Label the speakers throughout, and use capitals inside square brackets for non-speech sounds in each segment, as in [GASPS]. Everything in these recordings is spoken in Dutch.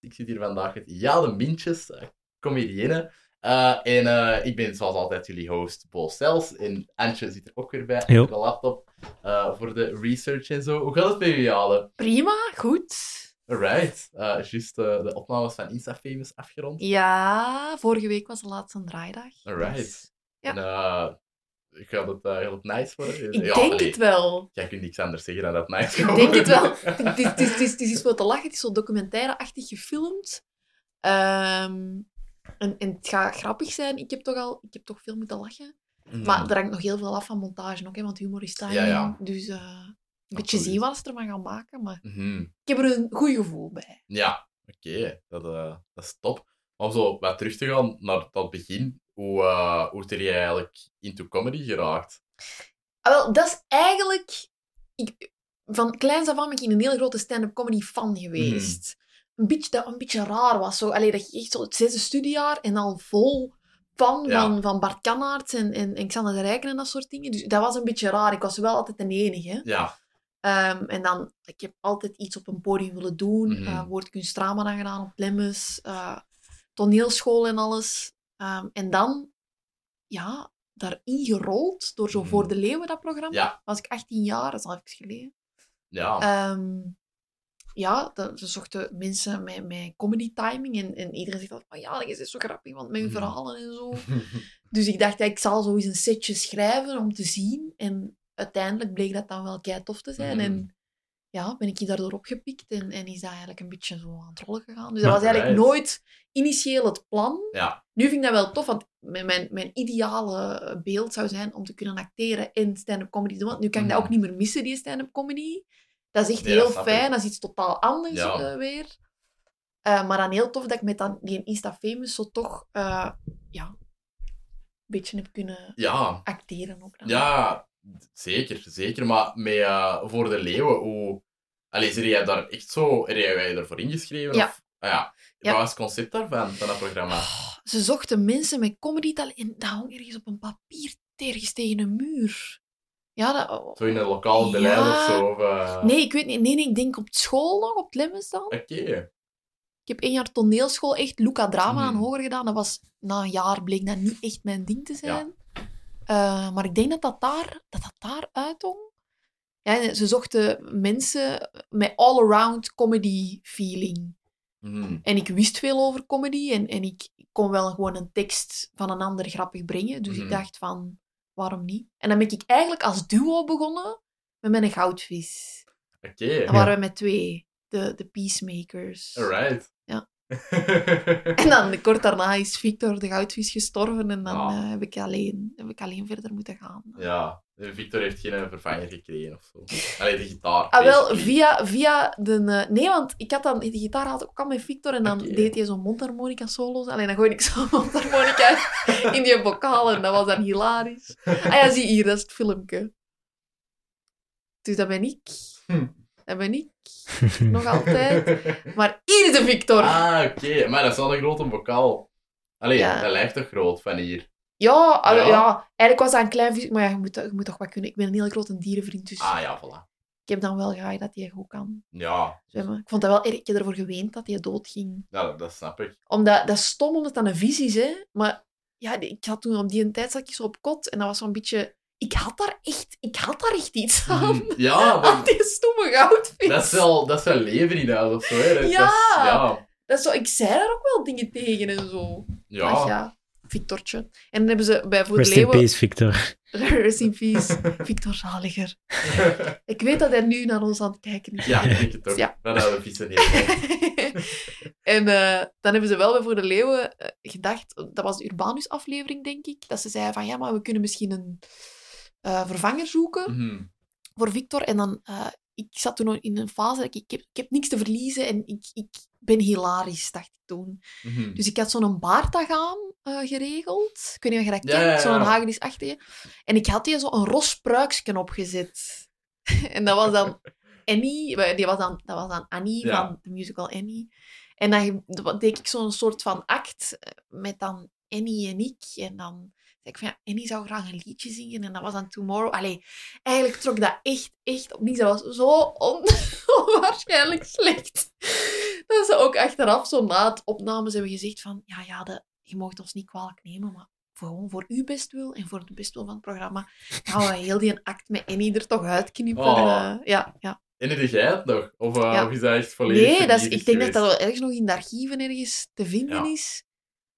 Speaker 1: zit hier vandaag met Jade Mintjes, eh, comedienne. Eh, en eh, ik ben zoals altijd jullie host, Bo Stels. En Antje zit er ook weer bij,
Speaker 2: Yo.
Speaker 1: op de laptop, eh, voor de research en zo. Hoe gaat het met jullie, Jade?
Speaker 3: Prima, goed.
Speaker 1: Alright. Eh juist eh, de opnames van Instafamous afgerond.
Speaker 3: Ja, vorige week was de laatste draaidag.
Speaker 1: Alright.
Speaker 3: Dus Ja.
Speaker 1: En eh, ik had het, eh, gaat het nice worden.
Speaker 3: Dus ik
Speaker 1: Ja,
Speaker 3: denk
Speaker 1: allee,
Speaker 3: het wel.
Speaker 1: Jij kunt niks anders zeggen dan dat het nice
Speaker 3: Ik
Speaker 1: gaat
Speaker 3: denk het
Speaker 1: [LAUGHS]
Speaker 3: wel.
Speaker 1: worden.
Speaker 3: Het is, het is, het is, het is iets wat te lachen. Het is zo documentaire-achtig gefilmd. Ehm, en, en het gaat grappig zijn. Ik heb toch al ik heb toch veel moeten lachen.
Speaker 1: [LAUGHS]
Speaker 3: Maar er hangt nog heel veel af van montage ook, hè, want humor is timing.
Speaker 1: Ja, ja.
Speaker 3: Dus eh, een beetje
Speaker 1: Absoluut.
Speaker 3: zien wat ze ervan gaan maken. Maar
Speaker 1: Mhm.
Speaker 3: ik heb er een goed gevoel bij.
Speaker 1: Ja, oké. Dat, eh, dat is top. Maar om zo wat terug te gaan naar dat begin, hoe, eh hoe ben jij eigenlijk into comedy geraakt?
Speaker 3: Ah, wel, dat is eigenlijk... Ik, van kleins af aan ben ik een hele grote stand-up comedy fan geweest.
Speaker 1: Hmm.
Speaker 3: Een beetje, dat een beetje raar was. Zo, allee, dat je echt zo het zesde studiejaar en al vol fan
Speaker 1: Ja.
Speaker 3: van, van Bart Kannaerts en, en, en Xander de Rijken en dat soort dingen. Dus dat was een beetje raar. Ik was wel altijd de enige. hè.
Speaker 1: Ja,
Speaker 3: Ehm, en dan, ik heb altijd iets op een podium willen doen.
Speaker 1: Mhm.
Speaker 3: Eh, woordkunst drama dan gedaan op Lemmes. eh, toneelschool en alles. Ehm, en dan, ja, daarin gerold door zo
Speaker 1: Mhm.
Speaker 3: Voor de Leeuwen, dat programma.
Speaker 1: ja,
Speaker 3: Was ik 18 jaar, dat is al even geleden.
Speaker 1: ja.
Speaker 3: Ehm, ja, dat- ze zochten mensen met, met comedy timing. En, en iedereen zegt altijd, van ja, dat is zo grappig, want met hun
Speaker 1: Mhm.
Speaker 3: verhalen en zo. Dus ik dacht, ja, ik zal zo eens een setje schrijven om te zien. En uiteindelijk bleek dat dan wel kei tof te zijn.
Speaker 1: Mhm.
Speaker 3: En ja, ben ik je daardoor opgepikt en, en is dat eigenlijk een beetje zo aan het rollen gegaan. Dus
Speaker 2: Maar
Speaker 3: dat was eigenlijk
Speaker 1: right.
Speaker 3: nooit initieel het plan.
Speaker 1: [LAUGHS] Ja.
Speaker 3: Nu vind ik dat wel tof, want mijn, mijn, mijn ideale beeld zou zijn om te kunnen acteren en stand-up comedy te doen. Want nu kan ik dat
Speaker 1: Mhm.
Speaker 3: ook niet meer missen, die stand-up comedy. Dat is echt
Speaker 1: Nee, dat
Speaker 3: heel
Speaker 1: snap
Speaker 3: fijn,
Speaker 1: ik.
Speaker 3: dat is iets totaal anders
Speaker 1: Ja.
Speaker 3: eh, weer. Eh, maar dan heel tof dat ik met dan, die Insta-famous zo toch eh, ja, een beetje heb kunnen
Speaker 1: ja,
Speaker 3: acteren ook. dan.
Speaker 1: ja, d- zeker, zeker. Maar met, eh, voor de leeuwen, hoe... Allee, zijn jij daar echt zo... Heb jij je daarvoor ingeschreven?
Speaker 3: Ja.
Speaker 1: Of, ah, ja.
Speaker 3: Ja.
Speaker 1: Wat was het concept daarvan, van dat programma?
Speaker 3: Oh, ze zochten mensen met comedy talent en dat hong ergens op een papier ergens tegen een muur. Ja, dat... oh,
Speaker 1: Zo in een lokaal beleid
Speaker 3: Ja.
Speaker 1: of zo? Of, eh,
Speaker 3: Nee, ik weet niet. Nee, nee, ik denk op school nog, op het Lemmens dan.
Speaker 1: Oké.
Speaker 3: Ik heb één jaar toneelschool echt Luca Drama aan
Speaker 1: Mhm.
Speaker 3: hoger gedaan. Dat was, na een jaar bleek dat niet echt mijn ding te zijn. Eh, maar ik denk dat dat daar, dat dat daar uithong. Ja, en ze zochten mensen met all-around comedy feeling.
Speaker 1: Mhm.
Speaker 3: En ik wist veel over comedy en, en ik kon wel gewoon een tekst van een ander grappig brengen. Dus
Speaker 1: Mhm.
Speaker 3: ik dacht van, waarom niet? En dan ben ik eigenlijk als duo begonnen met mijn goudvis.
Speaker 1: Oké.
Speaker 3: Dan waren we met twee, de, de peacemakers.
Speaker 1: Alright.
Speaker 3: Ja.
Speaker 1: [LAUGHS] Oké.
Speaker 3: En dan kort daarna is Victor de goudvis gestorven en dan
Speaker 1: Ah.
Speaker 3: eh, heb, ik alleen, heb ik alleen verder moeten gaan.
Speaker 1: Ja, Victor heeft geen eh, vervanger gekregen of zo. Allee, de gitaar.
Speaker 3: Ah, wel,
Speaker 1: basically.
Speaker 3: via, via de... eh, nee, want ik had dan... Die gitaar had ik ook al met Victor en dan
Speaker 1: Oké.
Speaker 3: deed hij zo'n mondharmonica solo's. Alleen dan gooide ik zo'n [LAUGHS] mondharmonica in die bokaal en dat was dan hilarisch. Ah ja, zie hier, dat is het filmpje. Dus dat ben ik.
Speaker 1: Hm.
Speaker 3: Dat ben ik. Nog altijd.
Speaker 1: [LAUGHS]
Speaker 3: Maar hier is de Victor.
Speaker 1: ah, oké. Maar dat is wel een grote bokaal. Allee,
Speaker 3: Ja.
Speaker 1: dat lijkt toch groot van hier?
Speaker 3: Ja, al-
Speaker 1: Ja.
Speaker 3: ja. eigenlijk was dat een klein vis, maar ja, je moet, je moet toch wat kunnen. Ik ben een heel grote dierenvriend, dus
Speaker 1: Ah, ja, voilà.
Speaker 3: ik heb dan wel graag dat hij goed kan
Speaker 1: Ja,
Speaker 3: zwemmen. Ik vond dat wel erg. Ik heb ervoor geweend dat hij doodging.
Speaker 1: ja, dat, dat snap
Speaker 3: [LAUGHS]
Speaker 1: ik.
Speaker 3: Omdat, dat is stom, omdat dat een visie is, hè. Maar ja, ik had toen op die tijd zat ik zo op kot en dat was zo'n beetje... Ik had daar echt, ik had daar echt iets aan.
Speaker 1: Ja,
Speaker 3: [LAUGHS] Aan
Speaker 1: dat,
Speaker 3: die stomme goudvis.
Speaker 1: Hmm. dat, is wel, dat is wel leven in huis of zo. Hè. Dat,
Speaker 3: Ja.
Speaker 1: dat is- ja.
Speaker 3: Dat is zo, ik zei daar ook wel dingen tegen en zo.
Speaker 1: Ja.
Speaker 3: Ach ja, Victortje. En dan hebben ze bij Voor
Speaker 2: Rest
Speaker 3: de
Speaker 2: in
Speaker 3: Leeuwen...
Speaker 2: peace, Victor.
Speaker 3: [LAUGHS] Rest in peace. Victor
Speaker 1: [LAUGHS]
Speaker 3: Zaliger. Ik weet dat hij nu naar ons aan het kijken is.
Speaker 1: Ja, ik denk het ook.
Speaker 3: Ja.
Speaker 1: Dat hadden we vissen
Speaker 3: [LAUGHS]
Speaker 1: niet.
Speaker 3: en eh, dan hebben ze wel bij Voor de Leeuwen eh, gedacht, dat was de Urbanus-aflevering, denk ik, dat ze zeiden van, ja, maar we kunnen misschien een eh, vervanger zoeken
Speaker 1: Mhm.
Speaker 3: voor Victor. En dan, eh, ik zat toen in een fase, dat ik, ik, heb, ik heb niks te verliezen en ik, ik ben hilarisch, dacht ik toen.
Speaker 1: Mhm.
Speaker 3: Dus ik had zo'n baard aan eh, geregeld. Ik weet niet of je
Speaker 1: Ja,
Speaker 3: dat kent,
Speaker 1: ja, ja.
Speaker 3: zo'n hagedis achter je. En ik had hier zo'n ros pruiksken opgezet. [LAUGHS] en dat was dan Annie, eh, die was dan, dat was dan Annie
Speaker 1: Ja.
Speaker 3: van de musical Annie. En dan deed ik zo'n soort van act eh, met dan Annie en ik. En dan zei ik van ja, Annie zou graag een liedje zingen. En dat was dan Tomorrow. Allee, eigenlijk [LAUGHS] trok dat echt, echt op niets. Dat was zo on- onwaarschijnlijk slecht. dat ze ook achteraf zo na het opnames hebben gezegd van... Ja, ja, de, je mag ons niet kwalijk nemen, maar voor, gewoon voor uw bestwil en voor het bestwil van het programma gaan we heel die act met Annie er toch uitknippen.
Speaker 1: Oh.
Speaker 3: eh, ja, ja.
Speaker 1: En jij het nog? Of, eh,
Speaker 3: Ja.
Speaker 1: of is dat echt volledig
Speaker 3: Nee, dat is,
Speaker 1: vernietigd
Speaker 3: ik denk dat
Speaker 1: geweest?
Speaker 3: dat wel ergens nog in de archieven ergens te vinden
Speaker 1: Ja.
Speaker 3: is.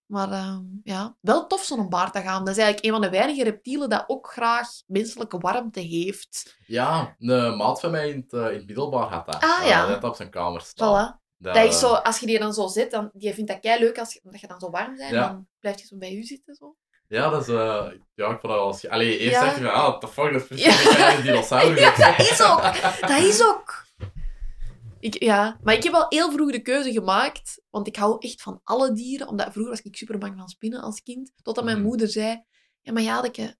Speaker 3: Maar ehm, ja, wel tof zo'n baard te gaan. Dat is eigenlijk een van de weinige reptielen dat ook graag menselijke warmte heeft.
Speaker 1: Ja, een maat van mij in het, eh, in het middelbaar had dat.
Speaker 3: Ah,
Speaker 1: Eh,
Speaker 3: ja.
Speaker 1: Dat op zijn kamer staan.
Speaker 3: Voilà.
Speaker 1: Dat,
Speaker 3: dat is zo,
Speaker 1: eh,
Speaker 3: als je die dan zo zit, dan, die vindt dat kei leuk als je, omdat je dan zo warm bent.
Speaker 1: Ja.
Speaker 3: Dan blijft je zo bij u zitten. Zo.
Speaker 1: Ja, dat is... eh, ja, ik vond dat wel... eens- Allee, eerst
Speaker 3: Ja.
Speaker 1: dacht ik van, ah, what the fuck,
Speaker 3: [LAUGHS]
Speaker 1: dat is precies
Speaker 3: Ja.
Speaker 1: een kleine dinosaurus.
Speaker 3: Ja, dat is ook. Dat is ook. Ik, ja, maar ik heb wel heel vroeg de keuze gemaakt, want ik hou echt van alle dieren. Omdat vroeger was ik super bang van spinnen als kind. Totdat mijn
Speaker 1: Mhm.
Speaker 3: moeder zei: Ja, maar Jadeke,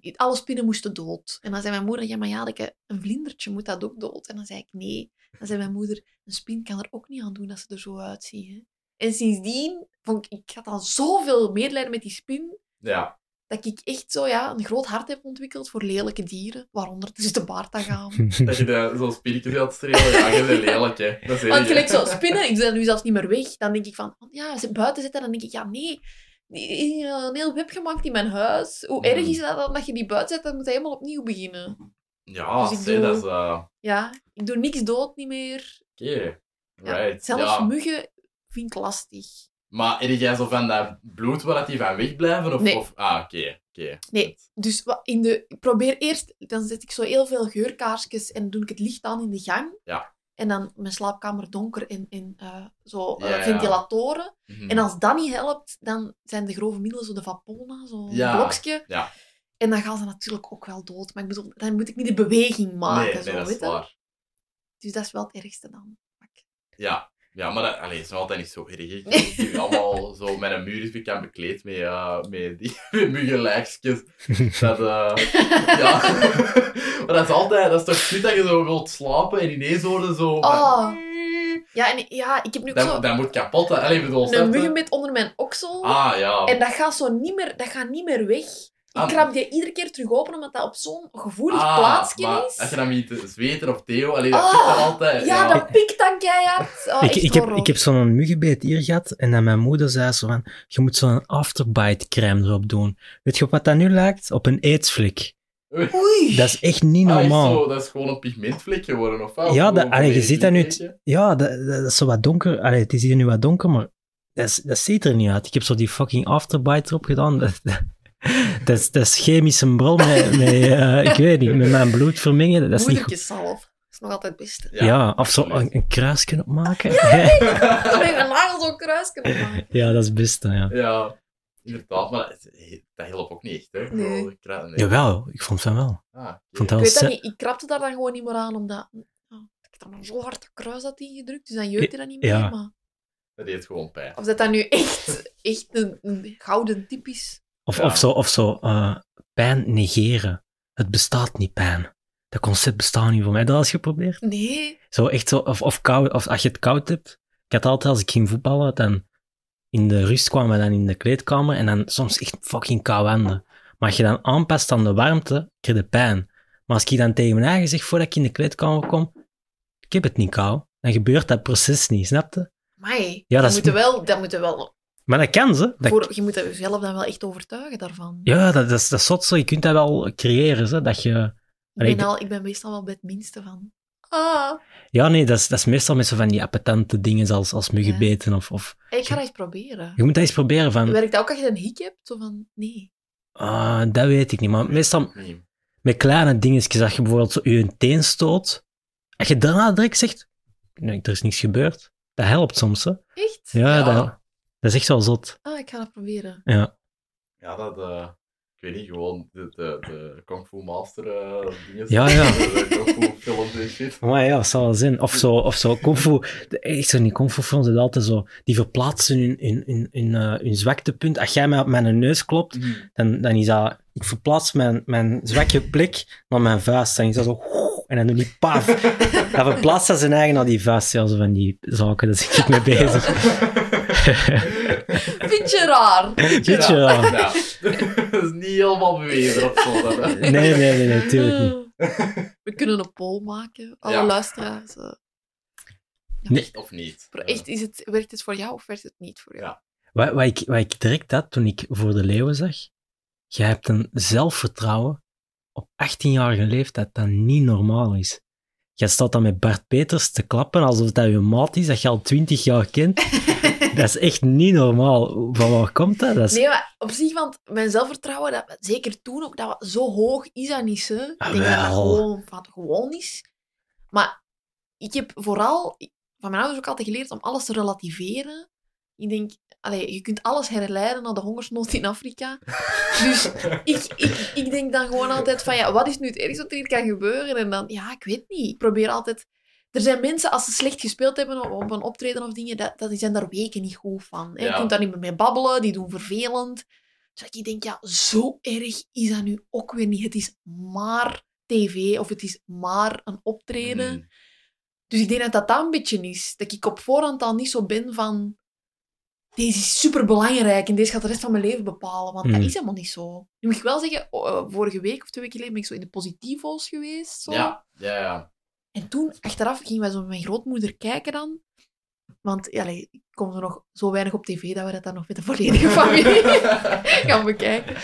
Speaker 3: ik- alle spinnen moesten dood. En dan zei mijn moeder: Ja, maar Jadeke, een vlindertje moet dat ook dood. En dan zei ik: Nee. Dan zei mijn moeder: Een spin kan er ook niet aan doen dat ze er zo uitzien. hè." En sindsdien vond ik, ik had al zoveel medelijden met die spin.
Speaker 1: Ja.
Speaker 3: Dat ik echt zo ja, een groot hart heb ontwikkeld voor lelijke dieren, waaronder dus de
Speaker 1: [LAUGHS]
Speaker 3: baartagaam.
Speaker 1: Dat je daar zo'n spinnetje wilt strelen. Ja, je bent lelijk, hè. Dat is
Speaker 3: Want
Speaker 1: erg, hè.
Speaker 3: gelijk zo, spinnen, ik ben nu zelfs niet meer weg. Dan denk ik van, ja, ze buiten zitten, dan denk ik, ja, nee. Ik heb Een heel web gemaakt in mijn huis. Hoe
Speaker 1: Mm.
Speaker 3: erg is dat dan dat je die buiten zet? Dan moet je helemaal opnieuw beginnen.
Speaker 1: Ja,
Speaker 3: Dus ik
Speaker 1: zie,
Speaker 3: doe-
Speaker 1: dat is... eh,
Speaker 3: Ja, ik doe niks dood niet meer.
Speaker 1: Oké.
Speaker 3: Ja,
Speaker 1: Right.
Speaker 3: Zelfs
Speaker 1: ja.
Speaker 3: muggen vind ik lastig.
Speaker 1: Maar heb jij zo van dat bloed waar dat die van wegblijven? Of,
Speaker 3: Nee.
Speaker 1: of, ah, oké. oké.
Speaker 3: Nee. Dus wat in de, ik probeer eerst, dan zet ik zo heel veel geurkaarsjes en doe ik het licht aan in de gang.
Speaker 1: Ja.
Speaker 3: En dan mijn slaapkamer donker en, en eh, zo eh,
Speaker 1: Ja, ja.
Speaker 3: ventilatoren.
Speaker 1: Mhm.
Speaker 3: En als dat niet helpt, dan zijn de grove middelen zo de Vapona, zo'n
Speaker 1: Ja,
Speaker 3: blokje.
Speaker 1: ja.
Speaker 3: En dan gaan ze natuurlijk ook wel dood. Maar ik bedoel, dan moet ik niet de beweging maken.
Speaker 1: nee,
Speaker 3: zo,
Speaker 1: nee, dat is
Speaker 3: weet je.
Speaker 1: waar.
Speaker 3: Dus dat is wel het ergste dan.
Speaker 1: Ja. Ja, maar dat allee, is nog altijd niet zo
Speaker 3: [LAUGHS]
Speaker 1: erg. Ik denk dat je allemaal zo met een muur is bekend bekleed met, eh met die [LAUGHS] met muggenlijkjes. Dat, eh, [LAUGHS] ja. maar dat is altijd, dat is toch niet dat je zo wilt slapen en ineens hoorde zo... van,
Speaker 3: Oh. Ja, en ja, ik heb nu ook
Speaker 1: dat,
Speaker 3: zo
Speaker 1: dat moet kapot, hè. Allee, ik bedoel, snap
Speaker 3: een
Speaker 1: je?
Speaker 3: muggenbed onder mijn oksel.
Speaker 1: eh, Ah, ja.
Speaker 3: En dat gaat zo niet meer, dat gaat niet meer weg. Ik
Speaker 1: Ah.
Speaker 3: krab die iedere keer terug open, omdat dat op zo'n gevoelig
Speaker 1: Ah, maar
Speaker 3: plaatsje is.
Speaker 1: Als je eh, dan met zweten of theo, allee, dat
Speaker 3: Ah,
Speaker 1: zit er altijd.
Speaker 3: Ja, dat pikt dan keihard. Oh,
Speaker 2: ik,
Speaker 3: echt
Speaker 2: ik heb,
Speaker 3: horror.
Speaker 2: ik heb zo'n muggenbeet hier gehad en dan mijn moeder zei zo van, je moet zo'n afterbite crème erop doen. Weet je op wat dat nu lijkt? Op een aidsvlek.
Speaker 3: Oei.
Speaker 2: Dat is echt niet
Speaker 1: Ah, is
Speaker 2: normaal.
Speaker 1: zo, dat is gewoon een pigmentvlek geworden, of wat? Of
Speaker 2: Ja,
Speaker 1: gewoon
Speaker 2: dat, allee, je
Speaker 1: een
Speaker 2: ziet dat nu.
Speaker 1: beetje.
Speaker 2: Ja, dat, dat is zo wat donker. Allee, het is hier nu wat donker, maar dat, is- dat ziet er niet uit. Ik heb zo die fucking afterbite erop gedaan. [LAUGHS] Dat, dat, dat is, dat is chemische bron met, met eh, ik weet niet, met mijn bloed vermengen. Dat is niet goed.
Speaker 3: Moedertje zalf. Dat is nog altijd het beste.
Speaker 2: Ja, of zo
Speaker 1: absoluut.
Speaker 2: [LAUGHS] een, een kruisje opmaken. [LAUGHS]
Speaker 3: Dan ben je mijn nagels ook kruis kunnen maken.
Speaker 2: ja, dat is het beste, ja.
Speaker 1: [LAUGHS] Ja, inderdaad, maar dat, dat hielp ook niet echt, hè? Zo,
Speaker 3: Nee.
Speaker 1: ik ra- nee.
Speaker 2: Jawel, ik vond van wel.
Speaker 1: Ah, oké.
Speaker 2: Ik vond dat
Speaker 3: Ik
Speaker 2: wel
Speaker 3: weet dat
Speaker 2: se-
Speaker 3: niet, ik krapte daar dan gewoon niet meer aan, omdat ja, ik heb er maar zo hard dat kruis had ingedrukt, dus dan jeukt hij dat niet meer.
Speaker 2: Ja.
Speaker 3: Maar,
Speaker 1: Dat deed gewoon pijn.
Speaker 3: of dat dat nu echt, echt een, een gouden tip is.
Speaker 2: Of,
Speaker 1: Ja.
Speaker 2: of zo, of zo eh, pijn negeren. Het bestaat niet pijn. Dat concept bestaat niet voor mij. Heb je Dat als geprobeerd.
Speaker 3: Nee,
Speaker 2: Zo echt zo, of, of, koud, of als je het koud hebt. Ik had altijd, als ik ging voetballen, dan in de rust kwamen we dan in de kleedkamer en dan soms echt fucking koude handen. Maar als je dan aanpast aan de warmte, krijg je pijn. Maar als ik dan tegen mijn eigen zeg, voordat ik in de kleedkamer kom, ik heb het niet koud, dan gebeurt dat proces niet, snapte?
Speaker 3: maar
Speaker 2: dat
Speaker 3: dat
Speaker 2: is-
Speaker 3: moet je wel, dat moet je wel
Speaker 2: Maar dat kan ze. Dat,
Speaker 3: voor, je moet jezelf dan wel echt overtuigen daarvan.
Speaker 2: Ja, dat, dat is, dat is zot zo. Je kunt dat wel creëren, zo, dat je...
Speaker 3: ik,
Speaker 2: Allee,
Speaker 3: ben al, ik ben meestal wel bij het minste van. Ah,
Speaker 2: Ja, nee, dat is, dat is meestal met zo van die appetante dingen als, als muggenbeten. Of, of,
Speaker 3: ik ga dat eens proberen.
Speaker 2: je moet dat eens proberen van,
Speaker 3: Werkt dat ook als je een hik hebt? Zo van, nee.
Speaker 2: ah, dat weet ik niet. Maar meestal
Speaker 1: Nee.
Speaker 2: met kleine dingetjes, als je bijvoorbeeld zo je teen stoot, als je daarna direct zegt, nee, er is niks gebeurd. Dat helpt soms, hè.
Speaker 3: Echt?
Speaker 2: Ja,
Speaker 1: Ja.
Speaker 2: Dat, dat is echt wel zot.
Speaker 3: Ah, ik ga dat proberen.
Speaker 2: Ja.
Speaker 1: Ja, dat, eh, ik weet niet, gewoon de, de, de Kung Fu Master eh dingen.
Speaker 2: Ja, ja.
Speaker 1: [LAUGHS] De Kung Fu films en
Speaker 2: [LAUGHS]
Speaker 1: shit.
Speaker 2: Maar ja, dat zal wel zijn. Of zo, of zo kung fu. de- Echt zo, die kung fu films, dat altijd zo. Die verplaatsen hun, hun, hun, hun, eh, hun zwaktepunt. Als jij mij op mijn neus klopt, dan, dan is dat... Ik verplaats mijn, mijn zwakke plek naar mijn vuist. Dan is dat zo... [LAUGHS] En dan doe die paf. Dan verplaatst dat zijn eigen naar die vuist. Ja, zo van die zaken, daar zit ik mee bezig.
Speaker 3: Vind je
Speaker 2: [LAUGHS]
Speaker 3: raar?
Speaker 2: Weet je
Speaker 1: Ja,
Speaker 2: wel?
Speaker 1: ja. [LAUGHS] dat is niet helemaal bewezen of zo. Dat, hè.
Speaker 2: Nee, nee, nee, nee,
Speaker 3: [LAUGHS]
Speaker 2: tuurlijk niet.
Speaker 3: We kunnen een poll maken, alle
Speaker 1: Ja.
Speaker 3: luisteraars. eh.
Speaker 2: Nee.
Speaker 1: Echt of niet?
Speaker 3: Voor echt, is het, werkt het voor jou of werkt het niet voor jou?
Speaker 1: Ja.
Speaker 2: Wat, wat, ik, wat ik direct had toen ik voor de leeuwen zag, jij hebt een zelfvertrouwen op 18-jarige leeftijd dat niet normaal is. Jij staat dan met Bart Peters te klappen alsof dat je maat is dat je al 20 jaar kent. dat is echt niet normaal. Van waar komt dat? dat is,
Speaker 3: Nee, maar op zich, want mijn zelfvertrouwen, dat, zeker toen ook, dat, wa- zo hoog is dat niet, hè. Ik
Speaker 2: Ah,
Speaker 3: denk dat dat
Speaker 2: wel.
Speaker 3: gewoon, van, gewoon is. Maar ik heb vooral van mijn ouders ook altijd geleerd om alles te relativeren. Ik denk, allee, je kunt alles herleiden naar de hongersnood in Afrika. Dus ik, ik, ik denk dan gewoon altijd van, ja, wat is nu het ergste wat er hier kan gebeuren? En dan, ja, ik weet niet. Ik probeer altijd... Er zijn mensen, als ze slecht gespeeld hebben op- op een optreden of dingen, dat, dat, die zijn daar weken niet goed van. Hè? Je
Speaker 1: Ja.
Speaker 3: kunt daar niet meer mee babbelen, die doen vervelend. Dus ik denk, ja, zo erg is dat nu ook weer niet. Het is maar tv of het is maar een optreden.
Speaker 1: Mm.
Speaker 3: Dus ik denk dat dat dan een beetje is. Dat ik op voorhand al niet zo ben van... Deze is superbelangrijk en deze gaat de rest van mijn leven bepalen. Want
Speaker 2: Mm.
Speaker 3: dat is helemaal niet zo. Nu moet ik wel zeggen, o- eh, vorige week of twee weken geleden ben ik zo in de positivo's geweest. Zo.
Speaker 1: Ja, ja, ja.
Speaker 3: En toen, achteraf, gingen wij zo met mijn grootmoeder kijken dan. Want ja, allee, ik kom er nog zo weinig op tv dat we dat dan nog met de
Speaker 1: [LAUGHS]
Speaker 3: volledige familie [LAUGHS] gaan bekijken.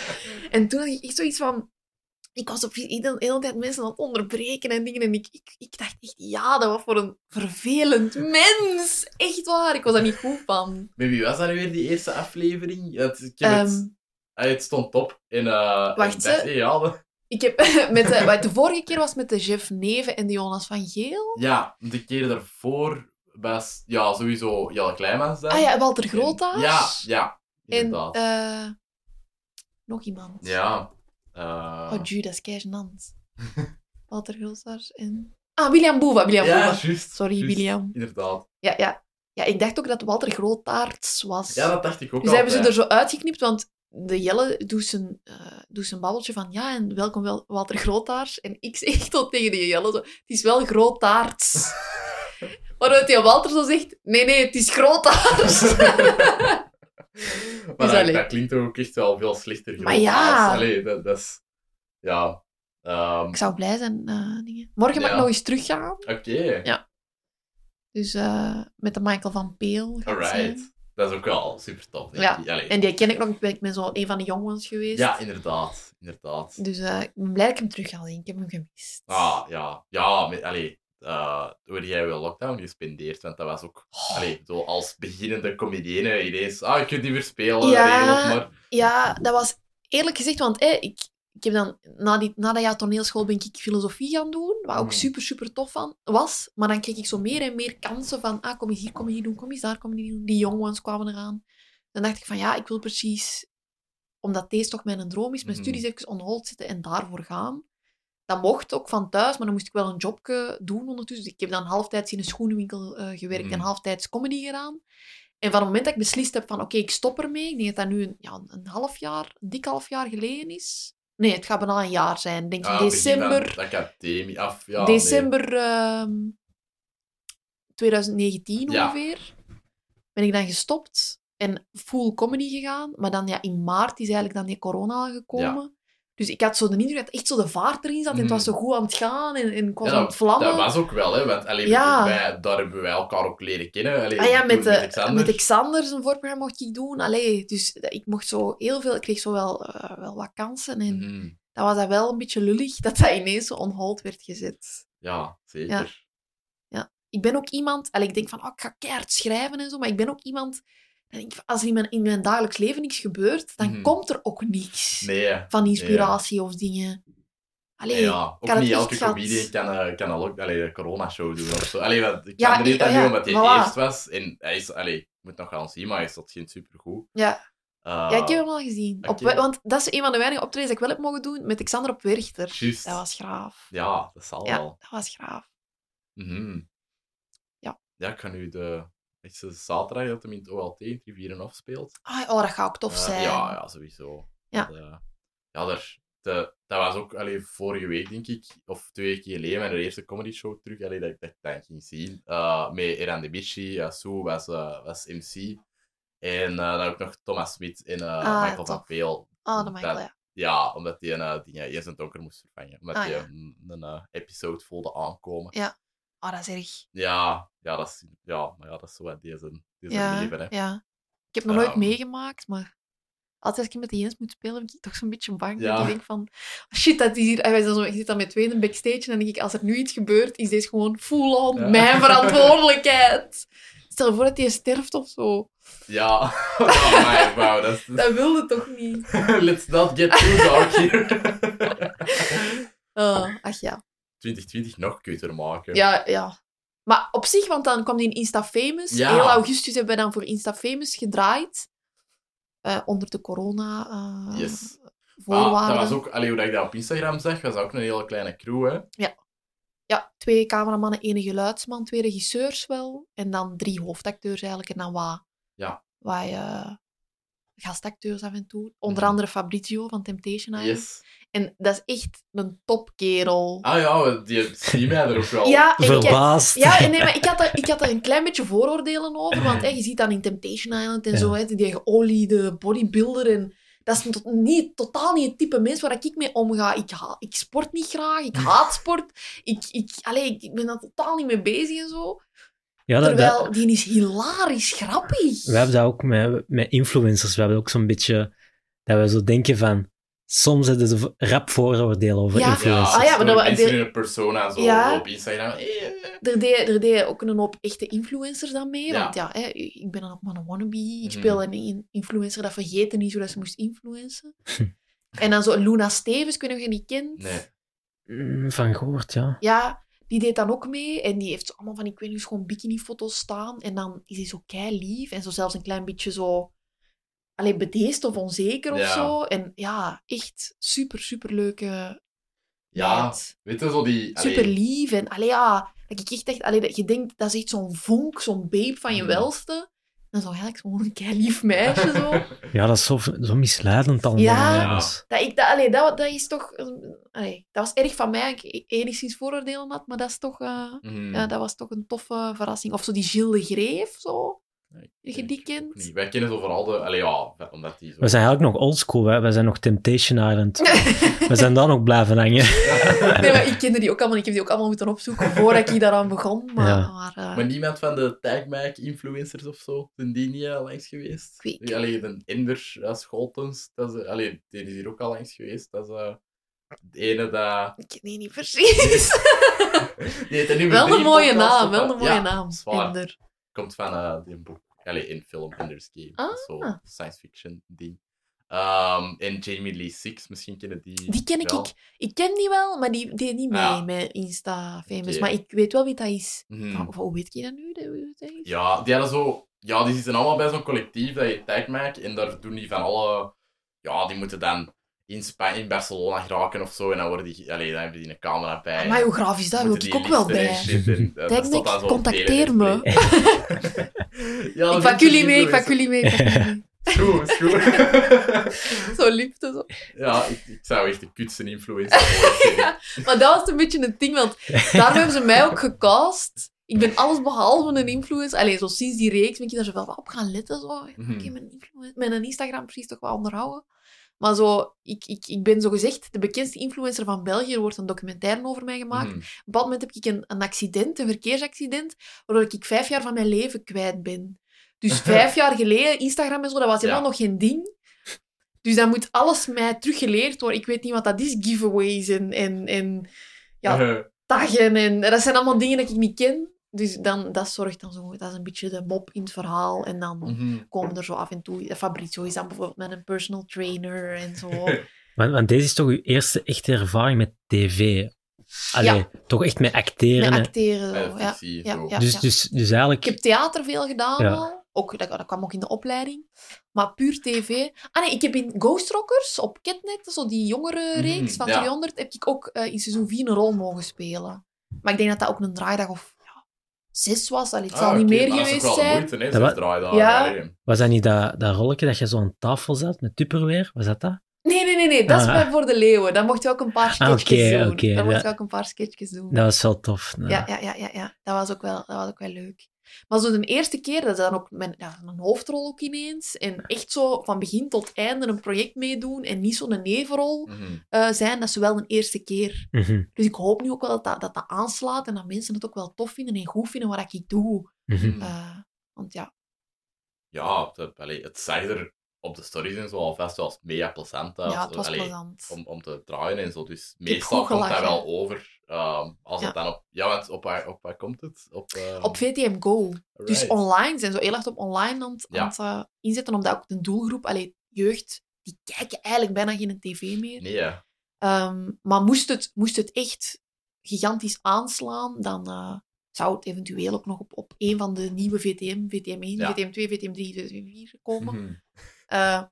Speaker 3: En toen had ik echt zoiets van... Ik was op de hele tijd mensen aan het onderbreken en dingen. En ik, ik, ik dacht echt, ja, dat was voor een vervelend mens. Echt waar, ik was daar niet goed van.
Speaker 1: Met wie was dat nu weer, die eerste aflevering? Het, ik heb het-
Speaker 3: Ehm,
Speaker 1: Ah, het stond top in... eh
Speaker 3: Wacht,
Speaker 1: in Best- ja, de-
Speaker 3: ik heb [LAUGHS] met de, wat de vorige keer was met de Jeff Neven en de Jonas van Geel.
Speaker 1: ja, de keer daarvoor was... Ja, sowieso Jelle Kleimans daar.
Speaker 3: Ah ja, Walter
Speaker 1: En-
Speaker 3: Groothuis.
Speaker 1: Ja, ja.
Speaker 3: En
Speaker 1: Inderdaad.
Speaker 3: eh, nog iemand.
Speaker 1: ja. eh,
Speaker 3: Oh,
Speaker 1: [LAUGHS]
Speaker 3: Judas, Keijnand. Walter Groothuis en... Ah, William Boeva, William
Speaker 1: ja,
Speaker 3: Boeva.
Speaker 1: juist.
Speaker 3: Sorry,
Speaker 1: juist.
Speaker 3: William.
Speaker 1: Inderdaad.
Speaker 3: Ja, ja. ja, ik dacht ook dat Walter Grootaarts was.
Speaker 1: Ja, dat dacht ik ook
Speaker 3: Dus hebben ze
Speaker 1: altijd.
Speaker 3: er zo uitgeknipt, want de Jelle doet zijn, eh, doet zijn babbeltje van ja, en welkom wel Walter Grootaarts. En ik [LAUGHS] zeg tot tegen die Jelle zo, het is
Speaker 1: [LAUGHS]
Speaker 3: wel Grootaarts. Waaruit die Walter zo zegt, nee, nee, het is Grootaarts.
Speaker 1: Maar
Speaker 3: Dus
Speaker 1: dat,
Speaker 3: allee.
Speaker 1: dat klinkt ook echt wel veel slechter.
Speaker 3: Maar
Speaker 1: gewoon.
Speaker 3: ja.
Speaker 1: Ah, Allee, dat, dat is... Ja. Ehm,
Speaker 3: ik zou blij zijn. eh, dingen. Morgen mag ik
Speaker 1: Ja.
Speaker 3: nog eens teruggaan.
Speaker 1: Oké.
Speaker 3: Dus eh, met de Michael van Peel. gaat het zijn.
Speaker 1: Alright. Dat is ook wel super tof, denk
Speaker 3: Ja,
Speaker 1: ik. Allee.
Speaker 3: En die ken ik nog, ik ben- ik ben zo een van de jongens geweest.
Speaker 1: Ja, inderdaad. Inderdaad.
Speaker 3: Dus eh, ik ben blij dat ik hem terug ga zien. Ik heb hem gemist.
Speaker 1: Ah, ja. Ja, met, allee, eh, hoe heb jij wel lockdown gespendeerd? Want dat was ook,
Speaker 3: Oh.
Speaker 1: allee, zo als beginnende comedienne ineens, ah, je kunt niet meer spelen,
Speaker 3: Ja.
Speaker 1: regel het maar.
Speaker 3: Ja, dat was eerlijk gezegd, want hè, ik, ik heb dan, na, die, na dat jaar toneelschool ben ik filosofie gaan doen, wat ook
Speaker 1: Mm.
Speaker 3: super, super tof van was. Maar dan kreeg ik zo meer en meer kansen van, ah, kom eens hier, kom je hier doen, kom eens daar, kom je hier doen. Die jongens kwamen eraan. Dan dacht ik van, ja, ik wil precies, omdat deze toch mijn droom is, mijn
Speaker 1: Mhm.
Speaker 3: studies even on hold zitten en daarvoor gaan. Dat mocht ook van thuis, maar dan moest ik wel een jobke doen ondertussen. Dus ik heb dan halftijds in een schoenenwinkel eh, gewerkt en
Speaker 1: Mhm.
Speaker 3: halftijds comedy gedaan. En van het moment dat ik beslist heb van oké, ik stop ermee, ik denk dat dat nu een, ja, een half jaar, een dik half jaar geleden is. Nee, het gaat bijna een jaar zijn. Ik denk
Speaker 1: Ah,
Speaker 3: in
Speaker 1: begin van
Speaker 3: december,
Speaker 1: de academie af, ja. nee.
Speaker 3: december ehm, 2019
Speaker 1: Ja.
Speaker 3: ongeveer, ben ik dan gestopt en full comedy gegaan. Maar dan ja, in maart is eigenlijk dan die corona gekomen. Dus ik had zo de indruk dat echt zo de vaart erin zat en het
Speaker 1: Mhm.
Speaker 3: was zo goed aan het gaan en, en ik was
Speaker 1: Ja,
Speaker 3: aan het vlammen.
Speaker 1: Dat was ook wel, hè, want allee,
Speaker 3: Ja.
Speaker 1: wij, daar hebben wij elkaar ook leren kennen. Allee,
Speaker 3: Ah ja,
Speaker 1: toen
Speaker 3: met, eh,
Speaker 1: Xander.
Speaker 3: met Xander zijn voorprogramma mocht ik doen. Allee, dus dat- ik mocht zo heel veel... Ik kreeg zo wel, eh, wel wat kansen. En
Speaker 1: Mhm.
Speaker 3: dat was dat wel een beetje lullig [LAUGHS] dat dat ineens zo on hold werd gezet.
Speaker 1: Ja, zeker.
Speaker 3: Ja. Ik ben ook iemand... Allee, ik denk van, oh, ik ga keihard schrijven en zo. Maar ik ben ook iemand... dat ik- als er in mijn, in mijn dagelijks leven niks gebeurt, dan
Speaker 1: Mhm.
Speaker 3: komt er ook niks
Speaker 1: Nee, hè.
Speaker 3: van inspiratie of dingen. Allee,
Speaker 1: Nee, ja. Ook
Speaker 3: had het
Speaker 1: niet
Speaker 3: echt
Speaker 1: elke
Speaker 3: gehad.
Speaker 1: comedian kan, eh, kan een, lock- allee, een corona-show doen of zo. Allee, want ik
Speaker 3: Ja,
Speaker 1: kan er
Speaker 3: ik-
Speaker 1: niet aan
Speaker 3: ja,
Speaker 1: doen omdat hij
Speaker 3: voilà.
Speaker 1: eerst was. En hij is, allee, ik moet nog gaan zien, maar hij is tot geen supergoed.
Speaker 3: Ja.
Speaker 1: Eh,
Speaker 3: ja, ik heb hem al gezien. Op,
Speaker 1: oké.
Speaker 3: want dat is een van de weinige optredens dat ik wel heb mogen doen met Xander op Werchter.
Speaker 1: juist.
Speaker 3: Dat was graaf.
Speaker 1: Ja, dat zal
Speaker 3: Ja,
Speaker 1: wel.
Speaker 3: dat was graaf.
Speaker 1: Mhm.
Speaker 3: Ja.
Speaker 1: Ja, ik ga nu de... Ik zeg zaterdag dat hem in het OLT in het Rivieren afspeelt.
Speaker 3: Ah, oh, dat gaat ook tof
Speaker 1: Eh,
Speaker 3: zijn.
Speaker 1: ja, ja, sowieso.
Speaker 3: Ja.
Speaker 1: Dat, eh, ja, daar, de- dat was ook allee, vorige week, denk ik, of twee weken geleden, mijn eerste comedy show terug, allee, dat ik dat, dat ik ging zien. Eh, met Eran Debici, eh, Sue was, eh, was MC. En eh dan ook nog Thomas Smit en eh,
Speaker 3: Ah,
Speaker 1: Michael van
Speaker 3: tof.
Speaker 1: Peel.
Speaker 3: Oh, dat maakt wel,
Speaker 1: Dat-
Speaker 3: ja.
Speaker 1: Ja, omdat die een eh, die, eh, eerst een donker moest vervangen. Omdat
Speaker 3: Ah,
Speaker 1: die
Speaker 3: ja.
Speaker 1: een, een, eh, episode voelde aankomen.
Speaker 3: Ja. Ah, dat is erg.
Speaker 1: Ja, ja, dat is, ja, maar ja, dat is zo wat deze, deze
Speaker 3: Ja,
Speaker 1: leven, hè.
Speaker 3: ja. Ik heb nog nooit
Speaker 1: Ehm.
Speaker 3: meegemaakt, maar altijd als ik met die eens moet spelen, ben ik toch zo'n beetje bang. Dat
Speaker 1: Ja.
Speaker 3: ik denk van, "Oh, shit, dat is hier... En wij zijn zo, ik zit dan met tweeën backstage en dan denk ik, als er nu iets gebeurt, is deze gewoon full-on
Speaker 1: Ja.
Speaker 3: mijn
Speaker 1: [LAUGHS]
Speaker 3: verantwoordelijkheid. Stel je voor dat hij sterft of zo.
Speaker 1: [LAUGHS] Ja, oh my, wow, dat is... [LAUGHS]
Speaker 3: Dat wilde toch niet?
Speaker 1: Let's not get too dark here.
Speaker 3: Ah, ach ja.
Speaker 1: 2020 nog kutter maken.
Speaker 3: ja. Ja, Maar op zich, want dan kwam die in Insta Famous.
Speaker 1: Ja.
Speaker 3: Heel augustus hebben we dan voor Insta Famous gedraaid. Eh, onder de corona eh,
Speaker 1: Yes.
Speaker 3: voorwaarden.
Speaker 1: Maar dat was ook, allee, hoe dat ik dat op Instagram zag, was dat ook een hele kleine crew, hè.
Speaker 3: Ja, twee cameramannen, één geluidsman, twee regisseurs wel. En dan drie hoofdacteurs eigenlijk. En dan wat,
Speaker 1: Ja.
Speaker 3: wat eh, gastacteurs af en toe. Onder
Speaker 1: Mhm.
Speaker 3: andere Fabrizio van Temptation Island.
Speaker 1: Yes.
Speaker 3: En dat is echt een topkerel.
Speaker 1: Ah ja, die zien mij er ook wel.
Speaker 3: Ja, en ik,
Speaker 2: Verbaasd. [LAUGHS]
Speaker 3: ja en nee, maar ik had, daar, ik had daar een klein beetje vooroordelen over. Want hè, je ziet dan in Temptation Island en
Speaker 2: Ja.
Speaker 3: zo, hè, die geoliede bodybuilder. En dat is een tot- niet, totaal niet het type mens waar ik mee omga. Ik, ha- ik sport niet graag, ik haat sport. Ik, ik, allee, ik ben daar totaal niet mee bezig en zo.
Speaker 2: Ja, dat- dat-
Speaker 3: Terwijl, die is hilarisch grappig.
Speaker 2: we hebben dat ook met, met influencers. We hebben ook zo'n beetje dat we zo denken van. Soms hebben ze rap vooroordelen over
Speaker 3: Ja.
Speaker 1: Ja,
Speaker 2: influencers.
Speaker 3: Ah, ja, maar dat-
Speaker 1: mensen
Speaker 3: de-
Speaker 1: in een persona zo
Speaker 3: Ja.
Speaker 1: op Instagram. Eh,
Speaker 3: Er deden er deed ook een hoop echte influencers dan mee.
Speaker 1: Ja.
Speaker 3: Want ja, hè, ik ben dan ook maar een wannabe. Ik
Speaker 1: Mhm.
Speaker 3: speel een in- influencer, dat vergeten niet, zodat ze moest
Speaker 2: [LAUGHS]
Speaker 3: influencen. en dan zo Luna Stevens, ik weet niet of je die kent.
Speaker 1: Nee.
Speaker 2: Mm, Van gehoord, ja.
Speaker 3: Ja, die deed dan ook mee. En die heeft zo allemaal van, ik weet niet, gewoon bikinifoto's staan. En dan is hij zo kei lief. En zo zelfs een klein beetje zo... Alleen bedeesd of onzeker of
Speaker 1: Ja.
Speaker 3: zo. En ja, echt super, super leuke
Speaker 1: Ja, weet je, zo die... allee,
Speaker 3: super lief. En allee, ja, dat ik echt echt, allee, dat je denkt, dat is echt zo'n vonk, zo'n babe van je
Speaker 1: Mm.
Speaker 3: welste. Dan zo eigenlijk zo'n [LAUGHS] een kei lief meisje zo.
Speaker 2: Ja, dat is zo, zo misleidend allemaal.
Speaker 3: Ja.
Speaker 2: ja, dat is-
Speaker 3: Dat, ik, dat, allee, dat, dat is toch. een- Allee, dat was erg van mij, dat ik e-, enigszins vooroordelen had, maar dat, is toch, eh,
Speaker 1: mhm.
Speaker 3: ja, dat was toch een toffe verrassing. Of zo die Gilles de Greef, zo.
Speaker 1: Nee, ik
Speaker 3: Dat je
Speaker 1: ken
Speaker 3: die
Speaker 1: ik
Speaker 3: kent.
Speaker 1: niet. Wij kennen zo vooral de... Allee, ja, omdat die zo...
Speaker 2: We zijn eigenlijk nog oldschool, hè. We zijn nog Temptation
Speaker 3: [LAUGHS]
Speaker 2: Island. We zijn daar nog blijven hangen.
Speaker 3: nee, maar ik kende die ook allemaal. Ik heb die ook allemaal moeten opzoeken voordat ik daaraan
Speaker 1: [LAUGHS]
Speaker 3: begon. Maar,
Speaker 2: Ja.
Speaker 3: maar, eh,
Speaker 1: Maar niemand van de tagmike-influencers of zo, zijn die niet eh, langs geweest?
Speaker 3: Ik weet-
Speaker 1: Allee, de Ender eh, Scholtens, dat is, eh, allee, die is hier ook al langs geweest. Dat is eh, de ene dat...
Speaker 3: ik ken die niet
Speaker 1: [LAUGHS]
Speaker 3: precies.
Speaker 1: Die heet nummer
Speaker 3: wel een
Speaker 1: drie
Speaker 3: mooie
Speaker 1: podcast,
Speaker 3: naam,
Speaker 1: of
Speaker 3: wel
Speaker 1: wat?
Speaker 3: een mooie
Speaker 1: eh, Ja,
Speaker 3: naam.
Speaker 1: zwaar.
Speaker 3: Ender.
Speaker 1: Komt van eh die boek, allee, in film Ender's Game.
Speaker 3: Ah.
Speaker 1: Dat is Zo science fiction ding. Ehm, en Jamie Lee Six, misschien kennen die
Speaker 3: Die ken ik,
Speaker 1: wel.
Speaker 3: ik. Ik ken die wel, maar die deed niet mee
Speaker 1: Ja.
Speaker 3: met Insta Famous.
Speaker 1: Oké.
Speaker 3: Maar ik weet wel wie dat is.
Speaker 1: Mhm.
Speaker 3: Van- van hoe weet je dat nu? dat- hoe dat is?
Speaker 1: Ja, die hadden zo... Ja, die zitten allemaal bij zo'n collectief dat je tag maakt. En daar doen die van alle... Ja, die moeten dan in, Spa- in Barcelona geraken of zo. En dan, worden die, allee, dan hebben die een camera bij.
Speaker 3: Ah, Maar hoe graaf is dat? Wil
Speaker 1: Moeten
Speaker 3: ik
Speaker 1: die
Speaker 3: ook wel
Speaker 1: listen en
Speaker 3: bij.
Speaker 1: shit en, eh, dat
Speaker 3: Denk
Speaker 1: staat dan
Speaker 3: ik,
Speaker 1: zo
Speaker 3: contacteer
Speaker 1: op
Speaker 3: me.
Speaker 1: tele-
Speaker 3: [LAUGHS]
Speaker 1: Ja, dat
Speaker 3: Ik
Speaker 1: vind
Speaker 3: pak jullie
Speaker 1: niet
Speaker 3: mee,
Speaker 1: zo
Speaker 3: ik pak
Speaker 1: is-
Speaker 3: jullie mee. ik pak jullie mee.
Speaker 1: [LAUGHS] Is goed, is goed.
Speaker 3: Zo liefde, zo.
Speaker 1: [LAUGHS] ja, ik, ik zou echt de kutste influencer ooit zijn.
Speaker 3: Ja, maar dat was een beetje een ding, want daarom hebben ze mij ook gecast. Ik ben alles behalve een influencer. Alleen zo sinds die reeks ben ik daar zo wel wat op gaan letten. Zo. Oké,
Speaker 1: Mhm.
Speaker 3: mijn, influen- mijn Instagram precies toch wel onderhouden. Maar zo, ik, ik, ik ben zo gezegd de bekendste influencer van België. Er wordt een documentaire over mij gemaakt.
Speaker 1: Mhm.
Speaker 3: Op dat moment heb ik een, een accident, een verkeersaccident, waardoor ik vijf jaar van mijn leven kwijt ben. Dus vijf jaar geleden, Instagram en zo, dat was helemaal
Speaker 1: Ja.
Speaker 3: nog geen ding. Dus dan moet alles mij teruggeleerd worden. Ik weet niet wat dat is, giveaways en, en, en Ja.
Speaker 1: Eh,
Speaker 3: taggen. En, dat zijn allemaal dingen dat ik niet ken. Dus dan, dat zorgt dan zo, dat is een beetje de mop in het verhaal. En dan
Speaker 1: mhm.
Speaker 3: komen er zo af en toe, eh, Fabrizio is dan bijvoorbeeld met een personal trainer en zo.
Speaker 2: Want, want deze is toch uw eerste echte ervaring met tv? Allee,
Speaker 3: Ja.
Speaker 2: toch echt met acteren.
Speaker 3: Met
Speaker 2: hè?
Speaker 3: acteren,
Speaker 1: Eh,
Speaker 3: zo. Ja.
Speaker 1: fictie,
Speaker 3: ja,
Speaker 1: zo.
Speaker 3: ja.
Speaker 2: dus, dus, dus eigenlijk...
Speaker 3: Ik heb theater veel gedaan
Speaker 2: Ja.
Speaker 3: al. Ook, dat, dat kwam ook in de opleiding. Maar puur tv. Ah nee, ik heb in Ghost Rockers op Ketnet, zo die jongere
Speaker 1: Mhm,
Speaker 3: reeks van
Speaker 1: ja.
Speaker 3: 300, heb ik ook eh, in seizoen 4 een rol mogen spelen. Maar ik denk dat dat ook een draaidag of ja, zes was. Allee, het zal
Speaker 1: Ah,
Speaker 3: niet
Speaker 1: oké,
Speaker 3: meer
Speaker 1: maar dat is
Speaker 3: geweest
Speaker 1: ook wel de
Speaker 3: zijn.
Speaker 1: moeite, hè,
Speaker 2: Ja,
Speaker 1: zo'n
Speaker 2: maar-
Speaker 1: draaidag,
Speaker 3: Ja.
Speaker 1: allee.
Speaker 2: Was dat niet dat, dat rolletje dat je zo aan tafel zat met Tupperware? Was dat dat?
Speaker 3: Nee, nee, nee, nee. Dat is
Speaker 2: Ah.
Speaker 3: bij voor de leeuwen. Dan mocht je ook een paar sketchjes
Speaker 2: oké,
Speaker 3: doen.
Speaker 2: oké,
Speaker 3: dan mocht
Speaker 2: ja.
Speaker 3: je ook een paar sketchjes doen.
Speaker 2: Dat was wel tof. nou.
Speaker 3: Ja, ja, ja, ja, ja. Dat was ook wel, dat was ook wel leuk. Maar zo de eerste keer, dat is dan ook mijn, ja, mijn hoofdrol ook ineens. En echt zo van begin tot einde een project meedoen en niet zo'n nevenrol
Speaker 1: Mhm.
Speaker 3: eh, zijn, dat is wel een eerste keer.
Speaker 2: Mhm,
Speaker 3: Dus ik hoop nu ook wel dat dat, dat dat aanslaat en dat mensen het ook wel tof vinden en goed vinden wat ik doe.
Speaker 2: mhm.
Speaker 3: Eh, want ja,
Speaker 1: Ja, dat, allee, het zag er op de stories en zo alvast wel mega plezant uit.
Speaker 3: ja, het was
Speaker 1: Allee,
Speaker 3: plezant.
Speaker 1: om, om te draaien en zo. Dus
Speaker 3: heb
Speaker 1: meestal
Speaker 3: goed
Speaker 1: komt dat
Speaker 3: gelachen.
Speaker 1: wel over. ehm, als het
Speaker 3: Ja.
Speaker 1: dan op... Ja, want op waar, op waar komt het? Op, ehm,
Speaker 3: Op VTM Go. Dus
Speaker 1: alright.
Speaker 3: online zijn zo heel erg op online aan het,
Speaker 1: Ja.
Speaker 3: aan het, eh, inzetten, omdat ook de doelgroep, allee, jeugd, die kijken eigenlijk bijna geen tv meer.
Speaker 1: Nee, ja.
Speaker 3: Ehm, maar moest het, moest het echt gigantisch aanslaan, dan eh, zou het eventueel ook nog op, op een van de nieuwe VTM, VTM 1,
Speaker 1: Ja.
Speaker 3: VTM 2, VTM 3, VTM 4 dus komen.
Speaker 1: Mhm.
Speaker 3: Eh,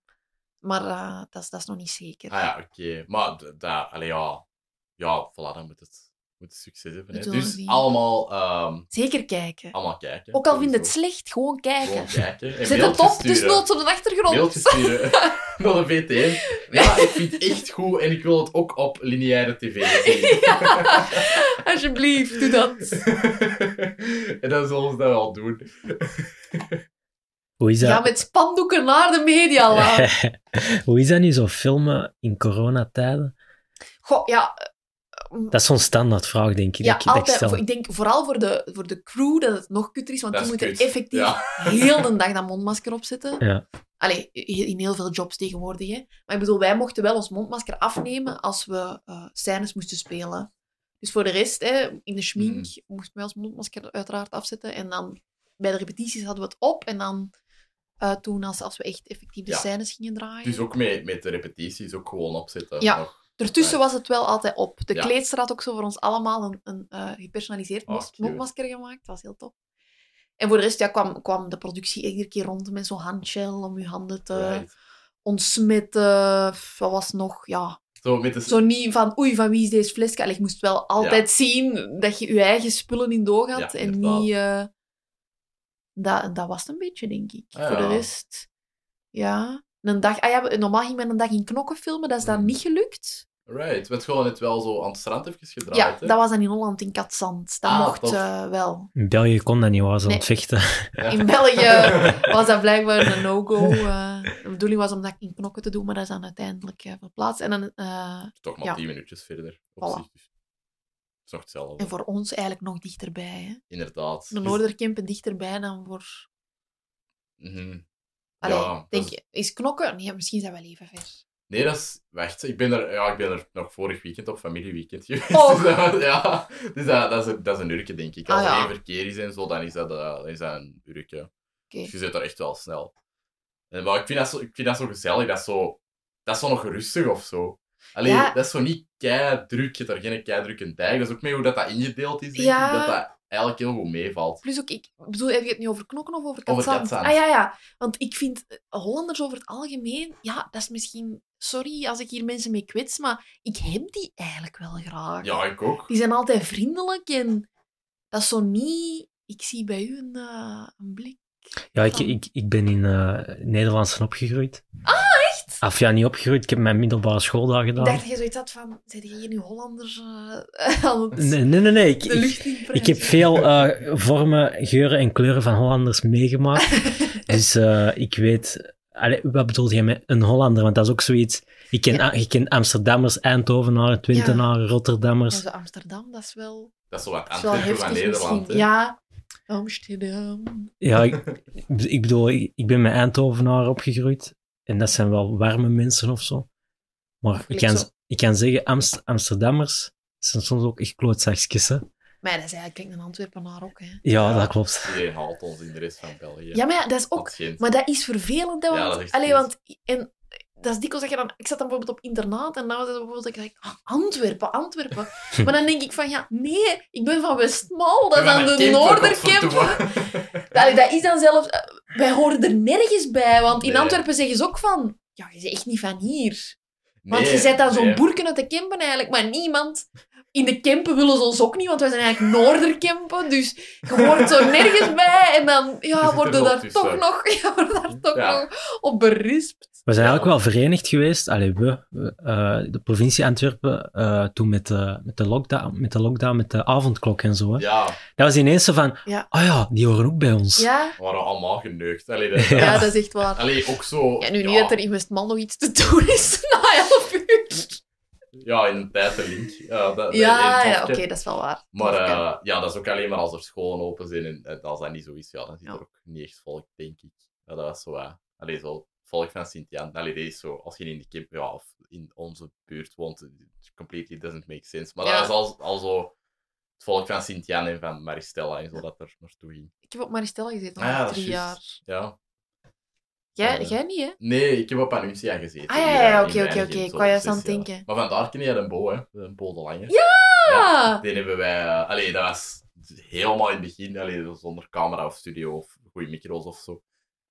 Speaker 3: maar eh, dat, is, dat is nog niet zeker.
Speaker 1: Ah ja, oké. Maar d- dat... Allee, ja. Ja, voilà, dan moet het, moet het succes hebben. Hè.
Speaker 3: We zullen
Speaker 1: Dus
Speaker 3: zien.
Speaker 1: allemaal, ehm,
Speaker 3: Zeker kijken.
Speaker 1: allemaal kijken.
Speaker 3: ook al vindt het
Speaker 1: sowieso.
Speaker 3: slecht, gewoon
Speaker 1: Gewoon
Speaker 3: kijken.
Speaker 1: kijken. En
Speaker 3: Zet het
Speaker 1: mailtjes
Speaker 3: op, dus
Speaker 1: sturen.
Speaker 3: noods op de achtergrond.
Speaker 1: Mailtjes sturen naar de VTM. Ja, ik vind het echt goed en ik wil het ook op lineaire tv zien.
Speaker 3: [LAUGHS] Ja, [LAUGHS] alsjeblieft, doe
Speaker 1: [LAUGHS]
Speaker 3: dat.
Speaker 1: en dan zullen we dat wel doen.
Speaker 2: Hoe is dat?
Speaker 3: Ga met spandoeken naar de media. Ja.
Speaker 2: Hoe is dat nu zo filmen in coronatijden?
Speaker 3: Goh, ja,
Speaker 2: Dat is zo'n standaardvraag, denk ik.
Speaker 3: ja
Speaker 2: dat, ik- dat ik
Speaker 3: altijd.
Speaker 2: stel.
Speaker 3: voor- ik denk vooral voor de, voor de crew dat het nog kutter is, want
Speaker 1: Dat
Speaker 3: die
Speaker 1: is
Speaker 3: moeten
Speaker 1: kut.
Speaker 3: effectief
Speaker 1: Ja.
Speaker 3: heel de dag dat mondmasker opzetten.
Speaker 2: Ja.
Speaker 3: Allee, he- in heel veel jobs tegenwoordig. Hè. Maar ik bedoel, wij mochten wel ons mondmasker afnemen als we eh scènes moesten spelen. Dus voor de rest, hè, in de schmink,
Speaker 1: Hmm.
Speaker 3: moesten wij ons mondmasker uiteraard afzetten. En dan bij de repetities hadden we het op. En dan eh, toen, als, als we echt effectief de
Speaker 1: Ja.
Speaker 3: scènes gingen draaien.
Speaker 1: Dus ook met, met de repetities ook gewoon opzetten.
Speaker 3: Ja.
Speaker 1: Nog.
Speaker 3: Daartussen
Speaker 1: Right.
Speaker 3: was het wel altijd op. De
Speaker 1: Ja.
Speaker 3: kleedster had ook zo voor ons allemaal een, een eh, gepersonaliseerd
Speaker 1: Oh,
Speaker 3: mos-
Speaker 1: cute.
Speaker 3: mondmasker gemaakt. Dat was heel tof. En voor de rest ja, kwam, kwam de productie iedere keer rond met zo'n handgel om je handen te
Speaker 1: Right.
Speaker 3: ontsmetten. F, Wat was nog? Ja.
Speaker 1: Zo met de...
Speaker 3: Zo niet van oei, van wie is deze flesje? Allee, ik moest wel altijd zien dat je je eigen spullen in doog had.
Speaker 1: Ja,
Speaker 3: en
Speaker 1: inderdaad.
Speaker 3: niet... eh, dat, dat was het een beetje, denk ik.
Speaker 1: Ah,
Speaker 3: voor de
Speaker 1: ja.
Speaker 3: rest... Ja. Een dag, ah ja, we- normaal ging men een dag in knokken filmen. Dat is daar
Speaker 1: Mm.
Speaker 3: niet gelukt.
Speaker 1: Right. We hebben gewoon het wel zo aan het strand even gedraaid.
Speaker 3: Ja,
Speaker 1: hè?
Speaker 3: dat
Speaker 1: [LAUGHS]
Speaker 3: was dan in Holland, in Katzand. Dat
Speaker 1: Ah,
Speaker 3: mocht
Speaker 1: tof. [LAUGHS]
Speaker 3: eh, wel.
Speaker 2: In België kon dat niet, waar ze aan
Speaker 3: Nee.
Speaker 2: het vechten.
Speaker 1: Ja.
Speaker 3: In België was eh, dat blijkbaar een no-go. eh. de bedoeling was om dat in knokken te doen, maar dat is dan uiteindelijk eh, verplaatst. En, dan, eh,
Speaker 1: Dus Toch maar
Speaker 3: Ja.
Speaker 1: 10 minuutjes verder. Op
Speaker 3: Voilà.
Speaker 1: zich. Dus het is nog hetzelfde.
Speaker 3: en voor ons eigenlijk nog dichterbij. Hè.
Speaker 1: Inderdaad.
Speaker 3: De
Speaker 1: Dus-
Speaker 3: Noorderkempen dichterbij dan voor...
Speaker 1: Mhm.
Speaker 3: Allee,
Speaker 1: Ja,
Speaker 3: denk
Speaker 1: dat
Speaker 3: je, is knokken? Nee, misschien zijn we wel even ver.
Speaker 1: Nee, dat is... Wacht, ik ben er, ja, ik ben er nog vorig weekend op familieweekend geweest.
Speaker 3: Oh.
Speaker 1: Dus [LAUGHS] dat was- ja, dus dat, dat, is een, dat is een urke, denk ik. Als
Speaker 3: Ah,
Speaker 1: er
Speaker 3: ja.
Speaker 1: geen verkeer is en zo, dan is dat, eh, dan is dat een urke.
Speaker 3: Oké.
Speaker 1: Dus je zit daar echt wel snel. En, maar ik vind, dat zo, ik vind dat zo gezellig. Dat is zo, dat is zo nog rustig of zo. Alleen,
Speaker 3: Ja.
Speaker 1: dat is zo niet kei druk. Je hebt daar geen kei druk in dijk. Dat is ook mee hoe dat, dat ingedeeld is. Denk
Speaker 3: Ja.
Speaker 1: ik, dat dat eigenlijk heel goed meevalt.
Speaker 3: Plus ook, ik bedoel, heb je het nu over knokken of over
Speaker 1: Over
Speaker 3: katzand?
Speaker 1: Katzand.
Speaker 3: Ah ja, ja. Want ik vind eh, Hollanders over het algemeen, ja, dat is misschien... Sorry als ik hier mensen mee kwets, maar ik heb die eigenlijk wel graag.
Speaker 1: Ja, ik ook.
Speaker 3: Die zijn altijd vriendelijk en dat is zo niet. Ik zie bij u een, eh, een blik.
Speaker 2: [LAUGHS] Ja, ik,
Speaker 3: Van-
Speaker 2: ik, ik ben in eh Nederlandsen opgegroeid. Ah, echt? Of ja, niet opgegroeid. Ik heb mijn middelbare schooldagen
Speaker 3: Ik
Speaker 2: gedaan.
Speaker 3: dacht dat je zoiets had van: zijn je hier nu Hollanders eh, [LAUGHS] aan het
Speaker 2: Nee, nee, nee. nee, Ik,
Speaker 3: de
Speaker 2: ik,
Speaker 3: lucht in
Speaker 2: ik heb veel eh, vormen, geuren en kleuren van Hollanders meegemaakt.
Speaker 3: [LAUGHS]
Speaker 2: Dus eh, ik weet... Allee, wat bedoel jij met een Hollander? Want dat is ook zoiets... Ik ken,
Speaker 3: Ja.
Speaker 2: A- ik ken Amsterdammers, Eindhovenaren, Twentenaren, Rotterdammers.
Speaker 3: Zo Amsterdam, dat is wel,
Speaker 1: Dat is zo wat
Speaker 3: dat is wel
Speaker 1: Antwerpen van
Speaker 3: heftig
Speaker 1: Nederland.
Speaker 3: misschien.
Speaker 1: hè.
Speaker 3: Ja, Amsterdam.
Speaker 2: Ja, ik, ik bedoel, ik, ik ben met Eindhovenaren opgegroeid. En dat zijn wel warme mensen of zo. Maar ik
Speaker 3: Ligt
Speaker 2: kan,
Speaker 3: zo.
Speaker 2: ik kan zeggen, Amst- Amsterdammers zijn soms ook echt klootzakjes. hè.
Speaker 3: Maar ja, dat is eigenlijk een Antwerpenaar ook. Hè.
Speaker 2: Ja,
Speaker 1: Ja.
Speaker 2: dat klopt.
Speaker 1: Iedereen haalt ons in de rest van België.
Speaker 3: Ja. maar ja, dat is ook.
Speaker 1: Dat is geen-
Speaker 3: Maar dat is vervelend. Hè,
Speaker 1: Ja,
Speaker 3: want,
Speaker 1: dat is
Speaker 3: allee,
Speaker 1: triest.
Speaker 3: want en, dat is dikwijls dat je dan... Ik zat dan bijvoorbeeld op internaat en dan was het bijvoorbeeld dat ik dacht, ah, Antwerpen, Antwerpen.
Speaker 1: [LAUGHS]
Speaker 3: maar dan denk ik van, ja, nee, ik ben van Westmal, dat
Speaker 1: Ik
Speaker 3: is
Speaker 1: ben
Speaker 3: aan
Speaker 1: een
Speaker 3: de
Speaker 1: kind,
Speaker 3: Noorderkempen.
Speaker 1: godverdomme.
Speaker 3: Allee, dat is dan zelfs... eh, Wij horen er nergens bij, want in
Speaker 1: Nee.
Speaker 3: Antwerpen zeggen ze ook van... Ja, je bent echt niet van hier. Want
Speaker 1: Nee,
Speaker 3: je zet dan zo'n
Speaker 1: nee.
Speaker 3: boerken uit de Kempen eigenlijk, maar niemand... In de Kempen willen ze ons ook niet, want wij zijn eigenlijk Noorderkempen, dus je hoort er nergens bij. En dan
Speaker 1: Je zit
Speaker 3: ja,
Speaker 1: er
Speaker 3: worden
Speaker 1: wel
Speaker 3: daar [LAUGHS]
Speaker 1: tussen.
Speaker 3: toch nog, ja, worden daar toch
Speaker 1: Ja.
Speaker 3: nog op berispt.
Speaker 2: We zijn
Speaker 1: Ja.
Speaker 2: eigenlijk wel verenigd geweest. Allee, we, we, eh, de provincie Antwerpen, eh, toen met de, met, de lockdown, met de lockdown, met de avondklok en zo. Hè.
Speaker 1: Ja,
Speaker 2: Dat was ineens zo van,
Speaker 3: Ja.
Speaker 2: oh ja, die horen ook bij ons.
Speaker 3: Ja?
Speaker 1: we waren allemaal geneukt. Allee, dat,
Speaker 2: Ja.
Speaker 3: Ja, dat is echt waar.
Speaker 1: allee ook zo...
Speaker 3: Ja, nu niet
Speaker 1: ja,
Speaker 3: dat er in Westman nog iets te doen is [LAUGHS] na 11 uur.
Speaker 1: Ja, in de tijd de link. Ja, dat,
Speaker 3: Ja,
Speaker 1: dat-
Speaker 3: ja oké, dat is wel waar.
Speaker 1: Maar
Speaker 3: Dat kan.
Speaker 1: eh, ja, dat is ook alleen maar als er scholen open zijn. En, en als dat niet zo is, ja, dan zit
Speaker 3: Ja.
Speaker 1: er ook niet echt volk, denk ik. Ja, dat was zo... eh, allee, zo het volk van Sint-Jan. Allee, dat is zo... Als je in de kip... Ja, of in onze buurt woont, it completely doesn't make sense. Maar
Speaker 3: Ja.
Speaker 1: dat is al, al zo... Het volk van Sint-Jan en van Maristella en zo dat er naartoe ging.
Speaker 3: Ik heb op Maristella gezeten,
Speaker 1: Ah, ja,
Speaker 3: al
Speaker 1: dat is
Speaker 3: drie
Speaker 1: juist.
Speaker 3: jaar.
Speaker 1: Ja.
Speaker 3: Jij,
Speaker 1: Ja.
Speaker 3: jij niet, hè?
Speaker 1: Nee, ik heb op Anuntia gezeten.
Speaker 3: Ah, ja,
Speaker 1: hier,
Speaker 3: ja, ja,
Speaker 1: eh, in
Speaker 3: oké, oké,
Speaker 1: Wijnegem,
Speaker 3: oké. Ik
Speaker 1: zo
Speaker 3: wou juist
Speaker 1: zes
Speaker 3: aan het
Speaker 1: jaar.
Speaker 3: denken.
Speaker 1: Maar vandaar ken je een bo, hè. Een bo de lange.
Speaker 3: Ah,
Speaker 1: Die hebben wij... eh, allee, dat was helemaal in het begin. Allee, dat was zonder camera of studio of goede micro's of zo.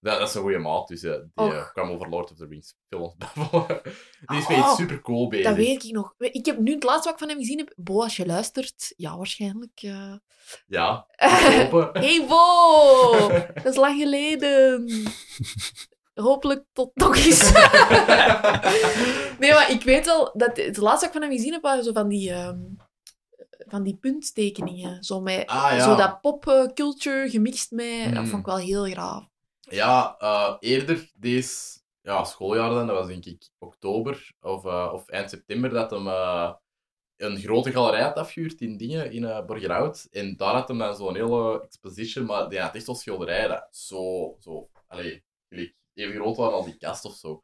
Speaker 1: Dat, dat is een goede maat. Dus eh, die
Speaker 3: Och.
Speaker 1: eh, kwam over Lord of the Rings films [LAUGHS] babbelen. die is
Speaker 3: Oh,
Speaker 1: mee iets super cool bezig.
Speaker 3: dat weet ik nog. Ik heb nu het laatste wat ik van hem gezien heb. Bo, als je luistert, ja, waarschijnlijk. eh.
Speaker 1: Ja,
Speaker 3: [LAUGHS]
Speaker 1: open.
Speaker 3: Hey Bo! Dat is lang geleden. Hopelijk tot nog eens.
Speaker 1: [LAUGHS] Ah,
Speaker 3: Nee, maar ik weet wel dat het laatste wat ik van hem gezien heb waren zo van die, ehm, van die punttekeningen. Zo, met,
Speaker 1: Ah, ja.
Speaker 3: zo dat popculture gemixt met. Dat
Speaker 1: Mm.
Speaker 3: vond ik wel heel graaf.
Speaker 1: Ja, eh, eerder deze ja, schooljaar dan, dat was denk ik oktober of, eh, of eind september, dat hem eh, een grote galerij had afgehuurd in dingen, in eh Borgerhout. En daar had hem dan zo'n hele exposition, maar die had echt wel schilderijen dat zo, zo, allee, gelijk even groot waren als die kast of zo.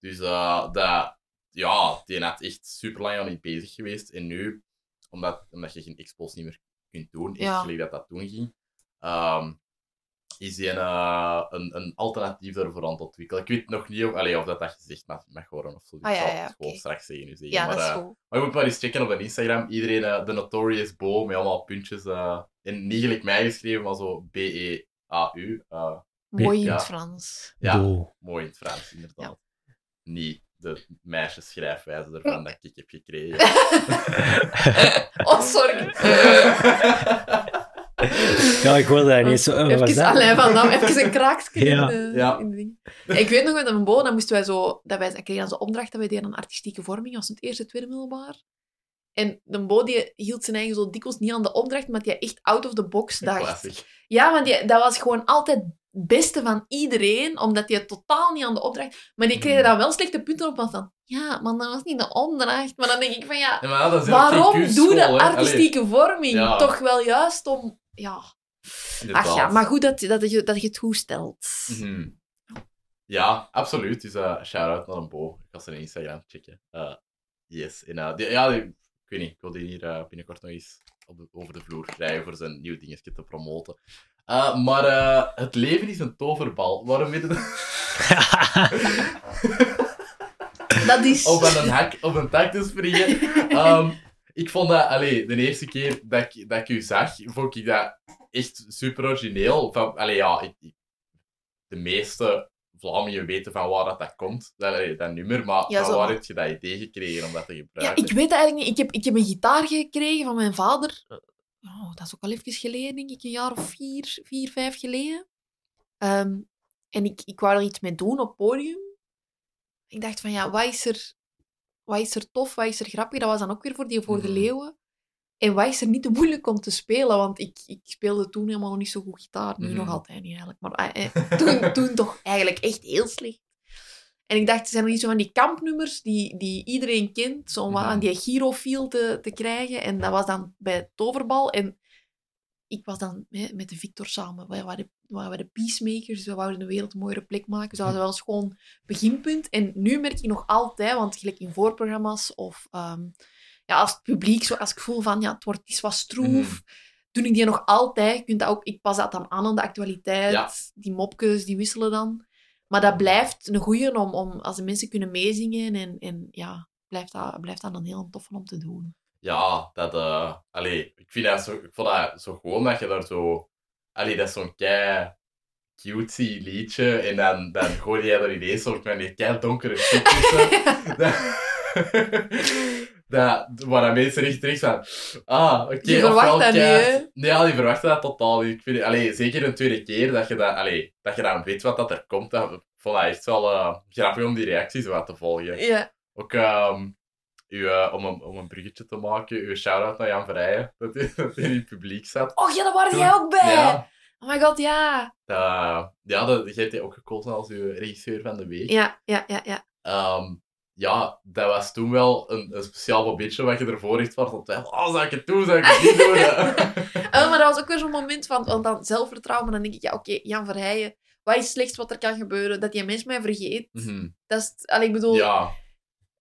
Speaker 1: Dus eh, dat, ja, die had echt super lang aan niet bezig geweest. En nu, omdat, omdat je geen expos niet meer kunt doen, echt
Speaker 3: Ja.
Speaker 1: gelijk dat dat toen ging, ehm, is die een, eh, een, een alternatief daarvoor aan het ontwikkelen. Ik weet nog niet of, allee, of dat, dat gezegd mag, mag worden of zo. Dus
Speaker 3: Ah, ja,
Speaker 1: ik zal
Speaker 3: ja,
Speaker 1: het gewoon
Speaker 3: oké.
Speaker 1: straks tegen u zeggen.
Speaker 3: Ja,
Speaker 1: maar,
Speaker 3: dat is
Speaker 1: eh,
Speaker 3: goed.
Speaker 1: maar je moet maar eens checken op de Instagram. Iedereen, eh, de Notorious Bo, met allemaal puntjes. eh, en niet gelijk mij geschreven, maar zo B-E-A-U. eh,
Speaker 3: Mooi in
Speaker 1: ja.
Speaker 3: het Frans.
Speaker 1: ja,
Speaker 2: Wow.
Speaker 1: mooi in het Frans, inderdaad.
Speaker 3: Ja.
Speaker 1: Niet de meisjesschrijfwijze ervan dat ik heb
Speaker 3: [LAUGHS]
Speaker 1: gekregen.
Speaker 3: Oh, sorry. [LAUGHS]
Speaker 2: Ja, ik hoorde daar niet zo. eh, wat was
Speaker 3: Even
Speaker 2: dat?
Speaker 3: Alain van Dam, even een kraaksje
Speaker 2: Ja.
Speaker 3: in, de,
Speaker 1: Ja.
Speaker 3: in de ding. Ik weet nog met een bo, dan moesten wij zo, dat wij, ik kreeg dan zo'n opdracht dat wij deden aan artistieke vorming, dat was in het eerste, tweede middelbaar. En de bo die hield zijn eigen zo dikwijls niet aan de opdracht, maar die echt out of the box dacht.
Speaker 1: Klassiek.
Speaker 3: Ja, want die, dat was gewoon altijd het beste van iedereen, omdat die totaal niet aan de opdracht... Maar die kregen
Speaker 1: Mm.
Speaker 3: daar wel slechte punten op, want van, ja, maar dat was niet de opdracht. Maar dan denk ik van, ja,
Speaker 1: Ja, maar dat is heel
Speaker 3: waarom
Speaker 1: TQ
Speaker 3: doe
Speaker 1: school,
Speaker 3: je
Speaker 1: hè. Allee,
Speaker 3: artistieke vorming?
Speaker 1: Ja.
Speaker 3: Toch wel juist om... Ja.
Speaker 1: inderdaad.
Speaker 3: Ach ja, maar goed dat, dat, je, dat je het goed stelt.
Speaker 1: Mhm. Ja, absoluut. Dus eh shout-out naar een Bo. Ik ga zijn Instagram checken. Eh, yes. En, eh, die- ja, die- ik weet niet. Ik wil die hier eh, binnenkort nog eens op de, over de vloer krijgen voor zijn nieuw dingetje te promoten. Eh, maar eh, het leven is een toverbal. Waarom weet je dat?
Speaker 3: Dat is...
Speaker 1: Op aan een hak, op een tak te
Speaker 3: [LAUGHS]
Speaker 1: springen. Ehm, ik vond dat, allee, de eerste keer dat ik, dat ik u zag, vond ik dat echt super origineel. Van, allee, ja, ik- ik- de meeste Vlamingen weten van waar dat, dat komt, dat, allee, dat nummer, maar
Speaker 3: Ja,
Speaker 1: van
Speaker 3: zo.
Speaker 1: waar heb je dat idee gekregen om dat te
Speaker 3: ja,
Speaker 1: gebruiken?
Speaker 3: ik weet dat eigenlijk niet. Ik heb, ik heb een gitaar gekregen van mijn vader. Oh, dat is ook al even geleden, denk ik. Een jaar of vier, vier vijf geleden. Ehm, en ik, ik wou er iets mee doen op het podium. Ik dacht van, ja, wat is er, wat is er tof, wat is er grappig? Dat was dan ook weer voor die Voor de
Speaker 1: Mhm.
Speaker 3: Leeuwen. En wat is er niet te moeilijk om te spelen? Want ik, ik speelde toen helemaal nog niet zo goed gitaar. Nu
Speaker 1: Mhm.
Speaker 3: nog altijd niet eigenlijk. Maar eh, eh, toen, toen toch eigenlijk echt heel slecht. En ik dacht, er zijn nog niet zo van die kampnummers die, die iedereen kent, zo om wat
Speaker 1: Mhm.
Speaker 3: aan die girofiel te, te krijgen. En dat was dan bij het Toverbal. En ik was dan hè, met de Victor samen. We waren, we waren de peacemakers, we wouden de wereld een mooiere plek maken. Dus dat was wel eens gewoon beginpunt. En nu merk ik nog altijd, want gelijk in voorprogramma's of ehm, ja, als het publiek, zo, als ik voel van ja, het wordt iets wat stroef,
Speaker 1: Mhm.
Speaker 3: doe ik die nog altijd. Je kunt dat ook, ik pas dat dan aan aan de actualiteit.
Speaker 1: Ja.
Speaker 3: Die mopjes, die wisselen dan. Maar dat blijft een goeie om, om als de mensen kunnen meezingen. En, en ja, blijft dat, blijft dat een heel toffe om te doen.
Speaker 1: Ja, dat... eh allee, ik, vind dat zo, ik vond dat zo gewoon dat je daar zo... Allee, dat is zo'n kei cutesy liedje. En dan, dan
Speaker 3: [LAUGHS]
Speaker 1: gooi jij er ineens soort van die kei donkere shit tussen. dat, [LAUGHS] dat, waar dat mensen echt terecht van... Ah, oké.
Speaker 3: Je verwacht
Speaker 1: ofwel
Speaker 3: dat niet,
Speaker 1: keihard-
Speaker 3: hè?
Speaker 1: Nee, ja, die verwachten dat totaal niet. Ik vind, allee, zeker een tweede keer dat je, dat, allee, dat je dan weet wat dat er komt. Dat, ik vond dat echt wel eh, grappig om die reacties wat te volgen.
Speaker 3: Ja.
Speaker 1: Ook ehm, uw, eh, om, een, om een bruggetje te maken, uw shout-out naar Jan Verheyen. Dat hij [LAUGHS] dat hij in het publiek zat.
Speaker 3: Och ja, daar waren jij ook bij.
Speaker 1: Ja,
Speaker 3: Oh my god, ja.
Speaker 1: dat, ja, dat, jij hebt die ook gekozen als uw regisseur van de week.
Speaker 3: Ja, ja, ja, ja.
Speaker 1: Ehm, ja, dat was toen wel een, een speciaal momentje wat je ervoor echt was aan twijfel. Oh, zou ik het doen? Zou ik het niet doen?
Speaker 3: [LAUGHS] Eh, maar dat was ook weer zo'n moment van, want dan zelfvertrouwen. Maar dan denk ik, ja, oké, Jan Verheijen. Wat is slechts wat er kan gebeuren? Dat die mens mij vergeet.
Speaker 1: Mhm.
Speaker 3: Dat is, het- allee, ik bedoel,
Speaker 1: Ja,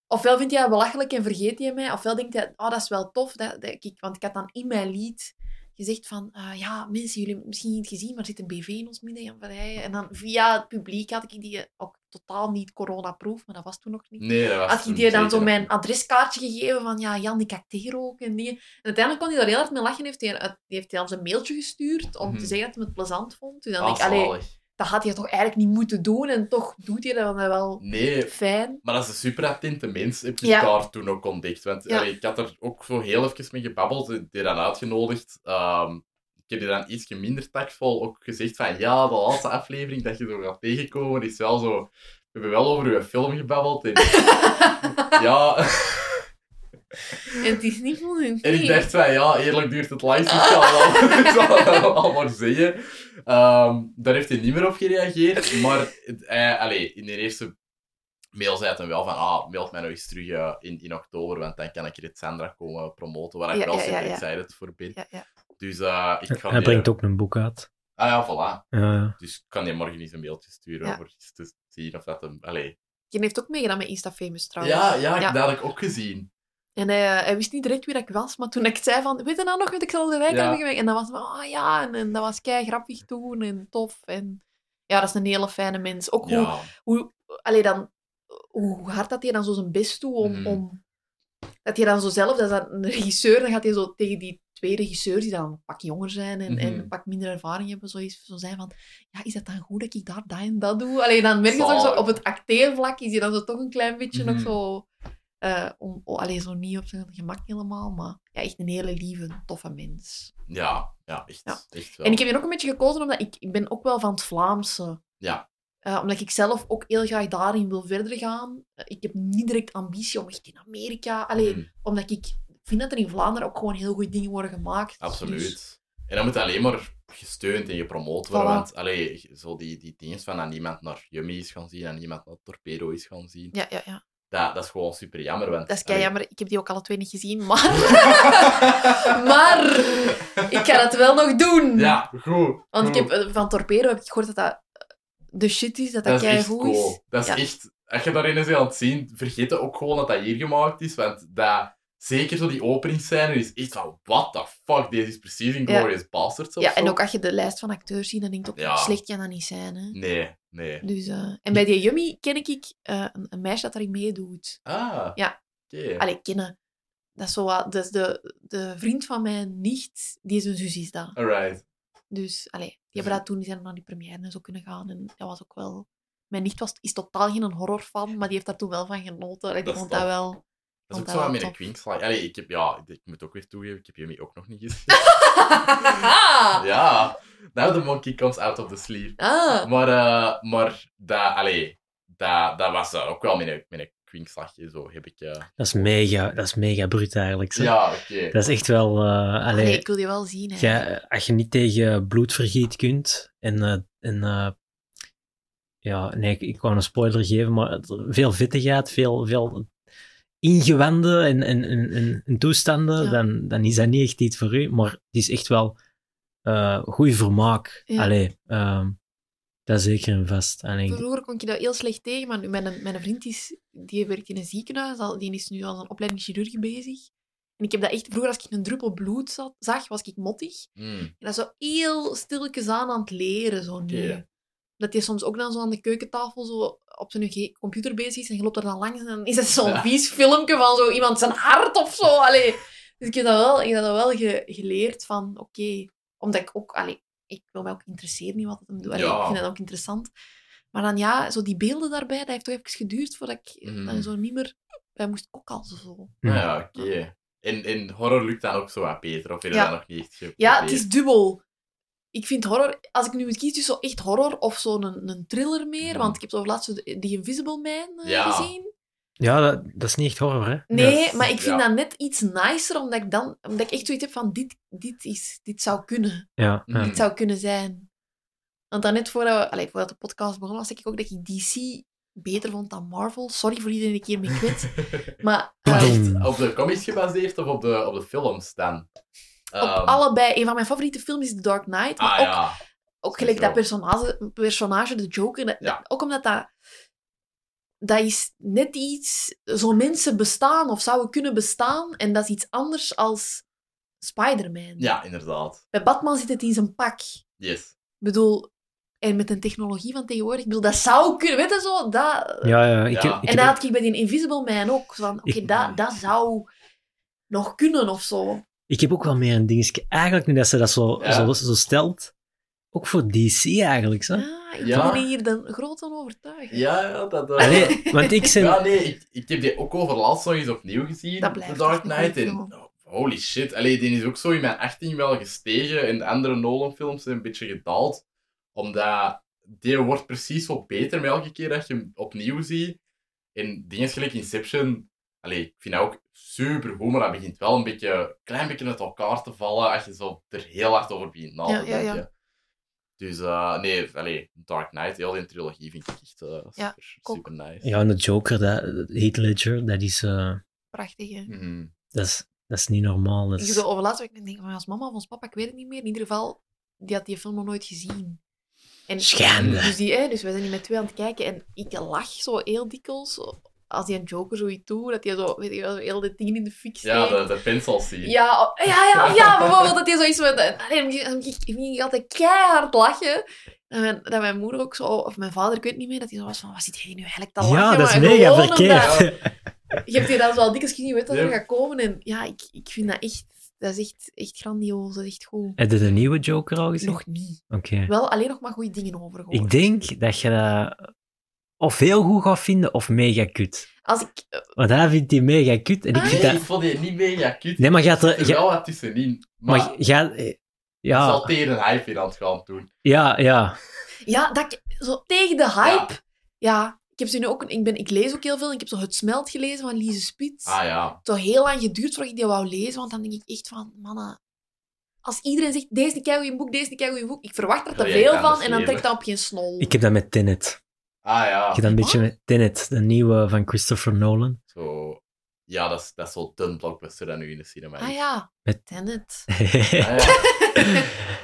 Speaker 3: ofwel vindt hij dat belachelijk en vergeet hij mij. Ofwel denkt hij, oh, dat is wel tof. Dat, dat, ik, want ik had dan in mijn lied gezegd van, ah, ja, mensen, jullie hebben het misschien niet gezien, maar er zit een BV in ons midden, Jan Verheijen. En dan via het publiek had ik die eh, ook totaal niet coronaproof, maar dat was toen nog niet.
Speaker 1: nee, dat was
Speaker 3: had ik
Speaker 1: toen
Speaker 3: die dan
Speaker 1: zeker
Speaker 3: zo
Speaker 1: een-
Speaker 3: mijn adreskaartje gegeven van ja, Jan, ik acteer ook en dingen. En uiteindelijk kon hij daar heel hard mee lachen. Heeft hij, die heeft hij ons een mailtje gestuurd om
Speaker 1: Mhm.
Speaker 3: te zeggen dat hij het plezant vond. Dus dan
Speaker 1: Ah,
Speaker 3: denk ik, allee,
Speaker 1: zalig.
Speaker 3: dat had hij toch eigenlijk niet moeten doen. En toch doet hij dat dan wel
Speaker 1: Nee,
Speaker 3: fijn.
Speaker 1: maar dat is een super attente mens, heb ik
Speaker 3: Ja.
Speaker 1: daar toen ook ontdekt. Want
Speaker 3: Ja.
Speaker 1: allee, ik had er ook zo heel even mee gebabbeld, ik heb die dan uitgenodigd. Ehm, ik heb die dan iets minder tactvol ook gezegd van ja, de laatste aflevering dat je zo gaat tegenkomen is wel zo... We hebben wel over uw film gebabbeld en
Speaker 3: [LAUGHS]
Speaker 1: ja...
Speaker 3: En het is niet voldoende.
Speaker 1: En ik dacht van, ja, eerlijk duurt het langst, dus ik zal het al- [LAUGHS]
Speaker 3: [LAUGHS]
Speaker 1: ik zal het al- al maar zeggen. Ehm, daar heeft hij niet meer op gereageerd, maar het- hij- allee, in de eerste mail zei het hem wel van, ah, mailt mij nog eens terug eh, in, in oktober, want dan kan ik hier het Sandra komen promoten, waar ik
Speaker 3: Ja,
Speaker 1: wel
Speaker 3: ja,
Speaker 1: super
Speaker 3: ja, ja.
Speaker 1: excited voor ben.
Speaker 3: Ja, ja.
Speaker 1: Dus eh, ik ga...
Speaker 2: Hij
Speaker 1: die-
Speaker 2: brengt ook een boek uit.
Speaker 1: Ah ja, voilà.
Speaker 2: Eh,
Speaker 1: Dus ik kan die morgen eens een mailtje sturen
Speaker 3: Ja.
Speaker 1: voor eens te zien of dat hem... Allee.
Speaker 3: Je heeft ook meegedaan met Insta Famous trouwens.
Speaker 1: Ja, ja, ik, dat had ik ook gezien.
Speaker 3: En hij, hij wist niet direct wie dat ik was, maar toen ik zei van, weet je nou nog wat ik zal de rijk
Speaker 1: Ja.
Speaker 3: hebben gewerkt? En dan was hij van, ah ja, en, en dat was kei grappig toen en tof. En ja, dat is een hele fijne mens. Ook hoe
Speaker 1: Ja.
Speaker 3: Allee, dan, hoe hard dat hij dan zo zijn best doet om...
Speaker 1: Mhm.
Speaker 3: om dat hij dan zo zelf, dat is dan een regisseur, dan gaat hij zo tegen die twee regisseurs die dan een pak jonger zijn en, en
Speaker 1: Mhm.
Speaker 3: een pak minder ervaring hebben, zo, is, zo zijn van, ja, is dat dan goed dat ik daar dat en dat doe? Allee, dan merk je toch zo,
Speaker 1: Zalig.
Speaker 3: op het acteervlak is hij dan zo toch een klein beetje nog
Speaker 1: Mhm.
Speaker 3: zo... eh, om, oh, allee, zo niet op zijn gemak helemaal, maar ja, echt een hele lieve, toffe mens.
Speaker 1: Ja, ja, echt,
Speaker 3: Ja.
Speaker 1: echt wel.
Speaker 3: En ik heb hier ook een beetje gekozen omdat ik, ik ben ook wel van het Vlaamse.
Speaker 1: Ja.
Speaker 3: Eh, omdat ik zelf ook heel graag daarin wil verder gaan. Eh, ik heb niet direct ambitie om echt in Amerika. Allee,
Speaker 1: Mhm.
Speaker 3: omdat ik vind dat er in Vlaanderen ook gewoon heel goede dingen worden gemaakt.
Speaker 1: Absoluut.
Speaker 3: Dus,
Speaker 1: En dat moet alleen maar gesteund en gepromoot worden.
Speaker 3: Voilà.
Speaker 1: Want allee, zo die, die teams van dat niemand naar Yummy is gaan zien en niemand naar Torpedo is gaan zien.
Speaker 3: ja, ja, ja.
Speaker 1: Dat, dat is gewoon super jammer. Want,
Speaker 3: Dat is kei
Speaker 1: allee,
Speaker 3: jammer. Ik heb die ook alle twee niet gezien. Maar, [LAUGHS] maar ik ga dat wel nog doen.
Speaker 1: Ja, goed.
Speaker 3: Want ik
Speaker 1: goed.
Speaker 3: heb, eh, van Torpedo heb ik gehoord dat dat eh, de shit is. Dat dat,
Speaker 1: dat is
Speaker 3: kei
Speaker 1: echt
Speaker 3: goed is.
Speaker 1: cool. Dat is
Speaker 3: Ja.
Speaker 1: echt... Als je daarin eens aan het zien, vergeet dat ook gewoon dat dat hier gemaakt is. Want dat, zeker zo die openingsscène is echt van... What the fuck? Deze is precies in
Speaker 3: Ja.
Speaker 1: Glorious Bastards of
Speaker 3: Ja,
Speaker 1: zo.
Speaker 3: en ook als je de lijst van acteurs ziet, dan denk je ook,
Speaker 1: Ja.
Speaker 3: slecht kan dat niet zijn. Hè?
Speaker 1: Nee, nee.
Speaker 3: Dus, eh, en bij die Yummy ken ik eh, een, een meisje dat daarin meedoet.
Speaker 1: Ah.
Speaker 3: Ja.
Speaker 1: Oké.
Speaker 3: Allee, kennen. Dat is, zo wat, dat is de, de vriend van mijn nicht, die zijn zus is dat.
Speaker 1: Alright.
Speaker 3: Dus, allee, die hebben dat toen, die zijn naar die première en zo kunnen gaan. En dat was ook wel... Mijn nicht was, is totaal geen horrorfan, maar die heeft daar toen wel van genoten. Allee, die
Speaker 1: Dat is
Speaker 3: vond dat
Speaker 1: tof. [LAUGHS]
Speaker 3: wel...
Speaker 1: Dat is
Speaker 3: Vond
Speaker 1: ook zo
Speaker 3: dat
Speaker 1: wat
Speaker 3: wel
Speaker 1: meer een
Speaker 3: tof.
Speaker 1: kwinkslag. Allee, ik heb... Ja, ik moet ook weer toegeven, ik heb Yummy ook nog niet gezien.
Speaker 3: [LAUGHS] ah,
Speaker 1: Ja, now the monkey comes out of the sleeve. Maar, eh, maar dat, allee, dat, dat was dan ook wel mijn, mijn kwinkslagje, zo heb ik... eh.
Speaker 2: dat, is mega, dat is mega bruut eigenlijk. zeg.
Speaker 1: Ja, oké.
Speaker 2: Dat is echt wel... eh
Speaker 3: Allee,
Speaker 2: allee,
Speaker 3: ik wil die wel zien. Hè.
Speaker 2: jij- als je niet tegen bloedvergiet kunt en... eh, en eh, ja, nee, ik, ik wou een spoiler geven, maar het- veel vittigheid, veel, veel ingewanden en, en, en, en- en toestanden,
Speaker 3: Ja.
Speaker 2: dan, dan is dat niet echt iets voor u. Maar het is echt wel eh goed vermaak.
Speaker 3: Ja.
Speaker 2: Allee, ehm, dat is zeker een vast. En ik,
Speaker 3: Vroeger kon ik dat heel slecht tegen, maar nu- mijn, mijn vriend is, die werkt in een ziekenhuis, al- die is nu als een opleiding chirurg bezig. En ik heb dat echt, vroeger als ik een druppel bloed zat, zag, was ik mottig.
Speaker 1: Hmm.
Speaker 3: En dat is zo heel stilletjes aan aan het leren, zo nu.
Speaker 1: Oké.
Speaker 3: Dat hij soms ook dan zo aan de keukentafel zo op zijn ge- computer bezig is en je loopt er dan langs en dan is dat zo'n
Speaker 1: Ja.
Speaker 3: vies filmpje van zo iemand zijn hart of zo. Allee. Dus ik heb dat wel, ik heb dat wel ge- geleerd van, oké, omdat ik ook, allee, ik wil mij ook interesseren in wat het hem doet. Allee,
Speaker 1: Ja.
Speaker 3: Ik vind dat ook interessant. Maar dan ja, zo die beelden daarbij, dat heeft toch even geduurd voordat ik
Speaker 1: Mhm.
Speaker 3: dan zo niet meer Wij moesten ook al zo.
Speaker 1: Nou ja, oké. In, in horror lukt dat ook zo wat beter, of vind je
Speaker 3: Ja.
Speaker 1: dat nog niet echt geprobeerd?
Speaker 3: Ja, het is dubbel. Ik vind horror, als ik nu moet kiezen tussen zo echt horror of zo'n een, een thriller meer,
Speaker 1: Mhm.
Speaker 3: want ik heb zo laatst zo de- die Invisible Man eh,
Speaker 1: Ja.
Speaker 3: gezien.
Speaker 2: Ja, dat, dat is niet echt horror, hè?
Speaker 3: Nee,
Speaker 1: Ja.
Speaker 3: maar ik vind
Speaker 1: Ja.
Speaker 3: dat net iets nicer, omdat ik, dan, omdat ik echt zoiets heb van dit, dit, is, dit zou kunnen.
Speaker 2: Ja, ja.
Speaker 1: Mhm.
Speaker 3: Dit zou kunnen zijn. Want daarnet voordat, we, allee, voordat de podcast begon, was ik ook dat ik DC beter vond dan Marvel. Sorry voor iedereen die ik hiermee
Speaker 1: [LAUGHS]
Speaker 3: kwets. Maar eh,
Speaker 1: Maar
Speaker 2: Boom.
Speaker 1: echt op de comics gebaseerd of op de, op de films dan?
Speaker 3: eh, op allebei, een van mijn favoriete films is The Dark Knight. Maar
Speaker 1: Ehm. Ah
Speaker 3: ook
Speaker 1: ja.
Speaker 3: Ook
Speaker 1: Sowieso.
Speaker 3: gelijk dat personage, personage de Joker. dat-
Speaker 1: Ja.
Speaker 3: Ook omdat dat... Dat is net iets... Zo mensen bestaan of zouden kunnen bestaan. En dat is iets anders als Spider-Man.
Speaker 1: ja, inderdaad.
Speaker 3: Bij Batman zit het in zijn pak. Ik
Speaker 1: Yes.
Speaker 3: bedoel... En met een technologie van tegenwoordig. Ik bedoel, dat zou kunnen. Weet je zo? Dat,
Speaker 2: Ja, ja. Ik,
Speaker 1: Ja.
Speaker 2: Heb, ik
Speaker 3: en
Speaker 2: heb-
Speaker 3: dat had ik bij die Invisible Man ook. Zo Van, oké,
Speaker 2: Ik-
Speaker 3: dat, dat zou nog kunnen of zo.
Speaker 2: Ik heb ook wel meer een dingetje. Eigenlijk nu dat ze dat zo,
Speaker 1: Ja.
Speaker 2: zo, zo stelt. Ook voor DC eigenlijk, zo.
Speaker 3: Ah, ik
Speaker 1: Ja.
Speaker 3: ben hier de grote overtuiger.
Speaker 1: Ja, ja, dat... eh,
Speaker 2: Allee, want
Speaker 1: [LAUGHS]
Speaker 2: ik zijn...
Speaker 1: Ja, nee, ik, ik heb die ook overlast nog eens opnieuw gezien,
Speaker 3: Dat blijft
Speaker 1: The Dark
Speaker 3: echt een goeie
Speaker 1: Knight. En,
Speaker 3: film.
Speaker 1: oh, holy shit, Allee, die is ook zo in mijn 18 wel gestegen en de andere Nolan-films zijn een beetje gedaald. Omdat die wordt precies wat beter met elke keer dat je hem opnieuw ziet. En dingen gelijk Inception, allee, ik vind dat ook super goed, maar dat begint wel een beetje, een klein beetje uit elkaar te vallen als je zo er heel hard over begint na te
Speaker 3: Ja, ja, ja.
Speaker 1: denken. Dus eh, nee, allee, Dark Knight, heel die trilogie vind ik echt eh,
Speaker 3: Ja,
Speaker 1: super,
Speaker 3: ook.
Speaker 1: super nice.
Speaker 2: Ja, en de Joker, dat, Heath Ledger, dat is, eh,
Speaker 3: Prachtig, hè?
Speaker 1: Mhm.
Speaker 2: dat is, dat is niet normaal. Dat
Speaker 3: Ik
Speaker 2: is-
Speaker 3: zo over laatst, ik denk van als mama of ons papa, ik weet het niet meer. In ieder geval, die had die film nog nooit gezien. En,
Speaker 2: Schande.
Speaker 3: Dus, die, hè, dus wij zijn hier met twee aan het kijken en ik lach zo heel dikwijls zo, als die een Joker zoiets doet, dat hij zo, weet ik wel, zo heel de tien in de fik steekt.
Speaker 1: Ja, de, de pencil scene.
Speaker 3: Ja, oh, ja, ja, ja, bijvoorbeeld dat hij zoiets met... Allee, dan ging- dan ging ik ging ik altijd keihard lachen. Dat mijn, dat mijn moeder ook zo, of mijn vader, ik weet niet meer, dat hij zo was van, wat zit hij nu eigenlijk te lachen?
Speaker 2: ja, dat is
Speaker 3: Maar
Speaker 2: mega
Speaker 3: gewoon omdat-
Speaker 2: verkeerd.
Speaker 3: je hebt hier dan wel dikwijls gezien, je weet dat er
Speaker 1: Ja.
Speaker 3: gaat komen. En ja, ik, ik vind dat echt, dat is echt, echt grandioos, dat is echt goed.
Speaker 2: [LAUGHS] Heb je de nieuwe Joker al gezien?
Speaker 3: Nog niet.
Speaker 2: Oké.
Speaker 3: Wel alleen nog maar goede dingen over gehoord.
Speaker 2: Ik denk dat je dat of heel goed gaat vinden of mega kut.
Speaker 3: Als ik, eh,
Speaker 2: Want hij vindt die mega kut en ik
Speaker 3: Ah,
Speaker 2: vind
Speaker 1: Nee, [LAUGHS] ik
Speaker 2: dat...
Speaker 1: vond die niet mega cute.
Speaker 2: Nee, maar gaat
Speaker 1: er
Speaker 2: er...
Speaker 1: wel
Speaker 2: Ga,
Speaker 1: wat tussenin. Maar,
Speaker 2: maar
Speaker 1: het
Speaker 2: ga,
Speaker 1: is
Speaker 2: ja,
Speaker 1: al tegen een hype in aan het gaan doen.
Speaker 2: ja, ja.
Speaker 3: ja, dat ik, zo tegen de hype. Ja, ik heb ze nu ook, een- ik, ben, ik lees ook heel veel. en Ik heb zo Het Smelt gelezen van Lise Spits.
Speaker 1: Ah ja.
Speaker 3: Het heeft heel lang geduurd voordat ik die wou lezen, want dan denk ik echt van, mannen... Als iedereen zegt, deze is een in boek, deze is een in boek, ik verwacht er te
Speaker 1: Wil jij het
Speaker 3: veel van
Speaker 1: anders
Speaker 3: en dan trek
Speaker 1: lezen?
Speaker 3: dat op geen snol.
Speaker 2: Ik heb dat met Tenet.
Speaker 1: Ah ja.
Speaker 2: Ik heb dat een
Speaker 3: Oh.
Speaker 2: beetje met Tenet, de nieuwe van Christopher Nolan. [LAUGHS]
Speaker 1: Zo. Ja, dat is, dat is wel dun blockbuster dat nu in de cinema
Speaker 3: Ah
Speaker 1: is.
Speaker 3: ja,
Speaker 2: Met- [LAUGHS]
Speaker 3: Tenet.
Speaker 1: Ah, ja.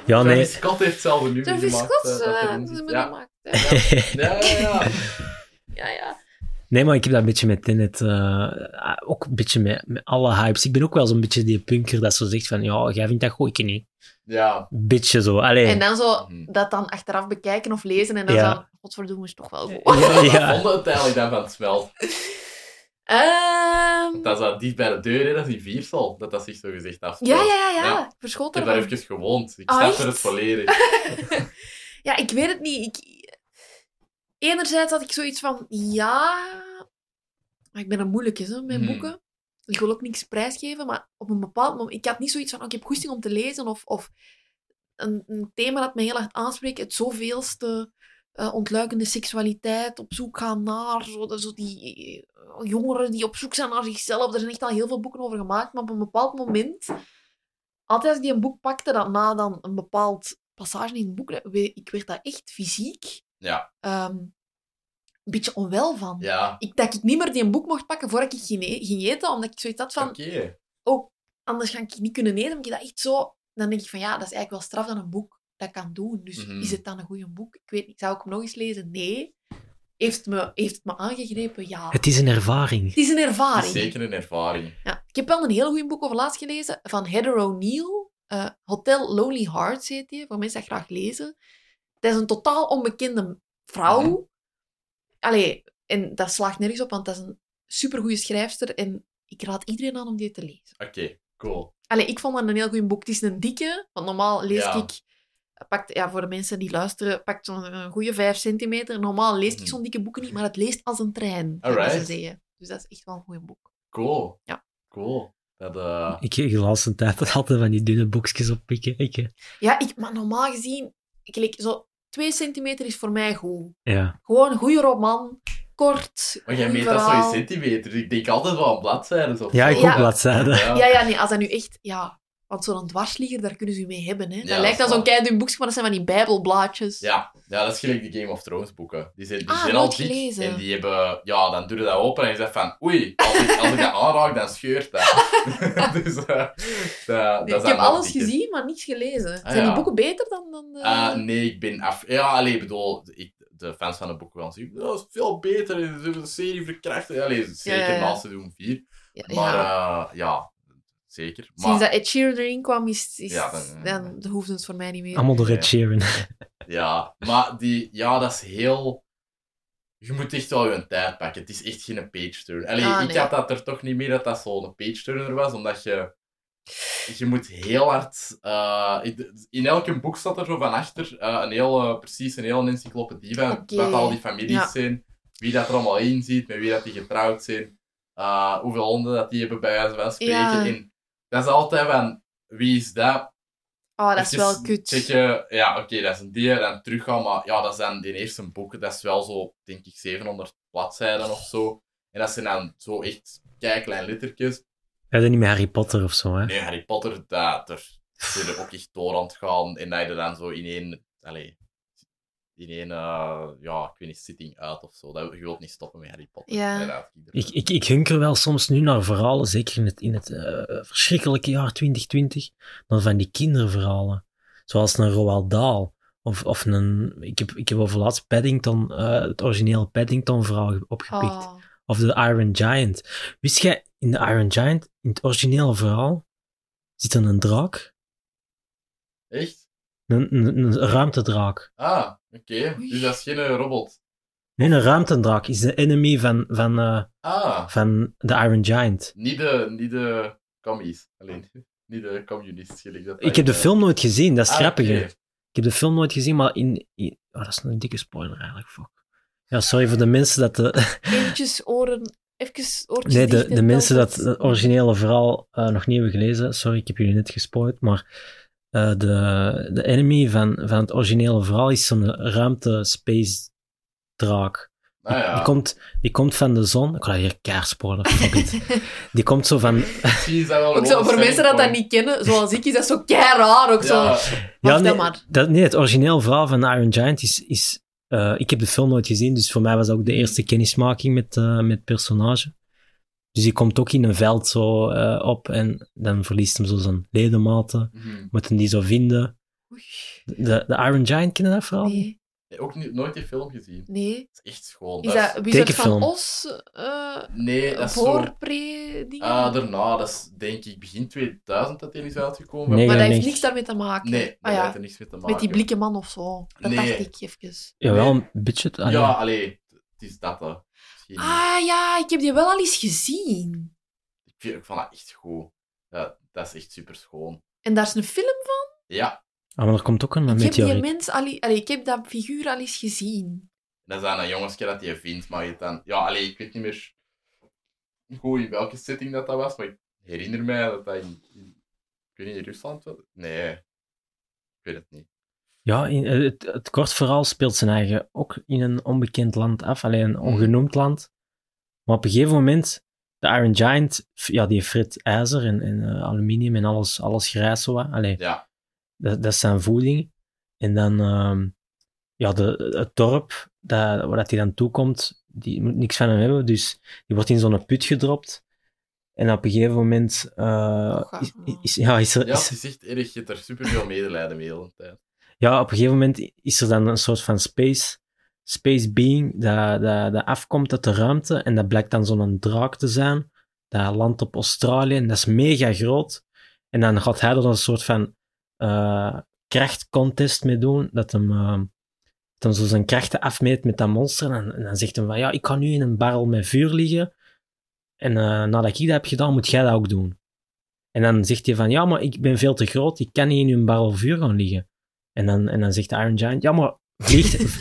Speaker 2: ja, nee.
Speaker 1: Travis Scott heeft hetzelfde nu
Speaker 3: Travis
Speaker 1: gemaakt.
Speaker 3: Scott,
Speaker 1: eh, dat
Speaker 3: eh,
Speaker 1: erin
Speaker 3: dat is
Speaker 1: zit.
Speaker 3: een
Speaker 1: ja.
Speaker 3: maakt. hè.
Speaker 1: Ja, ja, ja.
Speaker 3: Ja, ja.
Speaker 2: Nee, maar ik heb dat een beetje met Tenet, eh, ook een beetje met, met alle hypes. Ik ben ook wel zo'n beetje die punker dat zo zegt van, ja, jij vindt dat goed, ik niet.
Speaker 1: ja.
Speaker 2: Beetje zo, alleen.
Speaker 3: En dan zo
Speaker 1: Mhm.
Speaker 3: dat dan achteraf bekijken of lezen en dan
Speaker 2: Ja.
Speaker 3: zo, godverdomme, is toch wel goed.
Speaker 2: [LAUGHS] Ja,
Speaker 1: Wat
Speaker 2: ja.
Speaker 1: vonden we uiteindelijk dan van het smelt?
Speaker 3: Ehm,
Speaker 1: Dat is dat dicht bij de deur, hè, dat is in Viersel, dat dat zich zo gezegd afspeelt.
Speaker 3: ja, ja, ja, ja,
Speaker 1: Ja.
Speaker 3: Ik verschoot
Speaker 1: Ik heb
Speaker 3: ervan.
Speaker 1: daar even gewoond. Ik
Speaker 3: Ah,
Speaker 1: snap
Speaker 3: echt?
Speaker 1: er het volledig.
Speaker 3: Ja, ik weet het niet. Ik... Enerzijds had ik zoiets van, ja... Maar ik ben een moeilijke, hè, met
Speaker 1: Mhm.
Speaker 3: boeken. Ik wil ook niks prijsgeven, maar op een bepaald moment... Ik had niet zoiets van, oh, ik heb goesting om te lezen, of, of een, een thema dat me heel erg aanspreekt, het zoveelste eh, ontluikende seksualiteit, op zoek gaan naar zo, zo die eh, jongeren die op zoek zijn naar zichzelf. Er zijn echt al heel veel boeken over gemaakt, maar op een bepaald moment altijd als ik die een boek pakte, dat na dan een bepaald passage in het boek, dat we- ik werd daar echt fysiek
Speaker 1: Ja.
Speaker 3: ehm, een beetje onwel van.
Speaker 1: Ja,
Speaker 3: Ik, dat ik niet meer die een boek mocht pakken voordat ik ging, e- ging eten, omdat ik zoiets had van,
Speaker 1: oké.
Speaker 3: anders ga ik niet kunnen eten. Omdat ik dat echt zo... Dan denk ik van, ja, dat is eigenlijk wel straf dat een boek dat kan doen. Dus
Speaker 1: Mhm.
Speaker 3: is het dan een goed boek? Ik weet niet. Zou ik hem nog eens lezen? Nee. Heeft het me, heeft het me aangegrepen? Ja.
Speaker 2: Het is een ervaring.
Speaker 3: Het is een
Speaker 1: Het is
Speaker 3: ervaring.
Speaker 1: zeker een ervaring.
Speaker 3: Ja, ik heb wel een heel goed boek over laatst gelezen van Heather O'Neill. Eh, Hotel Lonely Hearts heet die, voor mensen dat graag lezen. Dat is een totaal onbekende vrouw.
Speaker 1: Mhm.
Speaker 3: Allee, en dat slaagt nergens op, want dat is een supergoeie schrijfster. En ik raad iedereen aan om die te lezen.
Speaker 1: Oké, cool.
Speaker 3: Allee, ik vond dat een heel goed boek. Het is een dikke, want normaal lees
Speaker 1: Ja.
Speaker 3: ik... Pakt, ja, voor de mensen die luisteren, pakt zo'n eh, goede 5 centimeter. Normaal lees ik
Speaker 1: Mhm.
Speaker 3: zo'n dikke boeken niet, maar het leest als een trein. zou ik
Speaker 1: Alright.
Speaker 3: zo zeggen. Dus dat is echt wel een goed boek.
Speaker 1: Cool.
Speaker 3: Ja.
Speaker 1: Cool. Dat, eh,
Speaker 2: Ik kreeg de laatste tijd altijd van die dunne boekjes oppikken. Ik, eh,
Speaker 3: Ja, ik, maar normaal gezien, ik, like, zo twee centimeter is voor mij goed.
Speaker 2: ja.
Speaker 3: Gewoon een goede roman, kort.
Speaker 1: maar jij
Speaker 3: goed
Speaker 1: meet dat zo in
Speaker 3: verhaal.
Speaker 1: centimeters. Ik denk altijd wel aan bladzijden. Of
Speaker 2: ja, ik
Speaker 1: zo.
Speaker 2: ook
Speaker 3: Ja.
Speaker 2: bladzijden.
Speaker 1: Ja.
Speaker 3: Ja, ja, nee, als dat nu echt... Ja, want zo'n dwarsligger, daar kunnen ze u mee hebben. Hè. Dat
Speaker 1: Ja,
Speaker 3: lijkt
Speaker 1: dat
Speaker 3: dan
Speaker 1: is
Speaker 3: zo'n
Speaker 1: waar.
Speaker 3: keidun boekje, maar dat zijn van die bijbelblaadjes.
Speaker 1: Ja, ja, dat is gelijk die Game of Thrones boeken. Die zijn, die
Speaker 3: Ah,
Speaker 1: zijn al
Speaker 3: nooit
Speaker 1: dik
Speaker 3: gelezen.
Speaker 1: en die hebben... Ja, dan doe je dat open en je zegt van... Oei, als ik, als ik dat aanraak, dan scheurt
Speaker 3: [LAUGHS]
Speaker 1: dat. [LAUGHS] dus eh, dat, dat
Speaker 3: Nee,
Speaker 1: zijn
Speaker 3: ik heb
Speaker 1: wel
Speaker 3: alles
Speaker 1: dikke.
Speaker 3: gezien, maar niets gelezen.
Speaker 1: Ah,
Speaker 3: zijn die
Speaker 1: ja.
Speaker 3: boeken beter dan... dan de...
Speaker 1: Eh, nee, ik ben af... Ja, alleen bedoel... Ik, de fans van de boeken gaan zien... Dat is veel beter. en Ze hebben de serie verkracht. Allee, zeker
Speaker 3: Ja, ja, ja.
Speaker 1: naast seizoen 4.
Speaker 3: ja,
Speaker 1: Maar
Speaker 3: ja.
Speaker 1: ja, ja zeker. Maar,
Speaker 3: Sinds dat Ed Sheeran erin kwam, is, is-
Speaker 1: Ja,
Speaker 3: dan,
Speaker 1: dan- eh,
Speaker 3: hoefde het voor mij niet meer.
Speaker 2: Allemaal door Ed
Speaker 1: Ja.
Speaker 2: Sheeran.
Speaker 1: Ja, maar die, ja, dat is heel. Je moet echt wel je tijd pakken. Het is echt geen page turner. Allee,
Speaker 3: Ah,
Speaker 1: ik
Speaker 3: nee.
Speaker 1: had dat er toch niet meer dat dat zo'n page turner was, omdat je. Je moet heel hard. eh, in- in elk boek staat er zo van achter eh, een heel, eh, precies een hele encyclopedie van
Speaker 3: Oké,
Speaker 1: wat al die families
Speaker 3: ja.
Speaker 1: zijn, wie dat er allemaal in zit, met wie dat die getrouwd zijn, eh, hoeveel honden dat die hebben bij wijze van spreken.
Speaker 3: Ja.
Speaker 1: En dat is altijd van wie is dat,
Speaker 3: Oh, dat is
Speaker 1: Even
Speaker 3: wel kut.
Speaker 1: Zeg je, ja, oké, dat is een die, dan teruggaan, maar ja, dat zijn die eerste boeken, dat is wel zo, denk ik, 700 bladzijden of zo. En dat zijn dan zo echt klein lettertjes.
Speaker 2: Ja, dat niet met Harry Potter of zo, hè?
Speaker 1: Nee, Harry Potter, dat, daar zit er ook echt door aan het gaan. En dat je er dan zo in één, allee, in één, eh, ja, ik weet niet, sitting uit of zo. Dat, je wilt niet stoppen met Harry Potter.
Speaker 3: Ja.
Speaker 1: Nee, dat-
Speaker 2: Ik, ik, ik hunker wel soms nu naar verhalen, zeker in het, in het eh, verschrikkelijke jaar 2020, naar van die kinderverhalen. Zoals een Roald Dahl. Of, of een, ik heb, ik heb overlaatst Paddington, eh, het originele Paddington-verhaal ge- opgepikt.
Speaker 3: Oh.
Speaker 2: Of de Iron Giant. Wist jij, in de Iron Giant, in het originele verhaal, zit er een draak.
Speaker 1: Echt?
Speaker 2: Een, een, een ruimtedraak.
Speaker 1: Ah, oké. Dus dat is geen eh, robot.
Speaker 2: Nee, een ruimtedraak is de enemy van, van, eh,
Speaker 1: Ah,
Speaker 2: van de Iron Giant.
Speaker 1: niet de, niet de commies. Alleen,
Speaker 3: Ah.
Speaker 1: niet de communist, gelijk dat
Speaker 2: Ik heb de
Speaker 1: eh,
Speaker 2: film nooit gezien, dat is
Speaker 1: Ah,
Speaker 2: grappiger.
Speaker 1: oké.
Speaker 2: Ik heb de film nooit gezien, maar in... in- oh, dat is een dikke spoiler eigenlijk, fuck. Ja, sorry voor de mensen dat de...
Speaker 3: Eventjes oren... Even oortjes
Speaker 2: Nee, de,
Speaker 3: dicht en
Speaker 2: de mensen dat
Speaker 3: telkens-
Speaker 2: het originele verhaal eh, nog niet hebben gelezen. Sorry, ik heb jullie net gespoild, maar... eh, de, de enemy van, van het originele verhaal is zo'n ruimte-space-draak.
Speaker 1: Nou ja,
Speaker 2: die, komt, die komt van de zon... Ik ga hier keihard spoilen, fuck it. Die komt zo van...
Speaker 1: misschien is dat wel
Speaker 3: Ook
Speaker 1: gewoon
Speaker 3: zo,
Speaker 1: een
Speaker 3: voor mensen dat dat
Speaker 1: selling
Speaker 3: niet kennen, zoals ik, is dat zo kei raar.
Speaker 1: point.
Speaker 3: Ook zo.
Speaker 1: Ja,
Speaker 2: Ja,
Speaker 3: Wacht
Speaker 2: nee,
Speaker 3: dan maar.
Speaker 2: Dat, nee, het origineel verhaal van Iron Giant is... is eh, ik heb de film nooit gezien, dus voor mij was dat ook de eerste kennismaking met, eh, met het personage. Dus die komt ook in een veld zo eh, op en dan verliest hem zo zijn ledematen.
Speaker 1: mhm.
Speaker 2: Moeten die zo vinden.
Speaker 3: Oei.
Speaker 2: De, de Iron Giant kennen dat verhaal?
Speaker 3: Nee,
Speaker 1: Nee, ook niet, nooit die film gezien.
Speaker 3: nee.
Speaker 1: Het is echt schoon.
Speaker 3: Is
Speaker 1: dat is-
Speaker 3: dat Wizard van
Speaker 2: tekenfilm.
Speaker 3: Os? eh
Speaker 1: Nee, dat is zo...
Speaker 3: Voorpre-dingen?
Speaker 1: Ah, daarna, dat is denk ik begin 2000 dat die is uitgekomen.
Speaker 2: Nee,
Speaker 3: maar dat
Speaker 2: ja,
Speaker 3: heeft
Speaker 2: nee.
Speaker 3: niks daarmee te maken.
Speaker 1: Nee, dat
Speaker 3: Ah ja,
Speaker 1: heeft er niks mee te maken.
Speaker 3: met die blikken man of zo. Dat
Speaker 1: Nee.
Speaker 3: dacht ik even.
Speaker 2: Jawel, een beetje. ah,
Speaker 1: ja,
Speaker 2: ja.
Speaker 1: allee, het is dat hè. Misschien niet.
Speaker 3: Ah ja, ik heb die wel al eens gezien.
Speaker 1: Ik, vind, ik vond dat echt goed. Ja, dat is echt super schoon.
Speaker 3: En daar is een film van.
Speaker 1: Ja,
Speaker 2: Ah, maar er komt ook een
Speaker 3: ik heb die
Speaker 2: meteoriet.
Speaker 3: mens al... i- Allee, ik heb dat figuur al eens gezien.
Speaker 1: dat is dan een jongensje dat je vindt, maar je dan... Ja, allee, ik weet niet meer goed in welke setting dat, dat was, maar ik herinner mij dat dat in... in- ik weet niet, in Rusland was? Nee, ik weet het niet.
Speaker 2: Ja, in- eh, het, het kort verhaal speelt zijn eigen ook in een onbekend land af, alleen een ongenoemd land. Maar op een gegeven moment, de Iron Giant, f- ja, die frit ijzer en, en eh, aluminium en alles, alles grijs zo. wat. Allee,
Speaker 1: Ja.
Speaker 2: dat, dat is zijn voeding. En dan, ehm, ja, de, het dorp dat, waar dat hij dan toekomt, die moet niks van hem hebben, dus die wordt in zo'n put gedropt. En op een gegeven moment eh,
Speaker 3: Och,
Speaker 2: is,
Speaker 3: allemaal.
Speaker 2: is-
Speaker 1: [LAUGHS]
Speaker 2: ja, is er...
Speaker 1: Ja,
Speaker 2: is-
Speaker 1: het is echt erg. Je hebt er super veel medelijden mee de hele tijd.
Speaker 2: ja, op een gegeven moment is er dan een soort van space, space being dat, dat, dat afkomt uit de ruimte. En dat blijkt dan zo'n draak te zijn. Dat landt op Australië en dat is mega groot. En dan gaat hij er een soort van eh, krachtcontest mee doen. Dat hem, eh, dat hem zo zijn krachten afmeet met dat monster. En, en dan zegt hij van, ja, ik kan nu in een barrel met vuur liggen. En eh, nadat ik dat heb gedaan, moet jij dat ook doen. En dan zegt hij van, ja, maar ik ben veel te groot. Ik kan niet in een barrel vuur gaan liggen. En dan, en dan zegt de Iron Giant, ja, maar vliegt,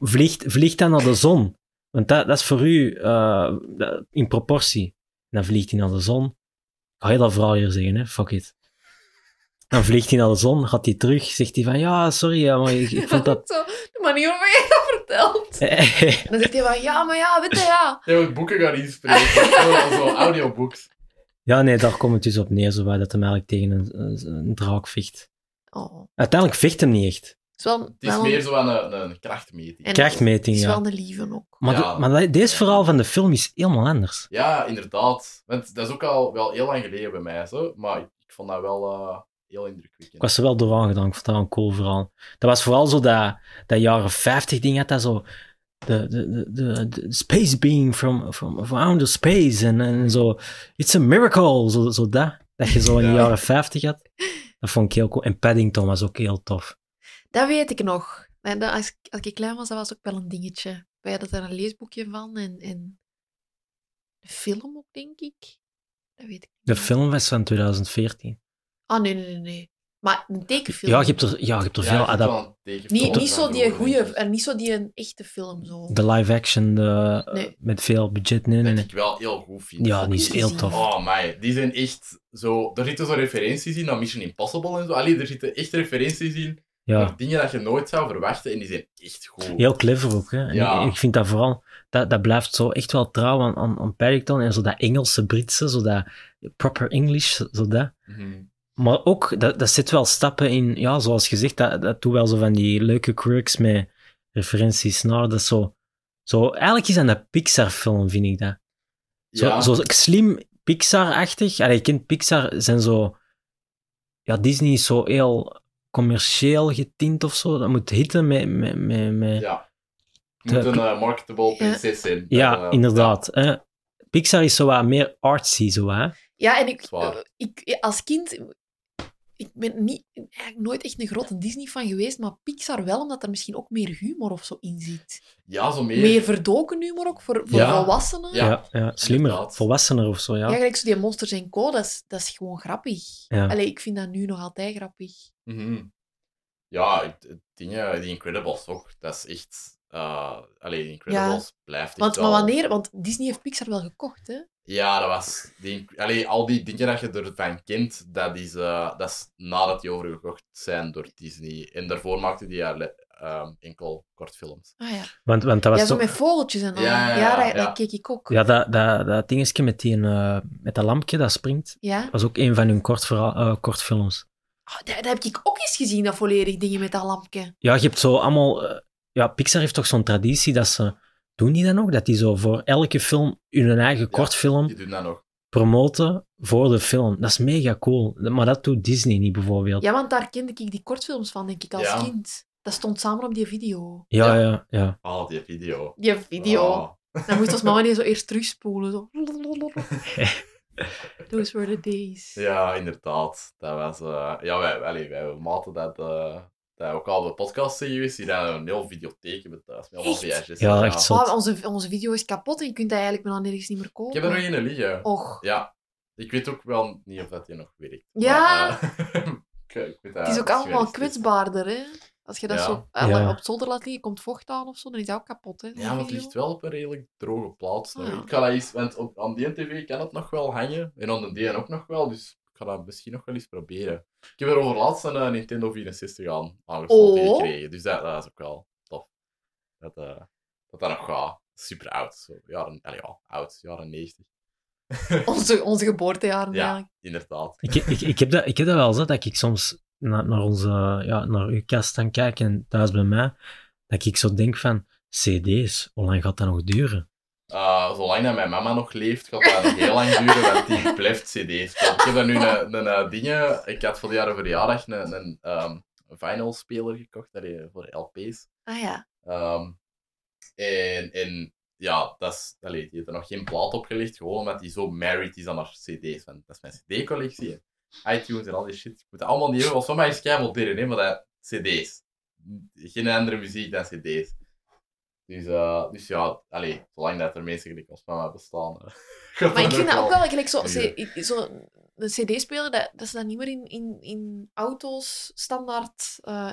Speaker 2: vliegt, vliegt dan naar de zon. Want dat, dat is voor u eh, dat- in proportie. Dan vliegt hij naar de zon. Ik ga je dat verhaal hier zeggen, hè? Fuck it. Dan vliegt hij naar de zon, gaat hij terug, zegt hij van ja, sorry, ja, maar ik,
Speaker 3: [LAUGHS]
Speaker 2: ik vond dat.
Speaker 3: Zo, de manier waarop je dat vertelt. En dan zegt hij van, ja, maar ja, weet je, ja.
Speaker 1: Jij moet boeken gaan inspreken. zo, zo audiobooks.
Speaker 2: [LAUGHS] Ja, nee, daar komt het dus op neer, zo waar dat hem eigenlijk tegen een, een, een draak vecht.
Speaker 3: Oh,
Speaker 2: Uiteindelijk vecht hem niet echt.
Speaker 3: het is wel,
Speaker 1: Het is
Speaker 3: wel
Speaker 1: meer zo aan een, een krachtmeting.
Speaker 3: En- het
Speaker 2: Krachtmeting,
Speaker 3: is
Speaker 2: ja.
Speaker 3: wel een lieve ook.
Speaker 2: Maar,
Speaker 1: Ja.
Speaker 2: de- maar dat- deze verhaal van de film is helemaal anders.
Speaker 1: Ja, inderdaad. Want dat is ook al wel heel lang geleden bij mij, zo. maar ik, ik vond dat wel eh, heel
Speaker 2: Ik
Speaker 1: indrukwekkend.
Speaker 2: was er wel door aangedaan, ik vond dat een cool verhaal. Dat was vooral zo dat, dat jaren 50 ding had, dat zo... De, de, de, de, de space beam from, from, from outer space en, en zo... It's a miracle, zo, zo dat. Dat je zo in de
Speaker 1: Ja.
Speaker 2: jaren 50 had. Dat vond ik heel cool. En Paddington was ook heel tof.
Speaker 3: Dat weet ik nog. En dat, als, ik- als ik klein was, dat was ook wel een dingetje. Wij hadden daar een leesboekje van en, en een film ook, denk ik. Dat weet ik
Speaker 2: De
Speaker 3: niet.
Speaker 2: film was van 2014.
Speaker 3: Ah, nee, nee, nee. nee. Maar een tekenfilm.
Speaker 2: Ja, je hebt er, ja, je hebt er veel... adap-
Speaker 3: niet, niet zo die goede, en niet zo die een echte film zo.
Speaker 2: de live action de,
Speaker 3: Nee.
Speaker 2: met veel budget. Nee, nee,
Speaker 1: Dat
Speaker 2: nee.
Speaker 1: ik wel heel goed vind.
Speaker 2: Ja, die is heel
Speaker 3: gezien.
Speaker 2: tof.
Speaker 1: Oh my, die zijn echt zo... Er zitten zo referenties in naar Mission Impossible en zo. Allee, er zitten echt referenties in
Speaker 2: Ja.
Speaker 1: naar dingen dat je nooit zou verwachten en die zijn echt goed.
Speaker 2: Heel clever ook. Hè? En
Speaker 1: Ja.
Speaker 2: ik, ik vind dat vooral, dat, dat blijft zo echt wel trouw aan, aan, aan Paddington en zo dat Engelse, Britse, zo dat proper English, zo dat.
Speaker 1: Mhm.
Speaker 2: Maar ook, dat, dat zit wel stappen in, ja, zoals gezegd, dat, dat doet wel zo van die leuke quirks met referenties naar, dat is zo, zo eigenlijk is dat een Pixar-film, vind ik dat. Zo,
Speaker 1: Ja,
Speaker 2: zo slim Pixar-achtig. Allee, je kent Pixar, zijn zo... Ja, Disney is zo heel commercieel getint of zo. Dat moet hitten met... met, met, met... Ja,
Speaker 1: ja. Je moet
Speaker 2: De-
Speaker 1: een eh, marketable prinses zijn. Dat, eh,
Speaker 2: inderdaad. Hè? Pixar is zo wat meer artsy, zo hè.
Speaker 3: Ja, en ik, eh,
Speaker 1: Zwaar.
Speaker 3: ik, als kind, ik ben niet, eigenlijk nooit echt een grote Disney-fan geweest, maar Pixar wel, omdat er misschien ook meer humor of zo in zit.
Speaker 1: Ja, zo meer.
Speaker 3: Meer verdoken humor ook, voor, voor
Speaker 1: Ja.
Speaker 3: volwassenen.
Speaker 1: Ja.
Speaker 3: Ja.
Speaker 2: Ja, ja, slimmer,
Speaker 1: inderdaad.
Speaker 2: volwassener of zo, ja.
Speaker 3: gelijk zo die Monsters en Co, dat is, dat is gewoon grappig.
Speaker 2: Ja.
Speaker 3: Allee, ik vind dat nu nog altijd grappig.
Speaker 1: Mhm. Ja, het- het dingen, die Incredibles ook. Dat is echt... eh allee, die Incredibles blijft echt
Speaker 3: Want, maar
Speaker 1: wel-
Speaker 3: wanneer, want Disney heeft Pixar wel gekocht, hè?
Speaker 1: Ja, dat was... Die, allee, al die dingen dat je ervan kent, dat is, eh, dat is nadat die overgekocht zijn door Disney. En daarvoor maakte die alle- ehm, enkel kortfilms.
Speaker 3: Ah ja.
Speaker 2: Want, want dat was
Speaker 3: ja, zo
Speaker 2: toch-
Speaker 3: met vogeltjes en al.
Speaker 1: Ja,
Speaker 3: Ja,
Speaker 1: ja,
Speaker 3: dat,
Speaker 1: ja.
Speaker 3: dat keek ik ook.
Speaker 2: Ja, dat, dat, dat dingetje met, die, eh, met dat lampje dat springt,
Speaker 3: Ja?
Speaker 2: was ook een van hun kort verhaal, eh, kortfilms.
Speaker 3: Oh, dat, dat heb ik ook eens gezien, dat volledig dingen met dat lampje.
Speaker 2: Ja, je hebt zo allemaal... eh, ja, Pixar heeft toch zo'n traditie dat ze... Doen die dan ook? Dat die zo voor elke film hun eigen kortfilm
Speaker 3: Hm.
Speaker 1: Die doen dat nog.
Speaker 2: promoten voor de film. Dat is mega cool. Maar dat doet Disney niet bijvoorbeeld. Ja,
Speaker 3: Ja, want daar kende ik die kortfilms van, denk ik, als
Speaker 1: Ja.
Speaker 3: kind. Dat stond samen op die video.
Speaker 2: ja, ja.
Speaker 1: Ah, die video.
Speaker 3: Die video.
Speaker 1: Ah.
Speaker 3: [LAUGHS] Dan moest ons mama die zo eerst terugspoelen.
Speaker 1: [LAUGHS]
Speaker 3: Zo. Those were the days.
Speaker 1: Ja, inderdaad. Dat was... eh, ja, wij, allee, wij maten dat... eh, dat ook al op de podcast zijn geweest, die hadden een heel videotheek met thuis, met allemaal
Speaker 3: Echt?
Speaker 1: VHS.
Speaker 2: Ja, echt zo.
Speaker 3: Maar onze, onze video is kapot en je kunt dat eigenlijk bijna nergens niet meer
Speaker 1: Ik
Speaker 3: kopen.
Speaker 1: heb er nog één liggen.
Speaker 3: Och,
Speaker 1: Ja, ik weet ook wel niet of dat die nog werkt.
Speaker 3: Ja.
Speaker 1: Maar, eh, [LAUGHS] ik, ik weet dat
Speaker 3: het is ook
Speaker 1: dat
Speaker 3: allemaal
Speaker 1: geweest is.
Speaker 3: kwetsbaarder, hè. Als je dat
Speaker 1: Ja.
Speaker 3: zo eh,
Speaker 2: Ja.
Speaker 3: op het zolder laat liggen, komt vocht aan of zo, dan is dat ook kapot, hè. die
Speaker 1: Ja, maar het
Speaker 3: video.
Speaker 1: ligt wel op een redelijk droge plaats. nu.
Speaker 3: Ah, ja.
Speaker 1: Ik ga dat eens, want op, aan die tv kan het nog wel hangen. En aan de DN ook nog wel, dus ik ga dat misschien nog wel eens proberen. Ik heb er over laatst een eh, Nintendo 64 aan aangesloten
Speaker 3: Oh.
Speaker 1: gekregen, dus dat, dat is ook wel tof. Dat eh, dat, dat nog gaat. Super oud, zo. Jaren, allee, ja, oud, jaren 90.
Speaker 3: Onze, onze geboortejaren,
Speaker 1: Ja.
Speaker 3: eigenlijk.
Speaker 1: Inderdaad.
Speaker 2: Ik, ik, ik, heb dat, ik heb dat wel eens, hè, dat ik soms naar, naar, onze, ja, naar uw kast dan kijk en thuis bij mij, dat ik zo denk van, cd's, hoe lang gaat dat nog duren?
Speaker 1: Eh, zolang dat mijn mama nog leeft, gaat dat nog heel lang duren, want die [LAUGHS] blijft cd's. spelen. Ik heb dan nu een, een, eh, dingen... Ik had voor de jaren verjaardag een, een ehm, vinylspeler gekocht, allee, voor LP's.
Speaker 3: Ah ja.
Speaker 1: Ehm, en, en ja, dat is, allee, die heeft er nog geen plaat opgelegd, gewoon omdat die zo married is aan haar cd's. Want dat is mijn cd-collectie, en iTunes en al die shit. Ik moet dat allemaal niet hebben, want van mij is kei modern, hè, maar dat cd's. Geen andere muziek dan cd's. Dus, eh, dus ja, allee, zolang dat er mensen gelijk ons van mij bestaan. eh, [LAUGHS] gaat
Speaker 3: Maar ik
Speaker 1: dat
Speaker 3: vind
Speaker 1: ook
Speaker 3: dat ook wel gelijk zo,
Speaker 1: duren.
Speaker 3: ik- zo een cd-speler, dat, dat ze dat niet meer in, in, in auto's standaard eh,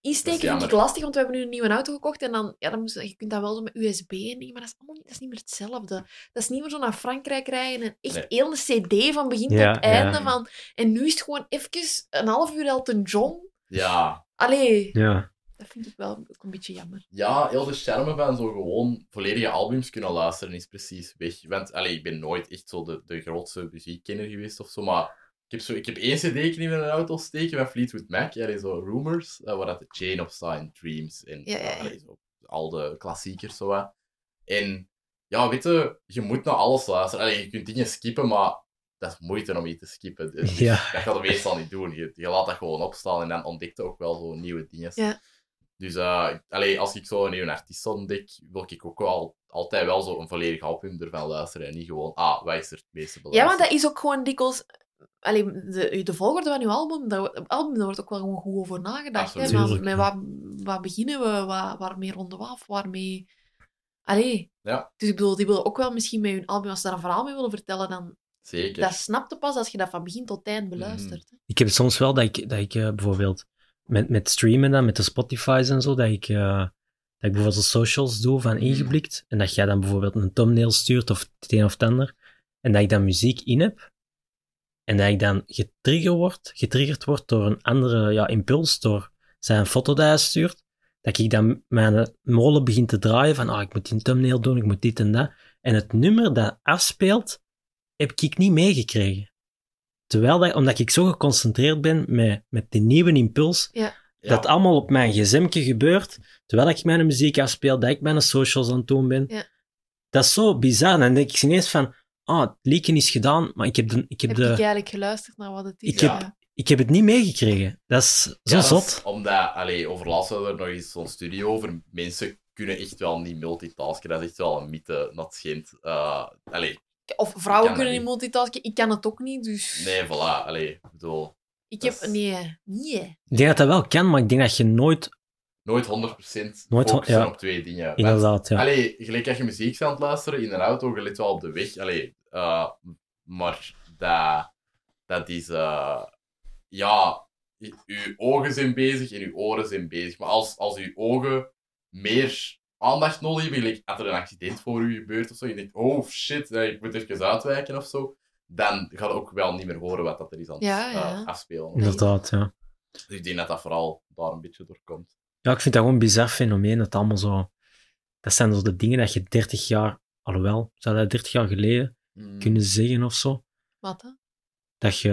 Speaker 3: Insteken
Speaker 1: Dat is
Speaker 3: vind ik
Speaker 1: jammer.
Speaker 3: lastig, want we hebben nu een nieuwe auto gekocht. En dan, ja, dan moest, je kunt dat wel zo met USB en dingen, maar dat is allemaal niet, dat is niet meer hetzelfde. Dat is niet meer zo naar Frankrijk rijden en echt
Speaker 1: Nee.
Speaker 3: heel een CD van begin
Speaker 2: Ja,
Speaker 3: tot einde.
Speaker 1: ja.
Speaker 3: Van, en nu is het gewoon even een half uur Elton John.
Speaker 1: Ja.
Speaker 3: Allee,
Speaker 2: Ja.
Speaker 3: dat vind ik wel ook een beetje jammer.
Speaker 1: ja, heel de charme van zo gewoon volledige albums kunnen luisteren is precies weg. Want allee, ik ben nooit echt zo de, de grootste muziekkenner geweest of zo, maar ik heb, zo, ik heb één cd kunnen in een auto steken van Fleetwood Mac. Ja, die zo Rumors, eh, waar dat de Chain op staat en Dreams en
Speaker 3: Ja, ja, ja.
Speaker 1: allee, zo, al de klassiekers. Zo, wat. En ja, weet je, je moet naar alles luisteren. Allee, je kunt dingen skippen, maar dat is moeite om iets te skippen. Dus
Speaker 2: Ja.
Speaker 1: Dat gaat er meestal niet doen. Je, je laat dat gewoon opstaan en dan ontdekt je ook wel zo nieuwe dingen.
Speaker 3: Ja.
Speaker 1: Dus eh, ik- allee, als ik zo een nieuwe artiest ontdek, wil ik ook wel, altijd wel zo een volledig album ervan luisteren. En niet gewoon, ah, wij is er het meeste
Speaker 3: Ja,
Speaker 1: belangrijk.
Speaker 3: want dat is ook gewoon dikwijls... Allee, de, de volgorde van uw album, daar, album, daar wordt ook wel gewoon goed over nagedacht. Hè?
Speaker 1: Absoluut.
Speaker 3: Van,
Speaker 2: Tuurlijk,
Speaker 3: met
Speaker 2: ja.
Speaker 3: wat, wat beginnen we? Waar, waarmee ronden we af? Waarmee... Allee.
Speaker 1: Ja.
Speaker 3: Dus ik bedoel, die willen ook wel misschien met hun album, als ze daar een verhaal mee willen vertellen, dan...
Speaker 1: Zeker. Mhm.
Speaker 3: Dat snapte pas als je dat van begin tot eind beluistert. hè.
Speaker 2: Ik heb het soms wel dat ik, dat ik eh, bijvoorbeeld met, met streamen dan, met de Spotify's en zo, dat ik, eh, dat ik bijvoorbeeld de socials doe van ingeblikt. En dat jij dan bijvoorbeeld een thumbnail stuurt of het een of het ander. En dat ik dan muziek in heb. En dat ik dan getriggerd word, getriggerd word door een andere ja, impuls, door zijn foto die hij stuurt. Dat ik dan mijn molen begin te draaien van, ah, ik moet die thumbnail doen, ik moet dit en dat. En het nummer dat afspeelt, heb ik niet meegekregen. Terwijl dat, omdat ik zo geconcentreerd ben met, met die nieuwe impuls,
Speaker 1: Ja.
Speaker 2: dat ah, allemaal op mijn gezemke gebeurt, terwijl ik mijn muziek afspeel, dat ik mijn socials aan het doen ben.
Speaker 3: Ja.
Speaker 2: Dat is zo bizar. Dan denk ik ineens van, ah, het lieken is gedaan, maar ik heb, de, ik heb,
Speaker 3: Heb
Speaker 2: de,
Speaker 3: ik eigenlijk geluisterd naar wat het is?
Speaker 2: Ik heb-
Speaker 3: ja.
Speaker 2: ik heb het niet meegekregen. Dat is zo
Speaker 1: Ja, dat is
Speaker 2: zot.
Speaker 1: Omdat, allee, overlast hadden we er nog eens zo'n studie over. Mensen kunnen echt wel niet multitasken. Dat is echt wel een mythe, dat schijnt. Eh, allee,
Speaker 3: Of vrouwen
Speaker 1: kan dat
Speaker 3: kunnen niet
Speaker 1: niet.
Speaker 3: multitasken. Ik kan het ook niet, dus...
Speaker 1: nee, voilà. Allee, ik bedoel,
Speaker 3: ik
Speaker 1: dat
Speaker 3: heb...
Speaker 1: is-
Speaker 3: Nee, nee.
Speaker 2: Ik denk dat dat wel kan, maar ik denk dat je nooit...
Speaker 1: nooit 100%
Speaker 2: Nooit hon-
Speaker 1: focussen
Speaker 2: ja.
Speaker 1: op twee dingen. Want-
Speaker 2: Inderdaad, ja.
Speaker 1: Allee, gelijk als je muziek aan het luisteren in een auto, je let wel op de weg. Allee, eh, maar dat, dat is... eh, ja, je- je ogen zijn bezig en je oren zijn bezig. Maar als, als je ogen meer aandacht nodig hebben, gelijk als er een accident voor u gebeurt of zo, je denkt, oh shit, eh, ik moet even uitwijken of zo, dan ga je ook wel niet meer horen wat dat er is aan het
Speaker 3: Ja, ja.
Speaker 1: eh, afspelen.
Speaker 2: Inderdaad, ja.
Speaker 1: Dus ik denk dat dat vooral daar een beetje door komt.
Speaker 2: Ja, ik vind dat gewoon een bizar fenomeen, dat allemaal zo... Dat zijn dus de dingen dat je 30 jaar... Alhoewel, zou dat 30 jaar geleden
Speaker 1: Mm.
Speaker 2: kunnen zeggen of zo?
Speaker 3: Wat, hè?
Speaker 2: Dat je...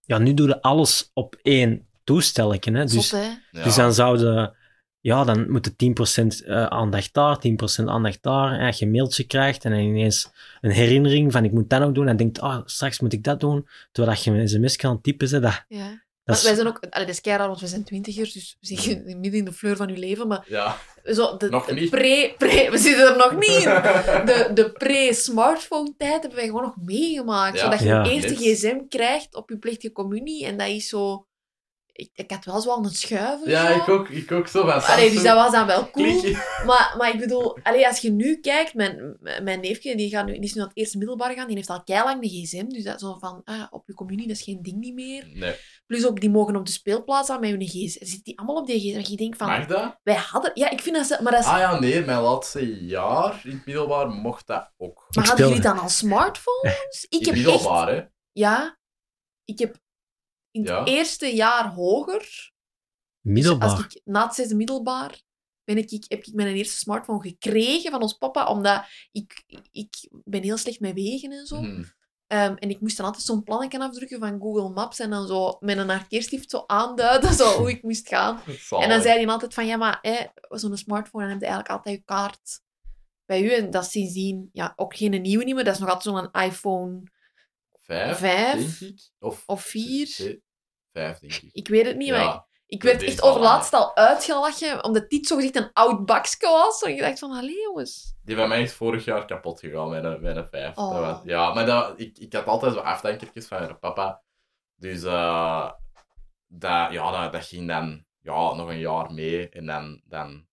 Speaker 2: Ja, nu doe je alles op één toestelletje, hè. Dus,
Speaker 3: Zot, hè?
Speaker 1: Ja.
Speaker 2: dus dan zouden... Ja, dan moet je 10% eh, aandacht daar, 10% aandacht daar. En als je een mailtje krijgt en dan ineens een herinnering van ik moet dat nog doen. En denkt, ah, straks moet ik dat doen. Terwijl dat je een sms kan typen, hè, dat,
Speaker 3: Ja.
Speaker 2: dat
Speaker 3: Maar
Speaker 2: is...
Speaker 3: wij zijn ook, allee, dat is keiraar, want we zijn twintigers, dus we zitten midden in de fleur van uw leven, maar
Speaker 1: Ja.
Speaker 3: zo de,
Speaker 1: Nog
Speaker 3: de
Speaker 1: niet.
Speaker 3: pre, pre, we zitten er nog niet in. De, de pre-smartphone-tijd hebben wij gewoon nog meegemaakt.
Speaker 1: Ja.
Speaker 3: Zodat je
Speaker 2: Ja.
Speaker 3: een
Speaker 1: Niks.
Speaker 3: eerste gsm krijgt op je plichtige communie, en dat is zo... Ik, ik had wel eens wel een schuiver.
Speaker 1: ja,
Speaker 3: zo.
Speaker 1: ik ook, ik ook zo van
Speaker 3: Allee, dus dat
Speaker 1: Samsung.
Speaker 3: was dan wel cool.
Speaker 1: Klik.
Speaker 3: Maar, maar ik bedoel, allee, als je nu kijkt, mijn, mijn neefje die, gaat nu, die is nu aan het eerste middelbaar gaan, die heeft al keilang de gsm, dus dat is zo van, ah, op je communie, dat is geen ding niet meer.
Speaker 1: Nee.
Speaker 3: Plus ook, die mogen op de speelplaats aan met hun gsm. Zitten die allemaal op die gsm? Dat je denkt van,
Speaker 1: Mag dat?
Speaker 3: wij hadden... Ja, ik vind dat ze... Maar, dat is,
Speaker 1: Ah ja, nee, mijn laatste jaar in het middelbaar mocht dat ook.
Speaker 3: maar hadden
Speaker 2: speelde.
Speaker 3: jullie dan al
Speaker 1: [LAUGHS]
Speaker 3: smartphones? Ik
Speaker 1: in het
Speaker 3: heb echt...
Speaker 1: middelbaar, hè?
Speaker 3: Ja. Ik heb in het
Speaker 1: Ja.
Speaker 3: eerste jaar hoger...
Speaker 2: middelbaar.
Speaker 3: dus Als ik na het zesde middelbaar ben ik, ik, heb ik mijn eerste smartphone gekregen van ons papa, omdat ik, ik ben heel slecht met wegen en zo.
Speaker 1: Hm.
Speaker 3: Ehm, en ik moest dan altijd zo'n plannetje afdrukken van Google Maps en dan zo met een markeerstift zo aanduiden [LAUGHS] zo, hoe ik moest gaan.
Speaker 1: Zalig.
Speaker 3: En dan zei hij altijd van, ja, maar hè, zo'n smartphone, dan heb je eigenlijk altijd je kaart bij u. En dat is sindsdien ja, ook geen nieuwe niet meer. Dat is nog altijd zo'n iPhone
Speaker 1: Vijf,
Speaker 3: vijf
Speaker 1: denk ik. Of,
Speaker 3: of vier.
Speaker 1: Nee, Vijf, denk ik.
Speaker 3: Ik weet het niet, maar
Speaker 1: ja.
Speaker 3: ik
Speaker 1: dat
Speaker 3: werd
Speaker 1: weet
Speaker 3: echt
Speaker 1: ik wel,
Speaker 3: overlaatst al uitgelachen, omdat dit zogezegd een oud bakske was. En ik dacht van, allee jongens.
Speaker 1: Die bij mij is vorig jaar kapot gegaan, mijn, mijn vijf.
Speaker 3: Oh.
Speaker 1: Dat was- ja, maar dat, ik, ik had altijd zo'n afdenkertjes van mijn papa. Dus eh, dat, ja, dat, dat ging dan ja, nog een jaar mee. En dan, dan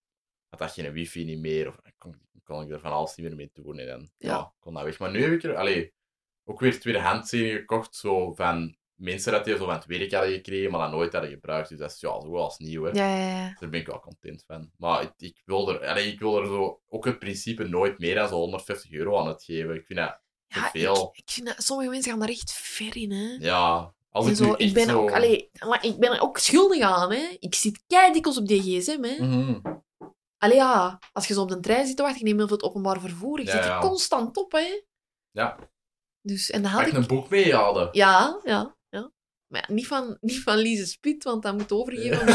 Speaker 1: had dat geen wifi niet meer. Of kon, kon ik er van alles niet meer mee doen. En dan ja.
Speaker 3: Ja.
Speaker 1: kon dat weg. Maar nu heb ik er allee, ook weer tweedehands serie gekocht. Zo van mensen dat die zo van het werk hadden gekregen, maar dat nooit hadden gebruikt. Dus dat is ja, zo wel als nieuw. Hè.
Speaker 3: Ja, ja, ja.
Speaker 1: Daar ben ik wel content van. Maar ik, ik wil er, allee, ik wil er zo, ook het principe nooit meer dan zo 150 euro aan het geven. Ik vind dat te
Speaker 3: Ja,
Speaker 1: veel.
Speaker 3: Ik, ik vind dat, sommige mensen gaan daar echt ver in, hè.
Speaker 1: Ja, als
Speaker 3: En
Speaker 1: ik,
Speaker 3: zo,
Speaker 1: nu
Speaker 3: ik
Speaker 1: echt
Speaker 3: ben
Speaker 1: zo...
Speaker 3: ook, allee, maar ik ben er ook schuldig aan, hè. Ik zit kei dikwijls op die gsm, hè.
Speaker 1: Mhm.
Speaker 3: Allee, ja, als je zo op de trein zit te wachten, ik neem heel veel het openbaar vervoer. Ik
Speaker 1: Ja,
Speaker 3: zit er
Speaker 1: ja.
Speaker 3: constant op, hè.
Speaker 1: Ja.
Speaker 3: Dus, en dan had
Speaker 1: Pak
Speaker 3: ik...
Speaker 1: een boek mee
Speaker 3: [LAUGHS]
Speaker 1: halen.
Speaker 3: Ja, ja, ja. Maar ja, niet van, niet van Lise Spit, want dat moet overgeven. aan de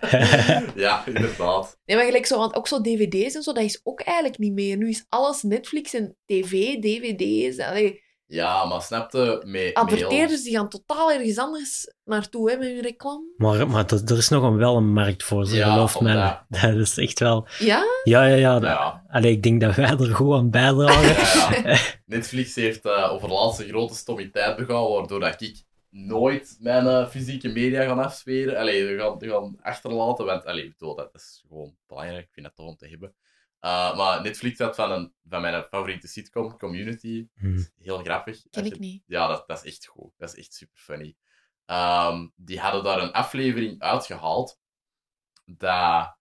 Speaker 3: trein.
Speaker 1: [LAUGHS] Ja. inderdaad.
Speaker 3: Nee, maar gelijk zo, want ook zo dvd's en zo, dat is ook eigenlijk niet meer. Nu is alles Netflix en tv, dvd's. Allee,
Speaker 1: Ja, maar snapte mee.
Speaker 3: adverteerders die gaan totaal ergens anders naartoe, hè, met hun reclame.
Speaker 2: Maar, maar dat- er is nog een, wel een markt voor, ze
Speaker 1: Ja,
Speaker 2: geloof me.
Speaker 1: omdat-
Speaker 2: [LAUGHS] Dat is echt wel...
Speaker 3: Ja?
Speaker 2: Ja, ja, ja. dat-
Speaker 1: Ja,
Speaker 2: Allee, ik denk dat wij er goed aan
Speaker 1: [LAUGHS]
Speaker 2: bijdragen.
Speaker 1: ja, ja. Netflix heeft eh over de laatste grote stommiteit begaan, waardoor dat ik nooit mijn eh, fysieke media ga afsferen. Allee, we gaan, we gaan achterlaten, want allee, ik bedoel, dat is gewoon belangrijk. Ik vind dat toch om te hebben. Eh, maar Netflix had van, een, van mijn favoriete sitcom, Community,
Speaker 2: Hm.
Speaker 1: heel grappig.
Speaker 3: Ken
Speaker 1: Als
Speaker 3: ik
Speaker 1: je-
Speaker 3: niet.
Speaker 1: Ja, dat, dat is echt goed. Dat is echt super funny. Ehm, die hadden daar een aflevering uitgehaald dat,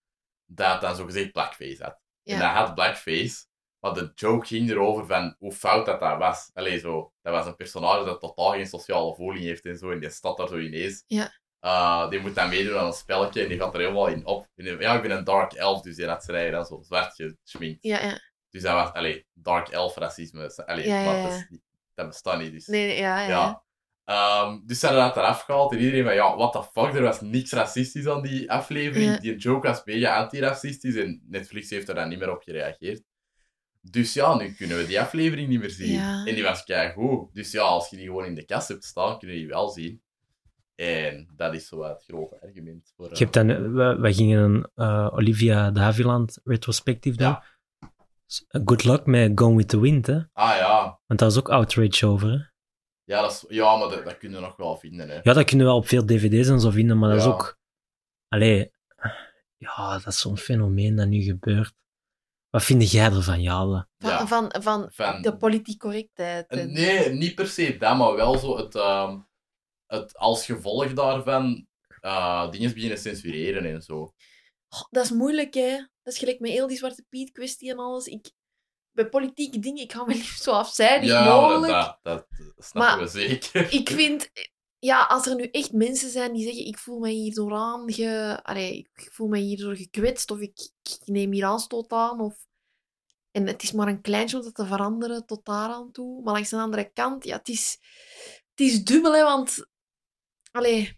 Speaker 1: dat dan zogezegd blackface had. En dat
Speaker 3: Ja.
Speaker 1: had blackface, maar de joke ging erover van hoe fout dat, dat was. Allee, zo, dat was een personage dat totaal geen sociale voeling heeft en zo, en die staat daar zo ineens.
Speaker 3: Ja.
Speaker 1: Eh, die moet dan meedoen aan een spelletje en die gaat er helemaal in op. En die- ja, ik ben een dark elf, dus die had zijn eigen dan zo zwart geschminkt.
Speaker 3: Ja, ja.
Speaker 1: Dus dat was, allee, dark elf racisme. Allee,
Speaker 3: Ja, ja,
Speaker 1: maar
Speaker 3: ja.
Speaker 1: dat, is niet- dat bestaat niet. Dus,
Speaker 3: Nee, nee, ja, ja. ja.
Speaker 1: ja. Ehm, dus ze hadden dat eraf gehaald en iedereen van, ja, what the fuck, er was niks racistisch aan die aflevering.
Speaker 3: Ja.
Speaker 1: Die joke was mega antiracistisch en Netflix heeft er dan niet meer op gereageerd. Dus ja, nu kunnen we die aflevering niet meer zien.
Speaker 3: Ja.
Speaker 1: En die was keigoed. Dus ja, als je die gewoon in de kast hebt staan, kun je die wel zien. En dat is zo wat het grote argument voor... eh,
Speaker 2: Ik heb dan, we, we gingen een eh, Olivia de Havilland retrospectief doen.
Speaker 1: Ja.
Speaker 2: S- Good luck met Gone with the Wind, hè?
Speaker 1: Ah ja.
Speaker 2: Want daar is ook outrage over. Hè?
Speaker 1: Ja, dat is... ja maar dat, dat kun je nog wel vinden, hè.
Speaker 2: Ja, dat kunnen we wel op veel dvd's en zo vinden, maar dat
Speaker 1: Ja.
Speaker 2: is ook. Allee, ja, dat is zo'n fenomeen dat nu gebeurt. Wat vind jij ervan, Jade?
Speaker 3: Van,
Speaker 1: Ja.
Speaker 3: van, van
Speaker 1: Van-
Speaker 3: de politiek correctheid.
Speaker 1: Eh,
Speaker 3: en-
Speaker 1: Nee, niet per se dat, maar wel zo het, ehm, het als gevolg daarvan eh dingen beginnen censureren en zo.
Speaker 3: Goh, dat is moeilijk, hè. Dat is gelijk met heel die Zwarte Piet-kwestie en alles. Ik, bij politieke dingen, ik hou me [LAUGHS] liefst zo afzijdig
Speaker 1: maar
Speaker 3: mogelijk.
Speaker 1: dat, dat, dat snappen
Speaker 3: Maar-
Speaker 1: we
Speaker 3: [LAUGHS]
Speaker 1: zeker.
Speaker 3: Ik vind... Ja, als er nu echt mensen zijn die zeggen, ik voel mij hierdoor aange... Allee, ik voel mij hierdoor gekwetst, of ik, ik neem hier aanstoot aan, of... En het is maar een kleintje om dat te veranderen tot daar aan toe. Maar langs de andere kant, ja, het is... Het is dubbel, hè, want... Allee,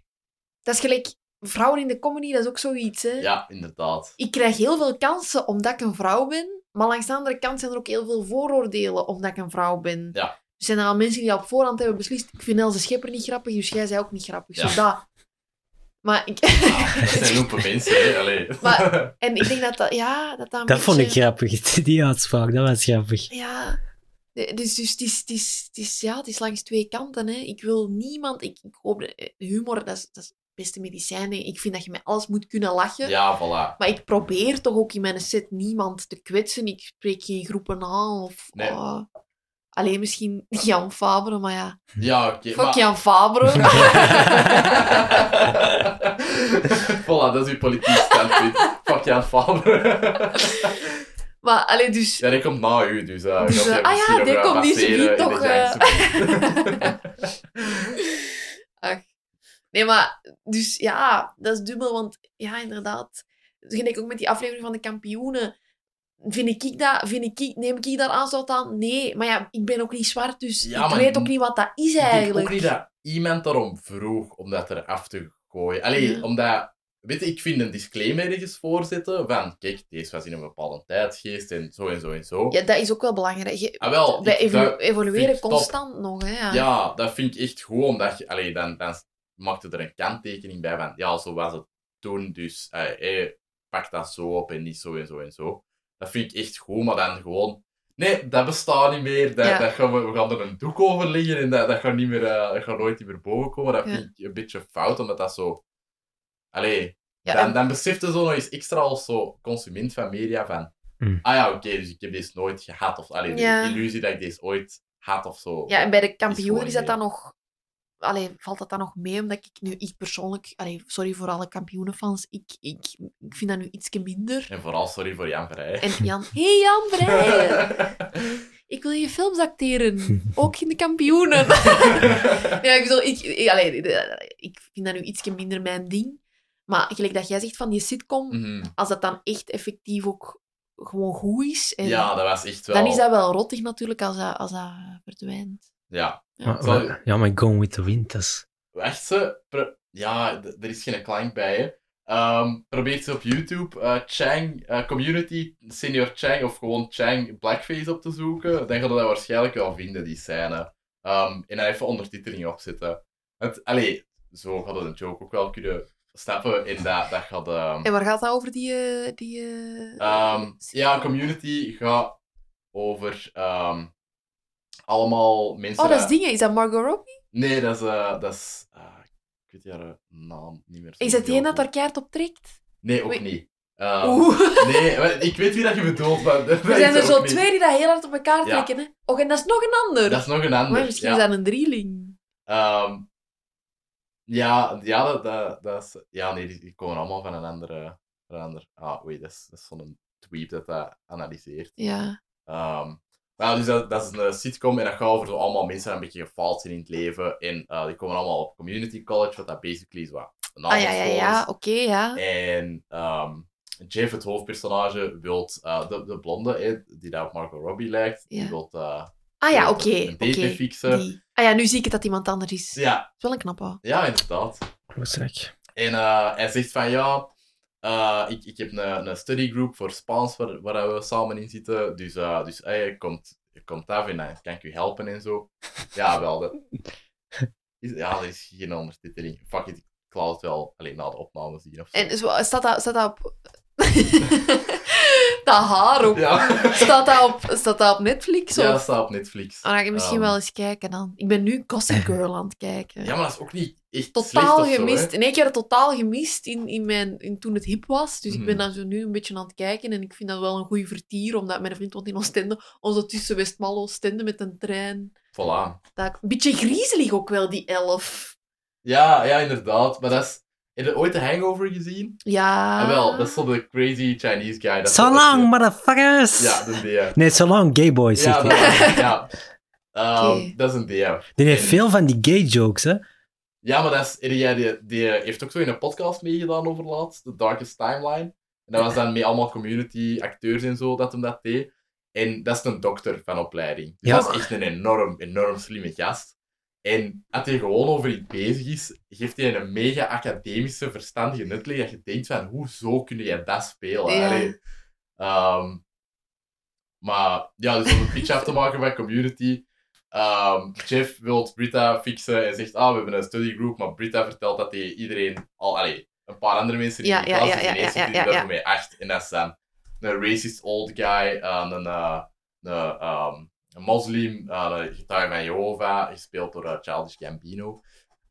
Speaker 3: dat is gelijk... Vrouwen in de comedy, dat is ook zoiets, hè.
Speaker 1: Ja,
Speaker 3: [LAUGHS]
Speaker 1: inderdaad.
Speaker 3: ik krijg heel veel kansen omdat ik een vrouw ben. Maar langs de andere kant zijn er ook heel veel vooroordelen omdat ik een vrouw ben.
Speaker 1: Ja.
Speaker 3: Er zijn al mensen die al op voorhand hebben beslist, ik vind Elze Schepper niet grappig, dus jij zij ook niet grappig.
Speaker 1: Ja.
Speaker 3: Zo dat. Maar ik, [LAUGHS]
Speaker 1: Ja, dat zijn lopen mensen, hè. Allee.
Speaker 3: Maar- en ik denk dat dat, ja, dat, dat een
Speaker 2: Dat vond ik
Speaker 3: beetje-
Speaker 2: grappig, [LAUGHS] die uitspraak, dat was grappig.
Speaker 3: Ja. De- Dus, dus het, is, het, is, het, is, ja, het is langs twee kanten. Hè. Ik wil niemand... Ik, ik hoop... dat- eh, Humor, dat is, dat is het beste medicijn. hè. Ik vind dat je met alles moet kunnen lachen.
Speaker 1: [LAUGHS] Ja, voilà.
Speaker 3: Maar ik probeer toch ook in mijn set niemand te kwetsen. Ik spreek geen groepen aan. Of,
Speaker 1: Nee.
Speaker 3: ah, alleen misschien Jan Fabre, maar ja.
Speaker 1: Ja, oké.
Speaker 3: Fuck
Speaker 1: maar...
Speaker 3: Jan Fabre.
Speaker 1: [LAUGHS] voilà, dat is uw politiek standpunt. Fuck Jan Faber. [LAUGHS]
Speaker 3: maar alleen dus...
Speaker 1: Ja, die komt na u, dus... eh,
Speaker 3: Dus,
Speaker 1: gaat
Speaker 3: eh,
Speaker 1: jij
Speaker 3: ah ja,
Speaker 1: misschien nog
Speaker 3: die
Speaker 1: wel
Speaker 3: komt die
Speaker 1: passeren in
Speaker 3: subiet
Speaker 1: de
Speaker 3: toch, eh,
Speaker 1: gangster.
Speaker 3: Ach. Nee, maar... Dus ja, dat is dubbel, want ja, inderdaad. Dus gelijk ook met die aflevering van de kampioenen. Vind ik, ik dat? Vind ik, neem ik daar aanstoot aan? Nee. Maar ja, ik ben ook niet zwart, dus
Speaker 1: Ja,
Speaker 3: ik
Speaker 1: maar
Speaker 3: weet ook
Speaker 1: n-
Speaker 3: niet wat dat is
Speaker 1: Ik denk
Speaker 3: eigenlijk.
Speaker 1: ook niet dat iemand daarom vroeg om dat eraf te gooien. Allee,
Speaker 3: Ja.
Speaker 1: omdat... Weet je, ik vind een disclaimer ergens voorzetten van... Kijk, deze was in een bepaalde tijdsgeest en zo en zo en zo.
Speaker 3: Ja, dat is ook wel belangrijk. Je-
Speaker 1: Ah, wel,
Speaker 3: Wij
Speaker 1: ik-
Speaker 3: evolu-
Speaker 1: dat- vind
Speaker 3: evolueren
Speaker 1: ik top.
Speaker 3: constant nog, hè. Ja.
Speaker 1: ja, dat vind ik echt goed, omdat je... Allee, dan, dan maakte er een kanttekening bij van... Ja, zo was het toen, dus... eh, eh, pak dat zo op en niet zo en zo en zo. Dat vind ik echt goed, maar dan gewoon... Nee, dat bestaat niet meer. Dat,
Speaker 3: Ja.
Speaker 1: dat gaan we, we gaan er een doek over liggen en dat, dat, gaat, niet meer, eh, dat gaat nooit meer boven komen. Dat
Speaker 3: Ja.
Speaker 1: vind ik een beetje fout, omdat dat zo... Allee,
Speaker 3: Ja,
Speaker 1: dan,
Speaker 3: en-
Speaker 1: dan beseft je zo nog eens extra als zo consument van media van...
Speaker 2: Hmm.
Speaker 1: Ah ja, oké, dus ik heb deze nooit gehad. Of allee, de
Speaker 3: Ja.
Speaker 1: illusie dat ik deze ooit had of zo.
Speaker 3: Ja, en bij de
Speaker 1: gewoon
Speaker 3: kampioenen is dat
Speaker 1: niet
Speaker 3: dan nog... allee, valt dat dan nog mee? Omdat ik nu, ik persoonlijk, allee, sorry voor alle kampioenenfans, ik, ik, ik vind dat nu ietsje minder.
Speaker 1: En vooral sorry voor Jan Verheij.
Speaker 3: En Jan, [LAUGHS] hey Jan Vrijen, ik wil je films acteren. Ook in de kampioenen. [LAUGHS] ja, ik bedoel, ik, ik, allee, de- ik vind dat nu ietsje minder mijn ding. Maar gelijk dat jij zegt van die sitcom,
Speaker 1: Mhm.
Speaker 3: als dat dan echt effectief ook gewoon goed is, en
Speaker 1: Ja, dat was echt wel...
Speaker 3: dan is dat wel rottig natuurlijk als dat, als dat verdwijnt.
Speaker 1: Ja.
Speaker 2: Maar-
Speaker 1: Zal-
Speaker 2: maar- ja, maar Gone with the Wind, dat is...
Speaker 1: Echt ze? pro- Ja, d- er is geen klank bij, hè. Ehm, probeer ze op YouTube eh, Chang, eh, Community, Senior Chang of gewoon Chang Blackface op te zoeken. Dan ga je dat waarschijnlijk wel vinden, die scène. Ehm, en dan even ondertiteling opzetten. Het, allee, zo gaat het een joke ook wel kunnen snappen. En dat, dat gaat... ehm,
Speaker 3: En waar gaat dat over die... eh, die eh,
Speaker 1: Ehm, ja, community gaat over ehm, allemaal mensen.
Speaker 3: Oh, dat is dingen. Is dat Margot Robbie?
Speaker 1: Nee, dat is. eh, dat is ah, ik weet haar naam niet meer. zo
Speaker 3: Is dat die
Speaker 1: heel
Speaker 3: een dat
Speaker 1: goed.
Speaker 3: daar keihard op trekt?
Speaker 1: Nee, ook
Speaker 3: Oei.
Speaker 1: niet. Ehm,
Speaker 3: Oeh.
Speaker 1: [LAUGHS] Nee, maar ik weet wie dat je bedoelt, maar.
Speaker 3: [LAUGHS]
Speaker 1: dat
Speaker 3: Er
Speaker 1: weet
Speaker 3: zijn
Speaker 1: ik
Speaker 3: er zo
Speaker 1: ook niet.
Speaker 3: twee die dat heel hard op elkaar
Speaker 1: Ja.
Speaker 3: trekken. Hè? Och, en dat is nog een ander.
Speaker 1: Dat is nog een ander.
Speaker 3: maar misschien
Speaker 1: ja.
Speaker 3: is dat een drieling.
Speaker 1: Ehm, ja, ja, dat, dat, dat is... Ja, nee, die, die komen allemaal van een andere... Van een ander... Ah, oei, dat is, dat is zo'n tweep dat dat analyseert.
Speaker 3: Ja.
Speaker 1: Ehm, nou, dus dat, dat is een sitcom en dat gaat over zo allemaal mensen die een beetje gefaald zijn in het leven. En eh, die komen allemaal op community college, wat dat basically is wat een
Speaker 3: Ah ja, ja,
Speaker 1: avondschool
Speaker 3: ja.
Speaker 1: is.
Speaker 3: Oké, ja.
Speaker 1: En ehm, Jeff, het hoofdpersonage, wil eh, de, de blonde, hè, die daar op Margot Robbie lijkt, die
Speaker 3: Ja.
Speaker 1: wil eh,
Speaker 3: Ah ja,
Speaker 1: wil
Speaker 3: oké.
Speaker 1: een date
Speaker 3: oké.
Speaker 1: fixen.
Speaker 3: Die. Ah ja, nu zie ik het dat iemand anders is. Het
Speaker 1: Ja,
Speaker 3: is wel een knappe.
Speaker 1: ja, inderdaad.
Speaker 2: Kloosrek.
Speaker 1: En eh, hij zegt van ja, eh, ik, ik heb een, een studygroup voor Spaans waar, waar we samen in zitten. Dus, eh dus hey, komt, komt af en dan kan ik u helpen en
Speaker 3: [LAUGHS]
Speaker 1: zo. Ja, wel. Dat... Is, ja, er is geen ondertiteling. Fuck it, ik laat het wel alleen na de opname zien of zo.
Speaker 3: En zo- staat dat, staat dat op... [LAUGHS] dat haar op.
Speaker 1: Ja,
Speaker 3: Staat, dat op staat dat op Netflix? Of?
Speaker 1: ja dat staat op Netflix.
Speaker 3: Ah, dan ga ik misschien
Speaker 1: Ehm,
Speaker 3: wel eens kijken dan. Ik ben nu
Speaker 1: [LAUGHS]
Speaker 3: Gossip Girl aan het kijken.
Speaker 1: Ja, maar dat is ook niet echt slecht
Speaker 3: totaal
Speaker 1: of zo, hè.
Speaker 3: gemist. In één keer dat totaal gemist in, in mijn, in toen het hip was. Dus ik ben
Speaker 1: Mhm.
Speaker 3: daar zo nu een beetje aan het kijken. En ik vind dat wel een goede vertier, omdat mijn vriend woont in Oostende. Onze tussen Westmalle Oostende met een trein.
Speaker 1: Voilà.
Speaker 3: Dat, ik- een beetje griezelig ook wel, die elf.
Speaker 1: Ja, ja, inderdaad. Maar dat is... Heb je ooit de Hangover gezien?
Speaker 3: Ja.
Speaker 1: Ah, wel, dat is zo de crazy Chinese guy. dat is
Speaker 2: So
Speaker 1: zo-
Speaker 2: long, motherfuckers!
Speaker 1: Ja, de DM.
Speaker 2: Nee, so long, gay boys.
Speaker 1: Ja,
Speaker 2: zegt hij.
Speaker 1: dat, ja. Ehm,
Speaker 3: Oké.
Speaker 1: dat is een DM.
Speaker 2: Die heeft veel van die gay jokes, hè.
Speaker 1: Ja, maar dat is, die- die, die, die heeft ook zo in een podcast meegedaan over laatst, The Darkest Timeline. En dat was dan met allemaal community acteurs en zo dat hem dat deed. En dat is een dokter van opleiding. Dus
Speaker 2: Ja.
Speaker 1: dat is echt een enorm, enorm slimme gast. En als hij gewoon over iets bezig is, geeft hij een mega academische, verstandige nutleg dat je denkt van, hoezo kun jij dat spelen?
Speaker 3: Ja.
Speaker 1: Allee, ehm, maar ja, dus om een pitch af te maken van community. ehm, Jeff wil Britta fixen en zegt: Ah, we hebben een studiegroep. Maar Britta vertelt dat hij iedereen al, allee, een paar andere mensen die
Speaker 3: Ja,
Speaker 1: in de
Speaker 3: ja,
Speaker 1: klas
Speaker 3: ja,
Speaker 1: zitten,
Speaker 3: ja,
Speaker 1: ineens
Speaker 3: ja,
Speaker 1: zitten die
Speaker 3: ja, ja,
Speaker 1: daarvoor mee echt. En dat is dan een racist old guy, eh, een, eh, een, ehm, een moslim, eh, een getuige van Jehovah, gespeeld door eh, Childish Gambino.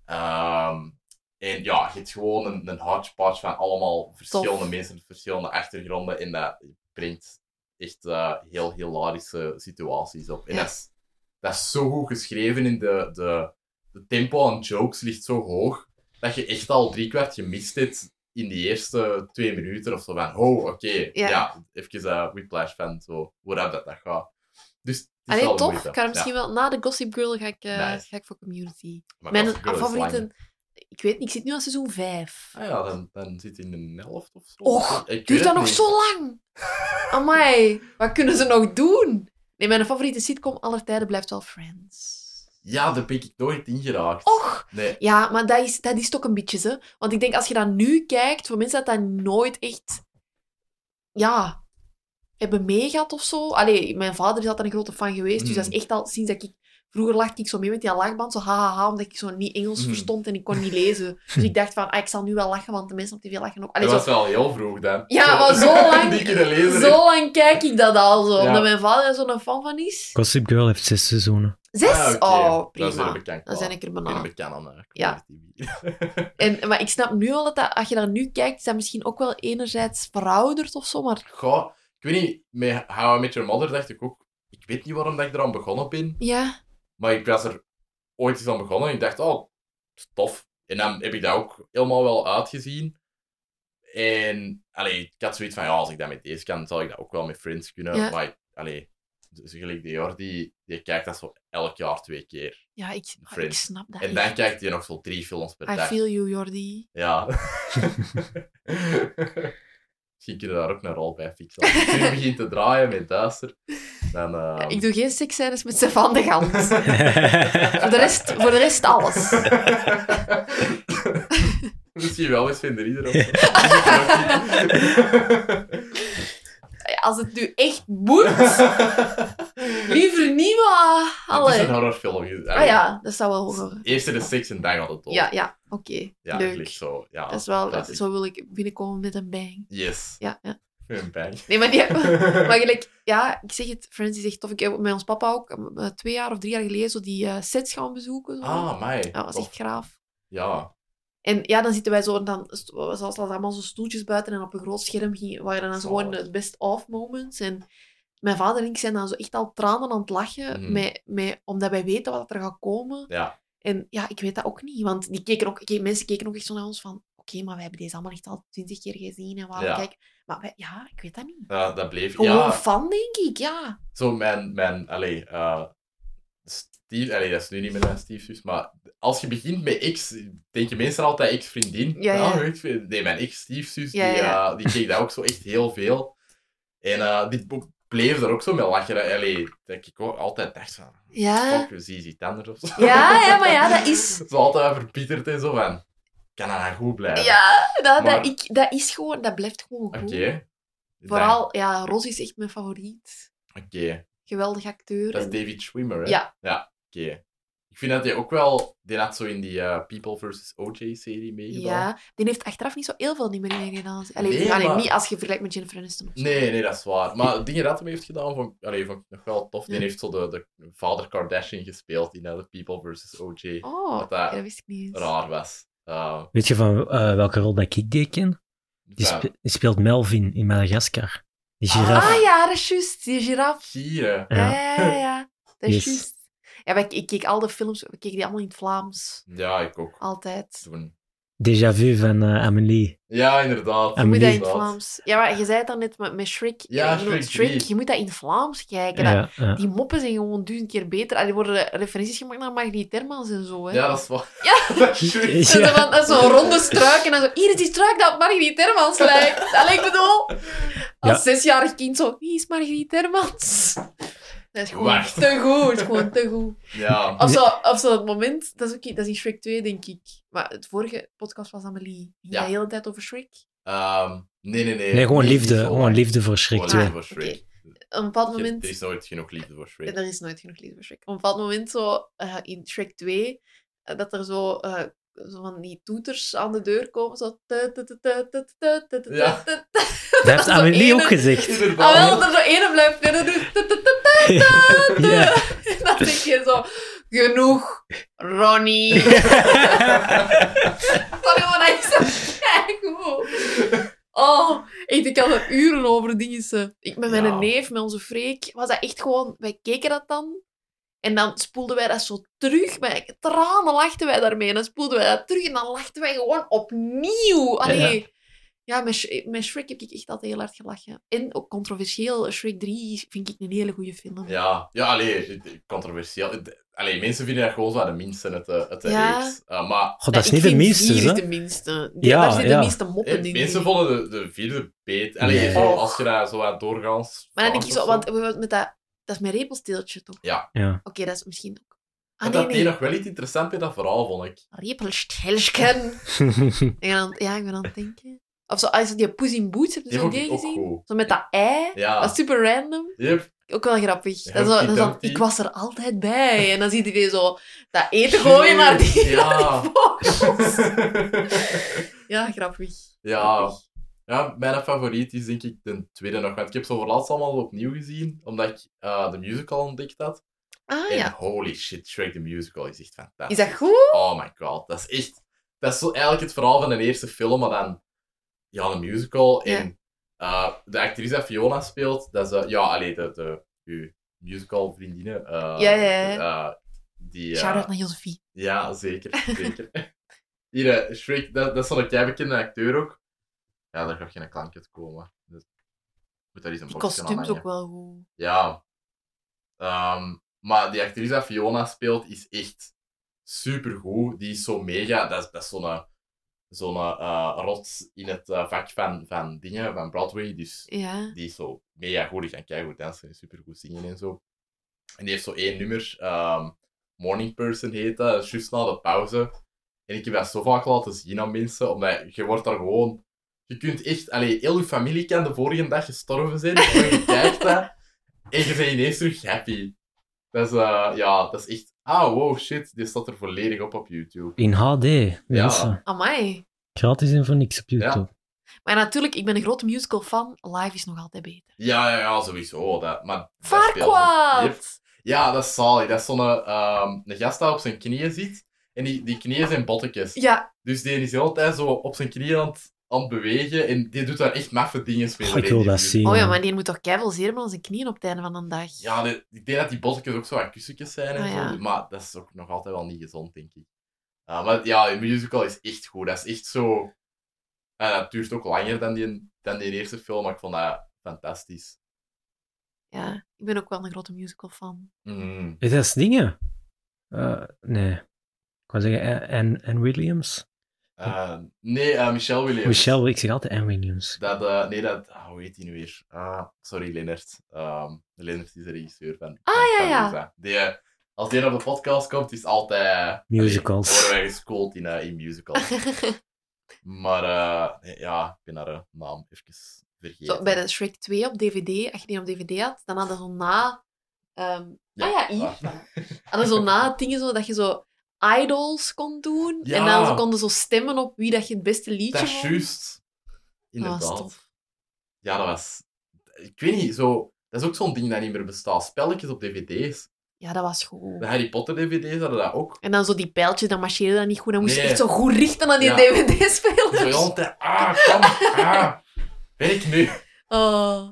Speaker 1: Ehm, en ja, je hebt gewoon een, een hodgepodge van allemaal verschillende
Speaker 3: Tof.
Speaker 1: mensen, verschillende achtergronden. En dat brengt echt eh, heel hilarische situaties op. En
Speaker 3: Ja.
Speaker 1: dat, is, dat is zo goed geschreven in de, de, de tempo aan jokes ligt zo hoog dat je echt al drie kwart gemist hebt in die eerste twee minuten of zo van, oh, oké, ja.
Speaker 3: Ja.
Speaker 1: even eh whiplash van zo, hoe dat dat gaat. Dus het is
Speaker 3: Allee,
Speaker 1: wel de
Speaker 3: tof.
Speaker 1: moeite.
Speaker 3: Ik ga er
Speaker 1: Ja,
Speaker 3: misschien wel... Na de Gossip Girl ga ik, eh,
Speaker 1: Nice.
Speaker 3: ga ik voor Community.
Speaker 1: maar
Speaker 3: mijn
Speaker 1: Gossip Girl is lang.
Speaker 3: favoriete... Ik weet niet, ik zit nu aan seizoen 5.
Speaker 1: Ah ja, dan, dan zit hij in de helft of zo.
Speaker 3: Och,
Speaker 1: Ik weet
Speaker 3: Duurt dat
Speaker 1: het
Speaker 3: nog
Speaker 1: niet.
Speaker 3: zo lang? Amai, wat kunnen ze nog doen? Nee, mijn favoriete sitcom aller tijden blijft wel Friends.
Speaker 1: Ja, daar ben ik nooit in geraakt.
Speaker 3: Och,
Speaker 1: Nee.
Speaker 3: ja, maar dat is, dat is toch een beetje, hè? Want ik denk, als je dat nu kijkt, voor mensen dat dat nooit echt, ja, hebben meegehad of zo. Allee, mijn vader is altijd een grote fan geweest, dus dat
Speaker 1: Mm.
Speaker 3: is echt al sinds dat ik... Vroeger lachte ik zo mee met die lachband, zo hahaha, omdat ik zo niet Engels
Speaker 1: Mm.
Speaker 3: verstond en ik kon niet lezen. Dus ik dacht van, ah, ik zal nu wel lachen, want de mensen op tv lachen ook. Allee,
Speaker 1: dat
Speaker 3: zo,
Speaker 1: was wel heel vroeg dan.
Speaker 3: Ja, maar zo
Speaker 1: [LAUGHS]
Speaker 3: lang-
Speaker 1: Die kunnen lezen.
Speaker 3: zo lang kijk ik dat al zo,
Speaker 1: Ja.
Speaker 3: omdat mijn vader er zo'n fan van is.
Speaker 2: Gossip Girl heeft
Speaker 1: [LAUGHS]
Speaker 2: zes seizoenen.
Speaker 3: Zes?
Speaker 1: Ah, oké. Dan
Speaker 3: Oh,
Speaker 1: zijn we
Speaker 3: prima.
Speaker 1: bekend. eh,
Speaker 3: Dan zijn ik er
Speaker 1: in
Speaker 3: benauwd.
Speaker 1: bekende
Speaker 3: Ja.
Speaker 1: community.
Speaker 3: En, maar ik snap nu al dat, dat als je daar nu kijkt, is dat misschien ook wel enerzijds verouderd of zo, maar
Speaker 1: Goh, ik weet niet, met How I Met Your Mother dacht ik ook, ik weet niet waarom dat ik eraan begonnen ben,
Speaker 3: ja.
Speaker 1: maar ik was er ooit eens aan begonnen en ik dacht, oh, is tof. En dan heb ik dat ook helemaal wel uitgezien. En allee, ik had zoiets van, ja, als ik dat met deze kan, zal ik dat ook wel met Friends kunnen.
Speaker 3: Ja.
Speaker 1: Maar allee, dus gelijk de Jordi, die kijkt dat zo elk jaar twee keer.
Speaker 3: Ja, ik, ah, ik
Speaker 1: Friends.
Speaker 3: snap dat.
Speaker 1: En
Speaker 3: echt.
Speaker 1: dan kijkt hij nog zo drie films per
Speaker 3: I
Speaker 1: dag.
Speaker 3: feel you, Jordi.
Speaker 1: Ja. [LAUGHS] Misschien kunnen we daar ook een rol bij fixen. Als het weer begint te draaien met duister,
Speaker 3: [LAUGHS]
Speaker 1: dan... ehm,
Speaker 3: Ik doe geen seksscènes met Stefan de
Speaker 1: [LAUGHS]
Speaker 3: Gans. voor, de rest, voor de rest alles.
Speaker 1: Misschien wel eens vinden iedereen.
Speaker 3: [LAUGHS] Als het nu echt
Speaker 1: [LAUGHS]
Speaker 3: moet, liever niet, maar...
Speaker 1: Het is
Speaker 3: Allee.
Speaker 1: een horrorfilm.
Speaker 3: Ah ja, dat zou wel horen.
Speaker 1: Eerst de seks en dan gaat het dood.
Speaker 3: Ja, ja, oké.
Speaker 1: Ja, het
Speaker 3: Leuk.
Speaker 1: ligt zo. Ja,
Speaker 3: Dat is wel,
Speaker 1: klassiek.
Speaker 3: zo wil ik binnenkomen met een bang.
Speaker 1: Yes.
Speaker 3: Ja, ja.
Speaker 1: Een bang.
Speaker 3: Nee, maar die...
Speaker 1: [LAUGHS]
Speaker 3: [LAUGHS] Maar gelijk, ja, ik zeg het, Friends is echt tof. Ik heb met ons papa ook eh, twee jaar of drie jaar geleden zo die eh, sets gaan bezoeken. Zo.
Speaker 1: Ah, mij.
Speaker 3: ja, dat was echt graaf.
Speaker 1: Ja.
Speaker 3: En ja, dan zitten wij zo, en dan st- was was allemaal zo stoeltjes buiten en op een groot scherm ging, waren dan zo gewoon
Speaker 1: Zalig.
Speaker 3: de best-of moments. En mijn vader en ik zijn dan zo echt al tranen aan het lachen,
Speaker 1: Mhm.
Speaker 3: met, met, omdat wij weten wat er gaat komen.
Speaker 1: Ja.
Speaker 3: En ja, ik weet dat ook niet, want die keken ook, oké, mensen keken ook echt zo naar ons van, oké, maar wij hebben deze allemaal echt al twintig keer gezien en waarom
Speaker 1: Ja.
Speaker 3: kijk... Maar wij- ja, ik weet dat niet.
Speaker 1: Ja, dat bleef.
Speaker 3: Gewoon
Speaker 1: Ja,
Speaker 3: fan, denk ik, ja.
Speaker 1: zo mijn, mijn allee, eh Steve, allee, dat is nu niet meer mijn stiefzus, maar als je begint met X, denk je meestal altijd X-vriendin.
Speaker 3: Ja, ja.
Speaker 1: Ah, mijn ex-vriendin. nee, mijn X-stiefzus,
Speaker 3: Ja,
Speaker 1: die,
Speaker 3: ja.
Speaker 1: eh, die keek daar ook zo echt heel veel. En eh, die boek bleef er ook zo mee lachen. Allee, dat ik ook altijd dacht van,
Speaker 3: Ja,
Speaker 1: fuck, we zien iets anders of zo.
Speaker 3: ja, [LAUGHS] ja maar ja, dat
Speaker 1: [LAUGHS]
Speaker 3: is...
Speaker 1: Zo altijd verpieterd en zo van, kan dat nou goed blijven?
Speaker 3: Ja, dat,
Speaker 1: Maar-
Speaker 3: dat, ik, dat is gewoon, dat blijft gewoon
Speaker 1: Oké.
Speaker 3: goed.
Speaker 1: Dan-
Speaker 3: Vooral, ja, Ros is echt mijn favoriet.
Speaker 1: Oké,
Speaker 3: Geweldig acteur.
Speaker 1: dat is
Speaker 3: en-
Speaker 1: David Schwimmer, hè?
Speaker 3: Ja.
Speaker 1: Ja, oké. Ik vind dat hij ook wel... Die had zo in die eh, People vs. O.J.-serie meegedaan.
Speaker 3: Ja, die heeft achteraf niet zo heel veel niet meer meegedaan. Allee,
Speaker 1: Nee,
Speaker 3: allee,
Speaker 1: maar-
Speaker 3: niet als je vergelijkt met Jennifer Aniston. of zo.
Speaker 1: Nee, nee, dat is waar. Maar dingen dat hij heeft gedaan, vond, ik- allee, vond ik nog wel tof. Die
Speaker 3: Ja.
Speaker 1: heeft zo de, de vader Kardashian gespeeld in eh, The People vs. O.J.
Speaker 3: Oh,
Speaker 1: Dat dat
Speaker 3: ja, dat wist ik niet eens.
Speaker 1: Raar was. Eh,
Speaker 2: Weet je van eh, welke rol dat ik die ken? Die,
Speaker 1: ja,
Speaker 2: spe- die speelt Melvin in Madagascar. Die giraf.
Speaker 3: Ah ja, dat is juist. Die giraf.
Speaker 1: Gieren.
Speaker 3: Ja,
Speaker 2: Ja.
Speaker 3: ja, ja. ja. Dat is
Speaker 2: Yes.
Speaker 3: juist. Ja, maar ik, ik keek al de films, we keken die allemaal in het Vlaams.
Speaker 1: Ja, ik ook.
Speaker 3: Altijd.
Speaker 1: Toen.
Speaker 2: Déjà vu van eh, Amélie.
Speaker 1: Ja, inderdaad.
Speaker 2: En
Speaker 3: Je moet dat in het
Speaker 1: Inderdaad.
Speaker 3: Vlaams. Ja, maar je zei het net met, met Shrek.
Speaker 1: Ja,
Speaker 3: Ik bedoel,
Speaker 1: Shrek drie.
Speaker 3: Je moet dat in het Vlaams kijken. Dat-
Speaker 2: Ja, ja.
Speaker 3: Die moppen zijn gewoon duizend keer beter. Er worden referenties gemaakt naar Margriet Hermans en zo. Hè.
Speaker 1: Ja, dat is waar.
Speaker 3: Ja.
Speaker 1: [LAUGHS] dat
Speaker 2: [LAUGHS]
Speaker 1: is juist.
Speaker 3: Zo van- Dat is zo'n ronde struik en dan zo, hier is die struik dat op Margriet Hermans lijkt. Allee, ik bedoel, als
Speaker 2: Ja.
Speaker 3: zesjarig kind zo, wie is Margriet Hermans? Dat is gewoon
Speaker 1: Wacht.
Speaker 3: te goed, dat is gewoon te goed.
Speaker 1: Ja.
Speaker 3: Of zo, of zo het moment, dat is, ook, i- dat is in Shrek 2, denk ik. Maar het vorige podcast was Amelie. Ging
Speaker 1: Ja.
Speaker 3: dat de hele tijd over Shrek?
Speaker 1: Ehm, nee, nee, nee.
Speaker 2: Nee, gewoon
Speaker 1: Niet
Speaker 2: liefde.
Speaker 1: zo
Speaker 2: Gewoon
Speaker 1: lang.
Speaker 2: liefde voor Shrek
Speaker 1: Gewoon
Speaker 2: 2.
Speaker 1: [LAUGHS] liefde voor Shrek.
Speaker 3: Op een bepaald
Speaker 1: Je-
Speaker 3: moment...
Speaker 1: Er is nooit genoeg liefde voor Shrek.
Speaker 3: En er is nooit genoeg liefde voor Shrek. Op een bepaald moment zo, eh, in Shrek 2, eh, dat er zo, eh, zo van die toeters aan de deur komen. Zo... tu, tu, tu, tu, tu, tu, tu, tu,
Speaker 1: Ja.
Speaker 3: tu,
Speaker 2: Dat heeft
Speaker 3: Zo
Speaker 2: Amélie
Speaker 3: ene-
Speaker 2: ook
Speaker 3: [LAUGHS]
Speaker 2: gezegd.
Speaker 1: [LAUGHS] Inderdaad.
Speaker 3: Ah, wel, dat er zo ene blijft verder doen. Tu, tu, tu, tu, tu.
Speaker 2: Ja.
Speaker 3: En dan
Speaker 1: Dus-
Speaker 3: denk je zo, genoeg, Ronnie. Sorry, maar dat is zo keigoed. Oh, echt, ik had er uren over dingen. Ik met mijn
Speaker 1: Ja.
Speaker 3: neef, met onze freek, was dat echt gewoon... Wij keken dat dan. En dan spoelden wij dat zo terug. Met tranen lachten wij daarmee. En dan spoelden wij dat terug. En dan lachten wij gewoon opnieuw. Allee. Ja. met, Sh- met Shrek heb ik echt altijd heel hard gelachen. En ook controversieel, Shrek 3 vind ik een hele goede film.
Speaker 1: Ja, ja allee, het- het- controversieel. Het- Allee, mensen vinden dat gewoon zo de minste uit de, uit de
Speaker 3: Ja.
Speaker 1: reeks. Eh, maar
Speaker 2: God, dat is
Speaker 3: ik
Speaker 2: niet de
Speaker 3: vind
Speaker 2: minste,
Speaker 3: Vier is
Speaker 2: hè?
Speaker 3: de minste.
Speaker 2: Ja,
Speaker 3: Daar zitten
Speaker 2: ja.
Speaker 3: de minste moppen
Speaker 1: eh,
Speaker 3: in.
Speaker 1: mensen vonden de, de vierde beter. Allee,
Speaker 2: Nee.
Speaker 1: zo, als je daar zo aan doorgaans...
Speaker 3: Maar dan denk ik
Speaker 1: vraagt
Speaker 3: zo,
Speaker 1: of
Speaker 3: want bijvoorbeeld met dat, dat is mijn repelsteeltje toch?
Speaker 2: Ja.
Speaker 3: Oké, dat is misschien ook.
Speaker 1: Maar
Speaker 3: Ah,
Speaker 1: dat
Speaker 3: nee,
Speaker 1: deed
Speaker 3: nee.
Speaker 1: nog wel iets interessant bij dat verhaal, vond ik.
Speaker 3: Repelsteeltje. Ik ben aan het- Ja, ik ben aan het denken. Of zo, als je die Poes in Boots, heb je
Speaker 1: Die
Speaker 3: zo'n
Speaker 1: vond ik
Speaker 3: idee
Speaker 1: ook
Speaker 3: gezien?
Speaker 1: goed.
Speaker 3: Zo met dat ei.
Speaker 1: Ja.
Speaker 3: Dat is super random.
Speaker 1: Yep.
Speaker 3: Ook wel grappig.
Speaker 1: Ja,
Speaker 3: Dat is zo, dat is dan,
Speaker 1: die-
Speaker 3: ik was er altijd bij.
Speaker 1: [LAUGHS]
Speaker 3: En dan ziet hij die zo dat eten gooien naar die,
Speaker 1: Ja.
Speaker 3: naar [LAUGHS] die vogels. Ja, grappig.
Speaker 1: [LAUGHS] Ja.
Speaker 3: Grappig.
Speaker 1: Ja, mijn favoriet is denk ik de tweede nog. Want ik heb ze voor laatst allemaal opnieuw gezien, omdat ik eh, de musical ontdekt had.
Speaker 3: Ah
Speaker 1: en
Speaker 3: ja.
Speaker 1: holy shit, Shrek the Musical is echt
Speaker 3: Is
Speaker 1: fantastisch.
Speaker 3: dat goed?
Speaker 1: Oh my god, dat is echt... Dat is zo eigenlijk het verhaal van de eerste film, maar dan... Ja, een musical.
Speaker 3: Ja.
Speaker 1: En eh, de actrice die Fiona speelt, dat is... eh, ja, alleen de, de, uw musical vriendine. eh,
Speaker 3: Ja, ja, ja.
Speaker 1: eh, Die, eh,
Speaker 3: Shout-out naar Josephine.
Speaker 1: ja, zeker. zeker. [LAUGHS] Hier, eh, Shrek, dat, dat is zo'n kei bekende acteur ook. Ja, daar gaat geen klank uit komen. Dus moet daar eens een
Speaker 3: Die
Speaker 1: boxje aan
Speaker 3: kostuums
Speaker 1: hangen.
Speaker 3: ook wel goed.
Speaker 1: Ja. Ehm, maar die actrice dat Fiona speelt is echt supergoed. Die is zo mega. Dat is, dat is zo'n zo'n eh, rots in het eh, vak van, van dingen, van Broadway. Dus
Speaker 3: Ja.
Speaker 1: die is zo mega goed. Die kan keigoed dansen en supergoed zingen en zo. En die heeft zo één nummer. ehm, Morning Person heet dat. dat. is Juist na de pauze. En ik heb dat zo vaak laten zien aan mensen. Omdat je wordt daar gewoon... Je kunt echt... Allee, heel je familie kan de vorige dag gestorven zijn. Maar je kijkt dat. En je bent ineens terug happy. Dat is... eh, ja, dat is echt... Ah, wow, shit. Dit staat er volledig op op YouTube.
Speaker 2: In HD, mensen.
Speaker 3: Amai.
Speaker 2: Gratis en voor niks op YouTube.
Speaker 3: Maar natuurlijk, ik ben een grote musical fan. Live is nog altijd beter.
Speaker 1: Ja, ja, ja, sowieso. Dat, maar dat speelt- Yep.
Speaker 3: Farquaad!
Speaker 1: Ja, dat is zalig. Dat is zo'n ehm, een gast die op zijn knieën zit. En die, die knieën zijn bottekjes.
Speaker 3: Ja,
Speaker 1: Dus die is altijd zo op zijn knieën aan het, aan het bewegen. En die doet daar echt maffe dingen mee.
Speaker 2: Goh, ik wil dat zien.
Speaker 3: oh ja, maar die moet toch keivel zeer met onze knieën op het einde van een dag.
Speaker 1: Ja, die- ik denk dat die bottekjes ook zo aan kussentjes zijn en
Speaker 3: Ah,
Speaker 1: zo.
Speaker 3: ja.
Speaker 1: Maar dat is ook nog altijd wel niet gezond, denk ik. Ah, maar ja, de musical is echt goed. Dat is echt zo... En dat duurt ook langer dan die, dan die eerste film, maar ik vond dat fantastisch.
Speaker 3: Ja, ik ben ook wel een grote musical fan.
Speaker 1: Mm.
Speaker 2: Is dat dingen? Eh, nee. Ik wou zeggen, en, en Williams?
Speaker 1: Eh, nee, eh, Michelle Williams.
Speaker 2: Michelle, ik zeg altijd en Williams.
Speaker 1: Dat, eh, nee, dat, ah, hoe heet die nu weer? Ah, sorry, Lennart. Ehm Lennart is de regisseur van.
Speaker 3: Ah,
Speaker 1: van-
Speaker 3: ja,
Speaker 1: van
Speaker 3: ja.
Speaker 1: Rosa. Die, eh, als die op de podcast komt, is het altijd.
Speaker 2: Musicals.
Speaker 1: Allee, worden wij geschoold in, eh, in musicals.
Speaker 3: [LAUGHS]
Speaker 1: maar eh, nee, ja, ik ben haar eh, naam even vergeten.
Speaker 3: Zo, bij de Shrek 2 op DVD, als je die op DVD had, dan hadden ze zo na... ehm
Speaker 1: Ja,
Speaker 3: ah ja, hier.
Speaker 1: ah.
Speaker 3: [LAUGHS] Hadden ze zo na dingen zo, dat je zo idols kon doen.
Speaker 1: Ja.
Speaker 3: En dan ze konden zo stemmen op wie dat je het beste liedje
Speaker 1: Dat is
Speaker 3: vond. Ah,
Speaker 1: juist. Inderdaad.
Speaker 3: Dat was tof.
Speaker 1: ja, dat was. Ik weet niet, zo. Dat is ook zo'n ding dat niet meer bestaat. Spelletjes op dvd's.
Speaker 3: Ja, dat was goed.
Speaker 1: De Harry Potter dvd's hadden dat ook.
Speaker 3: En dan zo die pijltjes, dan marcheerde dat niet goed. Dan moest
Speaker 1: Nee.
Speaker 3: je echt zo goed richten aan die
Speaker 1: Ja. Zo
Speaker 3: DVD-spelers.
Speaker 1: heel de- Ah, kom. Ah. Werk nu.
Speaker 3: Oh,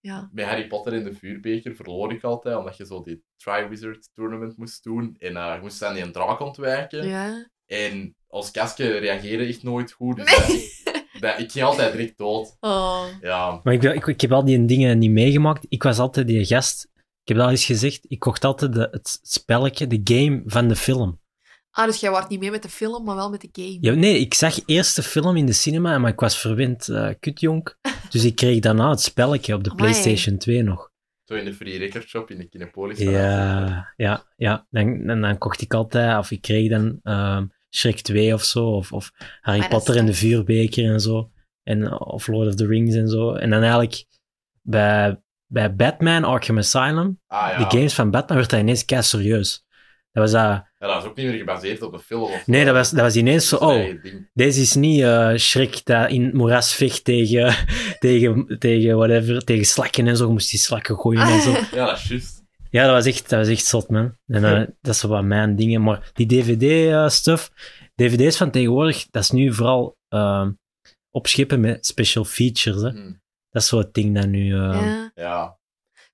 Speaker 3: ja.
Speaker 1: bij Harry Potter in de vuurbeker verloor ik altijd, omdat je zo die Triwizard Tournament moest doen. En eh, je moest aan die draak ontwijken.
Speaker 3: ja.
Speaker 1: En ons kastje reageerde echt nooit goed. Dus dat, dat- ik ging altijd direct dood.
Speaker 3: Oh.
Speaker 1: Ja,
Speaker 2: Maar ik, ben- ik, ik heb al die dingen niet meegemaakt. Ik was altijd die gast. Ik heb dat al eens gezegd. Ik kocht altijd de, het spelletje, de game van de film.
Speaker 3: Ah, dus jij wordt niet mee met de film, maar wel met de game.
Speaker 2: Ja, nee, ik zag eerst de film in de cinema, maar ik was verwend, eh kutjonk. Dus ik kreeg daarna het spelletje op de
Speaker 3: Amai.
Speaker 2: PlayStation 2 nog.
Speaker 1: zo in de Free Record Shop in de Kinepolis.
Speaker 2: Ja, ja, ja. Dan, dan, dan kocht ik altijd, of ik kreeg dan ehm Shrek 2 of zo, of, of Harry
Speaker 3: Ah, dat is
Speaker 2: Potter en de
Speaker 3: tof.
Speaker 2: Vuurbeker en zo, en, of Lord of the Rings en zo. En dan eigenlijk bij, bij Batman Arkham Asylum,
Speaker 1: Ah ja.
Speaker 2: de games van Batman, werd hij ineens kei serieus. Dat was, eh,
Speaker 1: Ja, dat is ook niet meer gebaseerd op een film. Of
Speaker 2: nee, dat was, dat was ineens zo,
Speaker 1: Dat is een
Speaker 2: oh,
Speaker 1: eigen ding.
Speaker 2: deze is niet eh Shrek dat in het moeras vecht tegen, [LAUGHS] tegen, tegen whatever, tegen slakken en zo, Je moest die slakken gooien
Speaker 3: [LAUGHS]
Speaker 2: en zo.
Speaker 1: Ja, dat is juist.
Speaker 2: Ja, dat was echt, dat was echt zot, man. En eh,
Speaker 1: [LAUGHS]
Speaker 2: dat is wat mijn dingen. Maar die DVD-stuff, DVD's van tegenwoordig, dat is nu vooral ehm, opschippen met special features. Hè.
Speaker 1: Hm,
Speaker 2: Dat is zo het ding dat nu. eh,
Speaker 3: Ja.
Speaker 1: Ja.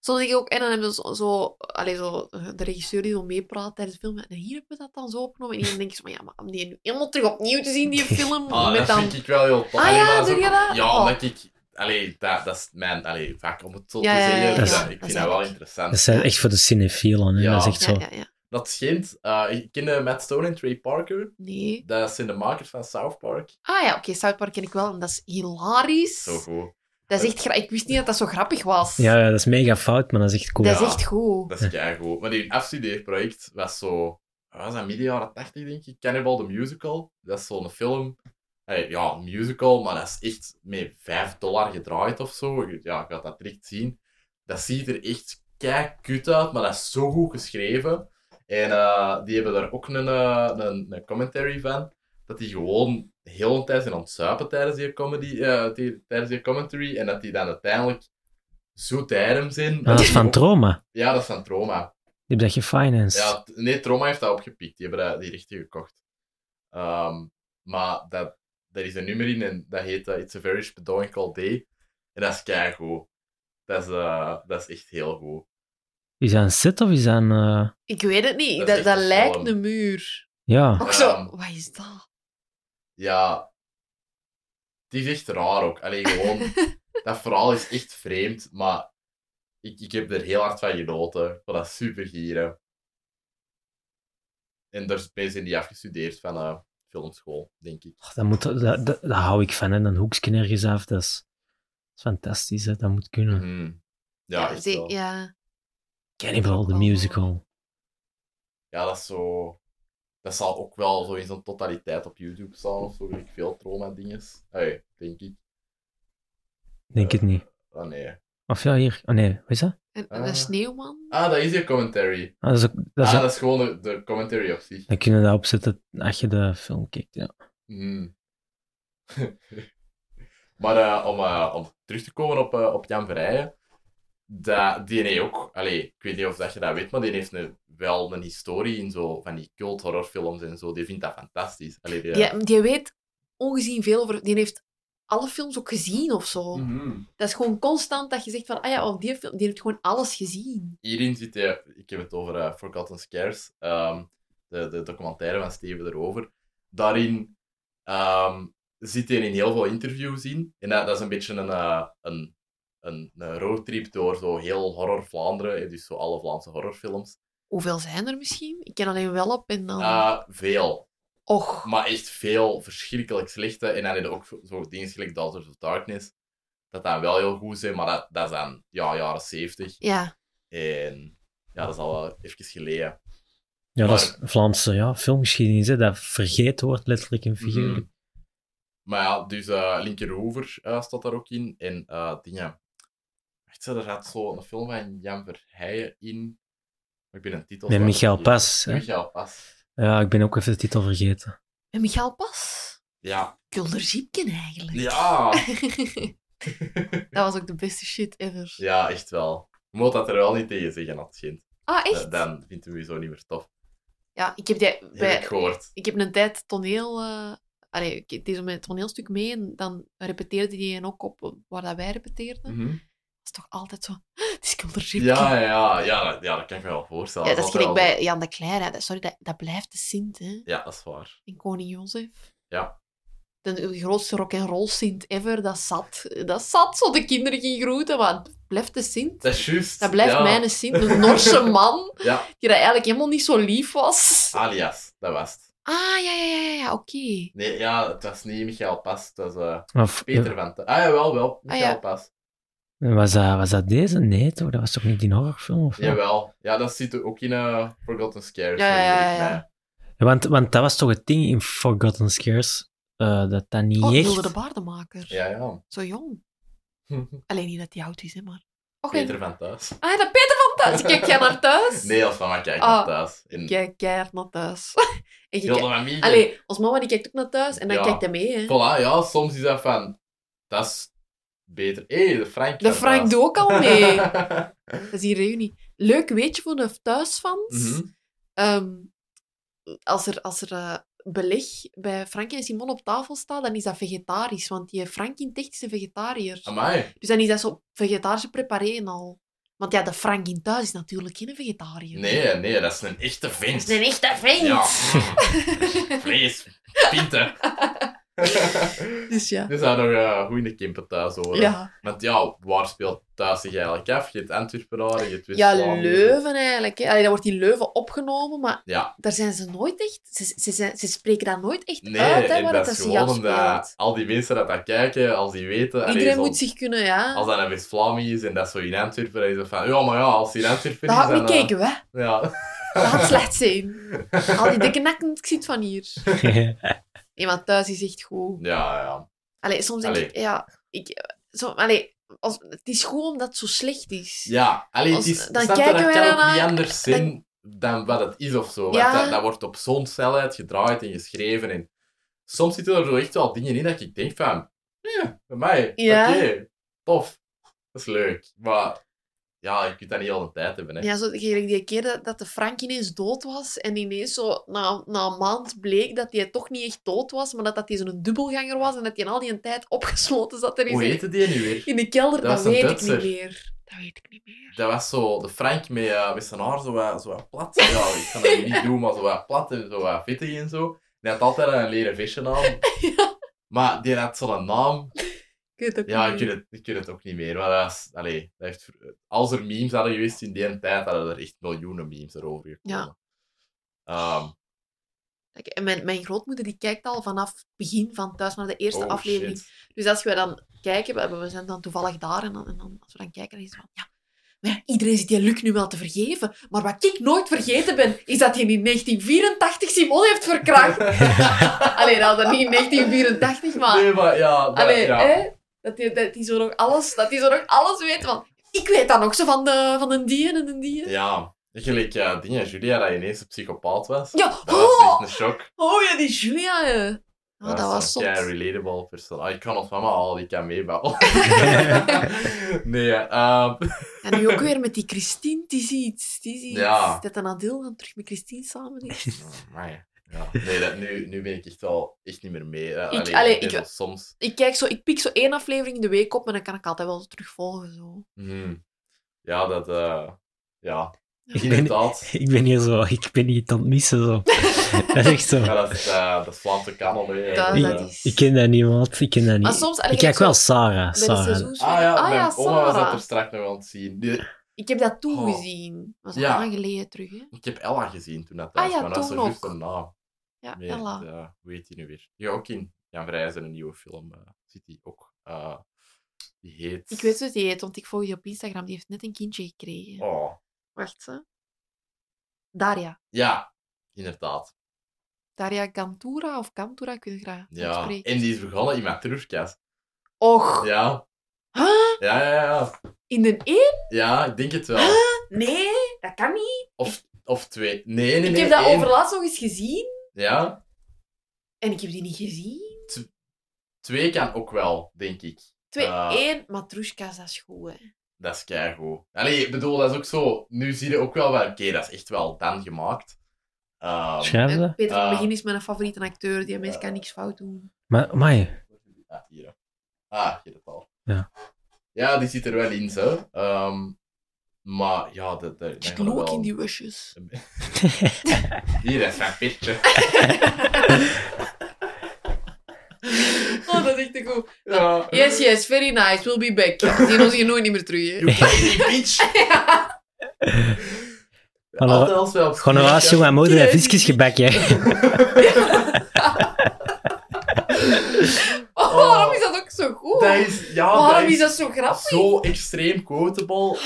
Speaker 3: Soms denk ik ook, en dan hebben ze zo, zo, allee, zo de regisseur die zo meepraat tijdens de film. En hier hebben we dat dan zo opgenomen. En dan denk ik zo, maar ja, maar om die nu helemaal terug opnieuw te
Speaker 2: [LAUGHS]
Speaker 3: zien, die film.
Speaker 1: Ah,
Speaker 3: met
Speaker 1: dat
Speaker 3: dan...
Speaker 1: vind ik wel heel tof.
Speaker 3: Ah
Speaker 1: Allee, maar
Speaker 3: ja,
Speaker 1: is
Speaker 3: doe
Speaker 1: ook-
Speaker 3: je dat?
Speaker 1: Ja,
Speaker 3: Oh.
Speaker 1: omdat ik... Allee, dat, dat is mijn allee, vak, om het zo
Speaker 3: Ja,
Speaker 1: te
Speaker 3: ja, ja,
Speaker 1: zeggen.
Speaker 3: ja,
Speaker 1: Dus
Speaker 2: ja.
Speaker 1: dat- ik
Speaker 3: Dat
Speaker 1: vind
Speaker 3: is
Speaker 1: dat wel
Speaker 3: eigenlijk-
Speaker 1: interessant.
Speaker 2: Dat is echt voor de cinefielen. Hè.
Speaker 1: Ja.
Speaker 2: Dat is echt
Speaker 3: Ja,
Speaker 2: zo.
Speaker 3: ja, ja.
Speaker 1: Dat schijnt. eh, ik kende Matt Stone en Trey Parker.
Speaker 3: Nee.
Speaker 1: Dat zijn de makers van South Park.
Speaker 3: Ah ja, oké, South Park ken ik wel. En dat is hilarisch.
Speaker 1: Zo goed.
Speaker 3: Dat is echt gra- Ik wist niet dat dat zo grappig was.
Speaker 2: Ja, ja, dat is mega fout, maar dat is echt cool.
Speaker 3: Dat
Speaker 1: Ja.
Speaker 3: is echt goed.
Speaker 1: Dat is keigoed. Maar die afstudeerproject was zo... wat was dat midden jaren 80, denk ik? Cannibal the Musical. Dat is zo'n film... Hey, ja, een musical, maar dat is echt met 5 dollar gedraaid of zo. Je- Ja, je gaat dat direct zien. Dat ziet er echt kut uit, maar dat is zo goed geschreven. En eh, die hebben daar ook een, eh, een, een commentary van. Dat die gewoon heel een tijd zijn aan het zuipen tijdens die, comedy, eh, die- tijdens die commentary. En dat die dan uiteindelijk zo tijden zijn.
Speaker 2: Maar Ah, dat is
Speaker 1: die
Speaker 2: van
Speaker 1: ook-
Speaker 2: trauma.
Speaker 1: ja, dat is van Troma.
Speaker 2: Je hebt dat gefinanced.
Speaker 1: Ja, t- nee, Troma heeft dat opgepikt. Die hebben dat, die rechten gekocht. Ehm, maar dat, daar is een nummer in en dat heet eh, It's a Very Spedoink All Day. En dat is keigoed. Dat is, eh, dat is echt heel goed.
Speaker 2: Is dat een set of is dat een... eh,
Speaker 3: Ik weet het niet.
Speaker 1: Dat
Speaker 3: Dat,
Speaker 1: is
Speaker 3: dat,
Speaker 1: echt een
Speaker 3: lijkt
Speaker 1: film.
Speaker 3: een muur.
Speaker 2: ja.
Speaker 3: Ook zo,
Speaker 1: Ehm.
Speaker 3: wat is dat?
Speaker 1: Ja. Het is echt raar ook. Alleen gewoon, dat verhaal is echt vreemd, maar ik, ik heb er heel hard van genoten. Ik vond dat super gieren. En daar ben je niet afgestudeerd van eh, filmschool, denk ik.
Speaker 2: Oh, dat, moet, dat, dat, dat hou ik van, hè. Een hoekje ergens af, dat is, dat is fantastisch, hè. Dat moet kunnen.
Speaker 1: Mhm. Ja, echt
Speaker 3: ze-
Speaker 1: wel. Ja.
Speaker 3: ja.
Speaker 2: Cannibal, the musical.
Speaker 1: dat is zo... Dat zal ook wel zo in zijn totaliteit op YouTube staan of zo. weet Ik veel trauma-dinges. Hey, denk ik.
Speaker 2: Denk het niet.
Speaker 1: Ah, nee.
Speaker 2: Of ja, hier. Oh nee, wat is dat?
Speaker 3: En, en
Speaker 1: Ah.
Speaker 3: een sneeuwman?
Speaker 1: Ah, dat is je commentary.
Speaker 2: Ah, dat is ook, dat is
Speaker 1: Ah,
Speaker 2: ook-
Speaker 1: dat is gewoon de, de commentary op zich.
Speaker 2: Dan kun je dat opzetten als je de film kijkt, ja.
Speaker 1: Mm. [LAUGHS] maar eh, om, eh, om terug te komen op, eh, op Jan Verheyen, dat, die heeft ook, allee, ik weet niet of dat je dat weet, maar die heeft een, wel een historie in zo van die cult horrorfilms en zo. Die vindt dat fantastisch. Allee, die,
Speaker 3: Ja. die weet ongezien veel over... Die heeft alle films ook gezien of zo.
Speaker 1: Mhm.
Speaker 3: Dat is gewoon constant dat je zegt van... Ah ja, oh, die, film, die heeft gewoon alles gezien.
Speaker 1: Hierin zit hij, ik heb het over eh, Forgotten Scares, ehm, de, de documentaire van Steven erover. Daarin ehm, zit hij in heel veel interviews in. En dat, dat is een beetje een, eh, een, een, een roadtrip door zo heel horror Vlaanderen, eh, dus zo alle Vlaamse horrorfilms.
Speaker 3: Hoeveel zijn er misschien? Ik ken alleen wel op en dan...
Speaker 1: Eh, veel,
Speaker 3: och.
Speaker 1: maar echt veel verschrikkelijk slechte. En dan heb je ook zo- zo dingen gelijk Daughters of Darkness, dat dan wel heel goed zijn, maar dat, dat is dan ja, jaren 70.
Speaker 3: Ja.
Speaker 1: En ja, dat is al wel even geleden.
Speaker 2: Ja, dat is Vlaamse ja, filmgeschiedenis, hè. Dat vergeten wordt letterlijk en figuurlijk.
Speaker 1: Mhm. Maar ja, dus eh Linkerhoever eh, staat daar ook in. En eh dingen. Wacht, er zat zo een film van Jan Verheijen in. Maar ik ben een titel.
Speaker 2: Nee,
Speaker 1: zwaar
Speaker 2: Michael
Speaker 1: vergeten.
Speaker 2: Pas, hè.
Speaker 1: Michael Pas.
Speaker 2: Ja, ik ben ook even de titel vergeten.
Speaker 3: En Michael Pas?
Speaker 1: Ja.
Speaker 3: Kulderzieken eigenlijk.
Speaker 1: Ja.
Speaker 3: dat was ook de beste shit ever.
Speaker 1: ja, echt wel. Je moet dat er wel niet tegen zeggen, Adjent.
Speaker 3: Ah, echt?
Speaker 1: Dan vindt hij me zo niet meer tof.
Speaker 3: Ja, ik heb, die, bij-
Speaker 1: Heb ik gehoord.
Speaker 3: ik heb een tijd toneel... eh allee, ik het is om een toneelstuk mee en dan repeteerde die en ook op eh, waar dat wij repeteerden.
Speaker 1: Mhm.
Speaker 3: Dat is toch altijd zo... [GASPS] Het is Kulderzieken.
Speaker 1: Ja, ja, ja, dat, ja, dat kan ik me wel voorstellen.
Speaker 3: Ja, dat is
Speaker 1: altijd
Speaker 3: gelijk
Speaker 1: wel
Speaker 3: bij Jan de Klein. hè. Dat- Sorry, dat, dat blijft de Sint, hè.
Speaker 1: zo- Ja, dat is waar.
Speaker 3: En koning Jozef.
Speaker 1: Ja.
Speaker 3: De, de grootste rock'n'roll Sint ever, dat zat. Dat zat zo, de kinderen gingen groeten, maar het blijft de Sint.
Speaker 1: Dat is juist.
Speaker 3: Dat blijft
Speaker 1: ja.
Speaker 3: mijn Sint,
Speaker 1: [LAUGHS]
Speaker 3: een Norse man.
Speaker 1: Ja, Ah.
Speaker 3: die dat eigenlijk helemaal niet zo lief was.
Speaker 1: alias, dat was het.
Speaker 3: Ah, ja, ja, ja, ja, ja, oké.
Speaker 1: Nee, ja, het was niet Michael Pas, het was eh,
Speaker 2: Of,
Speaker 1: Peter van Te- Ah ja, wel, wel. Michael
Speaker 3: ja.
Speaker 1: Pas.
Speaker 2: eh, was, dat, was dat deze? Nee, toch? Dat was toch niet die horrorfilm? Of wel?
Speaker 1: Jawel. Ja, dat zit ook in eh, Forgotten Scares.
Speaker 3: Ja, ja, ja,
Speaker 1: herinner ik
Speaker 3: ja.
Speaker 1: mij.
Speaker 2: Ja, Want, want dat was toch het ding in Forgotten Scares, eh, dat dat niet
Speaker 3: Oh,
Speaker 2: echt...
Speaker 3: Hilde de baardenmaker.
Speaker 1: Ja, ja.
Speaker 3: Zo
Speaker 1: [LAUGHS]
Speaker 3: jong. Alleen niet dat hij oud is, hè, maar... Oké.
Speaker 1: Peter van Thuis.
Speaker 3: Ah, dat Peter van thuis. Kijk jij naar thuis?
Speaker 1: Nee, als van maar kijk
Speaker 3: Ah.
Speaker 1: naar Thuis. In
Speaker 3: Kijk keihard naar thuis. [LAUGHS] en je
Speaker 1: Hilde
Speaker 3: kijkt-
Speaker 1: van Miegen.
Speaker 3: Allee, ons mama die kijkt ook naar thuis en dan
Speaker 1: Ja.
Speaker 3: kijkt hij mee, hè.
Speaker 1: Voilà, ja, soms is dat van... Dat is beter. Hé, de Frank
Speaker 3: De
Speaker 1: van
Speaker 3: Frank
Speaker 1: Thuis.
Speaker 3: doet ook
Speaker 1: [LAUGHS]
Speaker 3: al mee. dat is die reunie. Leuk weetje voor de thuisfans.
Speaker 1: Mhm.
Speaker 3: Ehm, als er, als er eh, beleg bij Frankie en Simon op tafel staat, dan is dat vegetarisch. Want die Frankie in Ticht is een vegetariër.
Speaker 1: Ah, Amai.
Speaker 3: Dus dan is dat zo vegetarische prepareren al. Want ja, de Frank in thuis is natuurlijk geen vegetariër.
Speaker 1: Nee, nee, dat is een echte vent.
Speaker 3: Dat is een echte vriend.
Speaker 1: Ja. [LAUGHS] Vlees. Pinten.
Speaker 3: Dus ja.
Speaker 1: Dus daar nog eh, goed in de kimpen thuis horen.
Speaker 3: Ja,
Speaker 1: Want ja, waar speelt thuis zich eigenlijk af? Je hebt Antwerpenaren, je hebt
Speaker 3: ja
Speaker 1: West-Vlaanderen.
Speaker 3: Leuven eigenlijk. Hè. Allee, dat wordt in Leuven opgenomen, maar
Speaker 1: Ja,
Speaker 3: daar zijn ze nooit echt... Ze, ze, zijn- ze spreken dat nooit echt
Speaker 1: nee,
Speaker 3: uit, hè,
Speaker 1: en
Speaker 3: waar
Speaker 1: dat
Speaker 3: dat
Speaker 1: is
Speaker 3: zich
Speaker 1: gewoon
Speaker 3: afspeelt.
Speaker 1: omdat al die mensen dat daar kijken, als die weten... allee,
Speaker 3: Iedereen
Speaker 1: zo-
Speaker 3: moet zich kunnen, ja.
Speaker 1: Als dat een West-Vlaming is en dat zo in Antwerpen, dan is het van... Ja, maar ja, als die in Antwerpen
Speaker 3: Dat
Speaker 1: is,
Speaker 3: had ik
Speaker 1: dan...
Speaker 3: niet
Speaker 1: eh,
Speaker 3: kijken, hè.
Speaker 1: Ja. [LAUGHS]
Speaker 3: Dat had slecht zijn. Al die dikke nakken, ik zie het van hier. Nee, maar thuis is echt goed.
Speaker 1: ja, ja.
Speaker 3: Allee, soms denk
Speaker 1: Allee.
Speaker 3: ik, ja, ik, zo, allee, als, het is goed omdat het zo slecht is.
Speaker 1: Ja, allee,
Speaker 3: Als-
Speaker 1: het is...
Speaker 3: dan
Speaker 1: snap je,
Speaker 3: kijken
Speaker 1: dat
Speaker 3: wij
Speaker 1: kan ook
Speaker 3: daarna-
Speaker 1: niet anders zijn dan wat het is of zo. Want
Speaker 3: Ja.
Speaker 1: dat, dat wordt op zo'n snelheid gedraaid en geschreven en... Soms zitten er zo echt wel dingen in dat ik denk van... Ja, bij mij.
Speaker 3: Ja.
Speaker 1: Oké, tof. Dat is leuk. Maar ja, je kunt dat niet al een tijd hebben, hè.
Speaker 3: Ja, zo, gelijk die keer dat, dat de Frank ineens dood was en ineens zo na, na een maand bleek dat hij toch niet echt dood was, maar dat dat hij zo'n dubbelganger was en dat hij in al die tijd opgesloten zat er
Speaker 1: Hoe
Speaker 3: in,
Speaker 1: heette die nu weer?
Speaker 3: in de kelder,
Speaker 1: Dat
Speaker 3: dat,
Speaker 1: was een
Speaker 3: weet ik
Speaker 1: Duitser.
Speaker 3: niet meer. Dat Dat weet ik niet meer.
Speaker 1: Dat was zo, de Frank met, eh, met zijn haar zo wat, zo wat plat. Ja, ik kan dat niet doen, maar zo wat plat en zo wat vittig en zo. Die had altijd een leren visje aan.
Speaker 3: [LAUGHS] Ja.
Speaker 1: Maar die had zo'n naam.
Speaker 3: Ik weet het ook
Speaker 1: Ja, ik
Speaker 3: niet
Speaker 1: weet
Speaker 3: meer.
Speaker 1: het, ik weet het ook niet meer. Maar dat is, allee, dat heeft, als er memes hadden geweest in die tijd, hadden er echt miljoenen memes erover gekomen. Ehm,
Speaker 3: Ik- en mijn, mijn grootmoeder die kijkt al vanaf het begin van thuis naar de eerste
Speaker 1: oh,
Speaker 3: aflevering.
Speaker 1: shit.
Speaker 3: Dus als we dan kijken, we- we zijn dan toevallig daar en dan, en dan als we dan kijken, dan is het van ja. Maar ja, iedereen zit die Luc nu wel te vergeven. Maar wat ik nooit vergeten ben, is dat hij in 1984 Simon heeft
Speaker 1: [LAUGHS]
Speaker 3: verkracht. Alleen dat was dan niet in 1984, maar.
Speaker 1: Nee, maar ja, dat,
Speaker 3: Allee, eh?
Speaker 1: ja.
Speaker 3: hè? Dat hij dat die zo nog alles, dat die zo nog alles weet. Want ik weet dat nog zo van de, van een die en een die.
Speaker 1: Ja, gelijk eh dingen, Julia, dat je ineens een psychopaat was.
Speaker 3: Ja,
Speaker 1: Dat was echt
Speaker 3: oh,
Speaker 1: een shock.
Speaker 3: oh ja, die Julia. hè. Ja, Ah, dat was
Speaker 1: een kei
Speaker 3: zot.
Speaker 1: relatable persoon. Ah, ik kan ons mama al, die kan
Speaker 3: [LAUGHS]
Speaker 1: meebouwen. nee, eh, [LAUGHS]
Speaker 3: En nu ook weer met die Christine, die ziet. Die ziet
Speaker 1: Ja.
Speaker 3: dat een Adil dan terug met Christine samen is.
Speaker 1: amai. ja. Nee, dat, nu, nu ben ik echt al echt niet meer mee. Eh,
Speaker 3: Ik-
Speaker 1: allee,
Speaker 3: allee,
Speaker 1: ik ben
Speaker 3: ik-
Speaker 1: wel soms.
Speaker 3: Ik, kijk zo, ik pik zo één aflevering in de week op, maar dan kan ik altijd wel terugvolgen. Zo.
Speaker 1: Mhm. Ja, dat. eh, ja,
Speaker 3: Ja.
Speaker 2: ben-
Speaker 1: inderdaad.
Speaker 2: [LAUGHS] Ik ben hier zo, ik ben niet aan het missen.
Speaker 3: [LAUGHS]
Speaker 2: Zo. dat is echt zo.
Speaker 1: Ja, dat is, eh, dat is Vlaamse kanon. hè.
Speaker 3: Dat,
Speaker 1: Eh,
Speaker 3: dat is...
Speaker 2: Ik ken dat niet, maat. Ik ken dat
Speaker 3: Maar
Speaker 2: niet.
Speaker 3: soms... allee,
Speaker 2: Ik kijk
Speaker 3: Ah, zo
Speaker 2: wel Sarah.
Speaker 3: bij de
Speaker 2: Sarah.
Speaker 3: seizoens-
Speaker 1: Ah ja,
Speaker 3: Ah
Speaker 1: mijn
Speaker 3: ja,
Speaker 1: oma was dat
Speaker 3: Sarah.
Speaker 1: er straks nog aan het zien. Die-
Speaker 3: Ik heb dat toen
Speaker 1: Oh.
Speaker 3: gezien. Dat was
Speaker 1: Ja.
Speaker 3: lang geleden terug, hè.
Speaker 1: ik heb Ella gezien toen dat
Speaker 3: Ah
Speaker 1: thuis
Speaker 3: ja,
Speaker 1: kwam. Dat is
Speaker 3: toen
Speaker 1: zo juist
Speaker 3: ook.
Speaker 1: een naam.
Speaker 3: Ja,
Speaker 1: Meer,
Speaker 3: Ella.
Speaker 1: eh, hoe heet die nu weer? Ja, ook in Jan Vrijzen, een nieuwe film. eh, zit die ook. Eh, die heet...
Speaker 3: Ik weet hoe die heet, want ik volg die op Instagram. Die heeft net een kindje gekregen.
Speaker 1: Oh,
Speaker 3: Wacht, hè. Daria.
Speaker 1: ja, inderdaad.
Speaker 3: Daria Cantura of Cantura, kun je graag
Speaker 1: Ja.
Speaker 3: uitspreken.
Speaker 1: En die is begonnen in mijn terugkast.
Speaker 3: Och.
Speaker 1: Ja.
Speaker 3: Huh?
Speaker 1: Ja, ja, ja.
Speaker 3: In de E?
Speaker 1: Ja, ik denk het wel.
Speaker 3: Nee, dat kan niet.
Speaker 1: Of twee. Nee, nee,
Speaker 3: ik
Speaker 1: nee.
Speaker 3: heb dat
Speaker 1: één.
Speaker 3: overlaatst nog eens gezien.
Speaker 1: Ja,
Speaker 3: En ik heb die niet gezien.
Speaker 1: twee kan ook wel, denk ik.
Speaker 3: Twee,
Speaker 1: Ah.
Speaker 3: één. Matrushka's, dat is goed, hè.
Speaker 1: Dat is keigoed. Allee, ik bedoel, dat is ook zo... Nu zie je ook wel waar... Oké, dat is echt wel dan gemaakt. Ehm,
Speaker 2: Schrijf dat?
Speaker 3: En Peter van
Speaker 1: Ah.
Speaker 3: Begin is mijn favoriete acteur. Die mens kan niks fout doen.
Speaker 2: Maar, maar
Speaker 1: Ah, hier. hè. Ah, hier het al.
Speaker 2: Ja.
Speaker 1: Ja, die zit er wel in, zo. Ehm, maar ja, dat... dat dat
Speaker 3: Ik
Speaker 1: gaat
Speaker 3: geloof ook
Speaker 1: wel-
Speaker 3: in die
Speaker 1: [LAUGHS]
Speaker 3: wusjes.
Speaker 1: Hier, dat is mijn
Speaker 3: [LAUGHS]
Speaker 1: pitje.
Speaker 3: Oh, dat is echt te
Speaker 1: [LAUGHS]
Speaker 3: goed.
Speaker 1: Ja.
Speaker 3: Yes, yes, very nice. We'll be back. We zien ons hier nooit niet meer terug, hè.
Speaker 1: You fucking bitch.
Speaker 2: Hallo.
Speaker 1: Altijd als wel...
Speaker 2: gewoon een waasje, mijn moeder heeft visjes gebakken.
Speaker 3: [LAUGHS] Oh, waarom is dat ook zo goed?
Speaker 1: Dat is... Ja,
Speaker 3: waarom
Speaker 1: dat
Speaker 3: is
Speaker 1: is...
Speaker 3: dat zo grappig?
Speaker 1: Zo extreem quotable.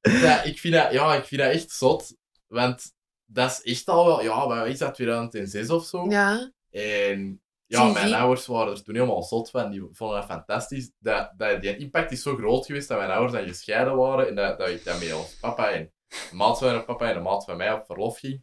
Speaker 1: dat, ik vind dat, ja, ik vind dat echt zot. Want dat is echt al wel... Ja, wat is dat? 2006 of zo?
Speaker 3: Ja.
Speaker 1: En ja,
Speaker 3: Zie,
Speaker 1: mijn
Speaker 3: zie.
Speaker 1: ouders waren er toen helemaal zot van. Die vonden dat fantastisch. Dat, dat, die impact is zo groot geweest dat mijn ouders dan gescheiden waren. En dat, dat ik dan met ons papa en de maat van mijn papa en de maat van mij op verlof ging.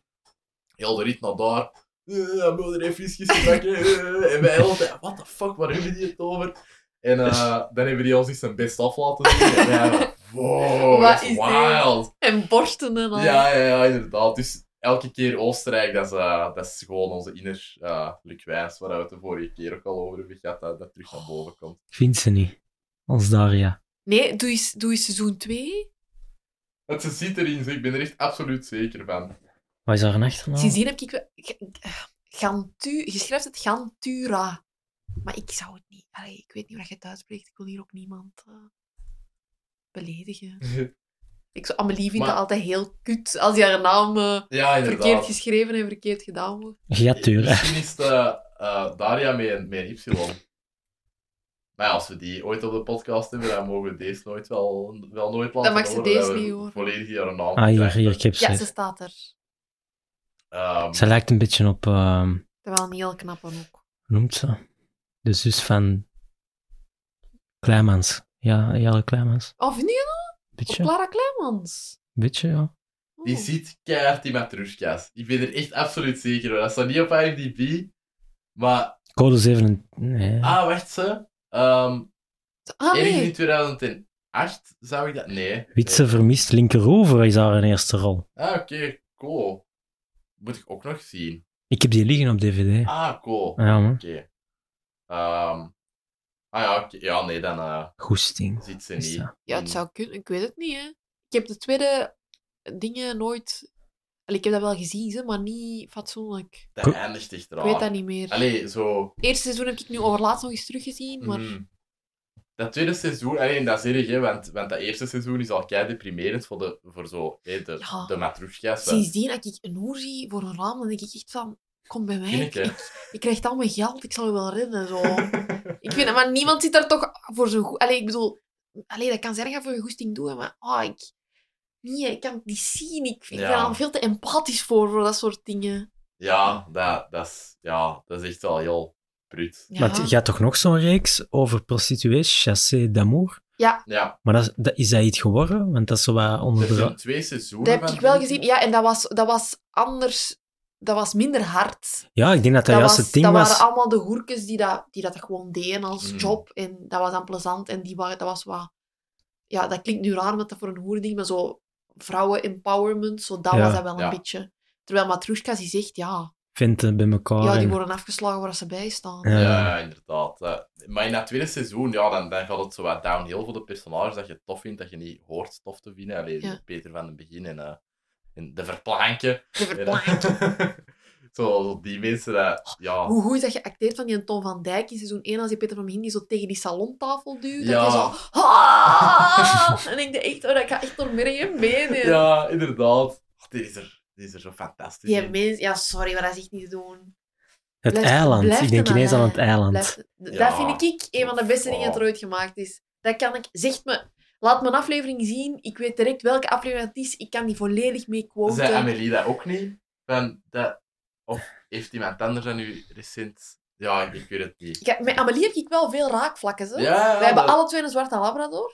Speaker 1: Heel de rit naar daar. Eh, Mijn moeder heeft visjes
Speaker 3: [LAUGHS]
Speaker 1: gebakken. eh, en wij altijd, what the fuck, waar hebben die het over? En eh, dan hebben die ons eens zijn best af laten zien. En wij waren, wow,
Speaker 3: [LAUGHS] Wat
Speaker 1: dat
Speaker 3: is
Speaker 1: is
Speaker 3: dit?
Speaker 1: wild.
Speaker 3: En borsten en al.
Speaker 1: Ja, ja, ja, inderdaad. Dus elke keer Oostenrijk, dat is, eh, dat is gewoon onze inner eh Luc Wijs, waar we het de vorige keer ook al over hebben gehad, dat dat terug naar boven komt.
Speaker 2: Ik vind ze niet. Als Daria.
Speaker 3: Nee, doe eens, doe eens seizoen 2.
Speaker 1: Want ze zit erin, zeg, ik ben er echt absoluut zeker
Speaker 3: [LAUGHS]
Speaker 1: van.
Speaker 2: Wat is haar achternaam?
Speaker 3: Sindsdien heb ik... wel- G- g- Gantu, je schrijft het Gantura. Maar ik zou het niet... Allee, ik weet niet hoe dat je het uitspreekt. Ik wil hier ook niemand eh, beledigen. Ik zou, Amelie vindt
Speaker 1: Maar-
Speaker 3: dat altijd heel kut als je haar naam eh,
Speaker 1: ja, inderdaad.
Speaker 3: verkeerd geschreven en verkeerd gedaan wordt.
Speaker 2: Ja, tuurlijk.
Speaker 1: Misschien is het eh, eh, Daria met een, met een Y. Maar ja, als we die ooit op de podcast hebben, dan mogen we deze nooit wel, wel nooit laten
Speaker 3: mag ze
Speaker 1: horen,
Speaker 3: deze
Speaker 1: dat we
Speaker 3: niet horen.
Speaker 1: Volledig haar naam
Speaker 2: Ah, hier,
Speaker 1: krijgen.
Speaker 2: hier, ik heb
Speaker 3: Ja, ze
Speaker 2: ze.
Speaker 3: staat er.
Speaker 1: Ehm,
Speaker 2: Ze lijkt een beetje op, ehm, hoe
Speaker 3: Terwijl een heel knappe ook.
Speaker 2: noemt ze? De zus van Kleimans. Ja, Jelle Kleimans.
Speaker 3: Oh, vind je dat?
Speaker 2: Beetje,
Speaker 3: Clara Kleimans.
Speaker 2: beetje, ja.
Speaker 3: Oh.
Speaker 1: Die zit keihard in Matrushka's. Ik ben er echt absoluut zeker van. Dat staat niet op IMDb. Maar,
Speaker 2: Code 7. Nee.
Speaker 1: ah, wacht ze. Ehm
Speaker 3: Ah,
Speaker 1: Ergens
Speaker 3: nee.
Speaker 1: in 2008 zou ik dat. Nee.
Speaker 2: Witse vermist linkerover is haar een eerste rol.
Speaker 1: Nee. Ah, oké, cool. Moet ik ook nog zien.
Speaker 2: Ik heb die liggen op DVD.
Speaker 1: Ah, cool.
Speaker 2: Ja, man.
Speaker 1: Oké. Ehm, Ah ja, oké. ja nee, dan eh,
Speaker 2: Goesting.
Speaker 1: ziet ze
Speaker 2: Is
Speaker 1: niet.
Speaker 2: dat.
Speaker 3: Ja, het zou kunnen. Ik weet het niet, hè. Ik heb de tweede dingen nooit... Allee, ik heb dat wel gezien, hè, maar niet fatsoenlijk.
Speaker 1: Dat eindigt echt
Speaker 3: Ik
Speaker 1: raar.
Speaker 3: weet dat niet meer. Het
Speaker 1: Allee, zo...
Speaker 3: eerste seizoen heb ik nu overlaatst nog eens teruggezien, maar...
Speaker 1: Mhm. Dat tweede seizoen, alleen dat is erg, hè, want, want dat eerste seizoen is al kei deprimerend voor, de, voor zo, hè, de,
Speaker 3: Ja.
Speaker 1: de matroesjes.
Speaker 3: Sindsdien, als ik een hoer zie voor een raam, dan denk ik echt van... Kom bij mij,
Speaker 1: Ken ik, hè.
Speaker 3: ik, ik, ik krijg al mijn geld, ik zal u wel redden. Zo. ik vind, maar niemand zit daar toch voor zo goed... Allee, ik bedoel... Allee, dat kan ze erg aan voor je goesting doen, maar... ah ik... Nee, ik kan het niet zien. Ik, ik
Speaker 1: Ja.
Speaker 3: ben al veel te empathisch voor, voor dat soort dingen.
Speaker 1: Ja, dat, dat is, ja, dat is echt wel heel bruut.
Speaker 3: Ja.
Speaker 2: Maar je had toch nog zo'n reeks over prostituees, chassé d'amour?
Speaker 1: Ja,
Speaker 2: Maar dat, is- dat, is dat iets geworden? Want dat is zo wat onder
Speaker 1: er
Speaker 2: de...
Speaker 1: zijn
Speaker 2: ra-
Speaker 1: twee seizoenen.
Speaker 3: Dat heb
Speaker 1: van
Speaker 3: ik wel
Speaker 1: die.
Speaker 3: gezien. Ja, en dat was, dat was anders. Dat was minder hard.
Speaker 2: Ja, ik denk dat dat,
Speaker 3: Dat,
Speaker 2: juist
Speaker 3: was,
Speaker 2: het ding
Speaker 3: dat
Speaker 2: was.
Speaker 3: waren allemaal de hoerkes die dat, die dat gewoon deden als
Speaker 1: Mm.
Speaker 3: job. En dat was dan plezant. En die waren, dat was wat... Ja, dat klinkt nu raar omdat dat voor een hoerding, maar zo vrouwen-empowerment, zo dat
Speaker 2: Ja.
Speaker 3: was dat wel
Speaker 1: Ja.
Speaker 3: een beetje. Terwijl Matrushkas, die zegt, ja,
Speaker 2: Vinten eh, bij elkaar.
Speaker 3: ja, die
Speaker 2: en-
Speaker 3: worden afgeslagen waar ze bij staan.
Speaker 2: Oh, Ja.
Speaker 1: Ja, inderdaad. eh. maar in dat tweede seizoen, ja, dan, dan gaat het zo wat downhill voor de personages dat je tof vindt, dat je niet hoort tof te vinden. Alleen
Speaker 3: Ja.
Speaker 1: Peter van het begin en, eh, en de verplanken.
Speaker 3: De verplanking.
Speaker 1: [LAUGHS] zo, zo die mensen, dat, ja.
Speaker 3: Hoe goed is dat geacteerd van die Tom van Dijk in seizoen 1 als die Peter van Begin die zo tegen die salontafel duwt.
Speaker 1: Ja.
Speaker 3: Dat je zo... "Ah!" [LAUGHS] en ik denk echt, oh, dat gaat echt door merg en benen.
Speaker 1: Ja, inderdaad. Oh, die, is er, die is er zo fantastisch.
Speaker 3: Die
Speaker 1: in.
Speaker 3: mens... Ja, sorry, maar dat is echt niet te doen.
Speaker 2: Het
Speaker 3: Blijft-
Speaker 2: eiland.
Speaker 3: blijft
Speaker 2: ik denk
Speaker 3: een
Speaker 2: ineens aan het
Speaker 3: eiland.
Speaker 2: eiland.
Speaker 3: Blijf-
Speaker 1: Ja. oh.
Speaker 3: Dat vind ik een van de beste dingen dat er ooit gemaakt is. Dat kan ik... Zegt me... Laat mijn aflevering zien. Ik weet direct welke aflevering het is. Ik kan die volledig mee quoten.
Speaker 1: Zei Amelie dat ook niet? Van dat, of heeft iemand anders dan u recent... Ja, ik, ik weet het niet.
Speaker 3: Ik heb- met Amelie heb ik wel veel raakvlakken. Zo.
Speaker 1: Ja, ja,
Speaker 3: Wij hebben
Speaker 1: dat-
Speaker 3: alle twee een zwarte labrador.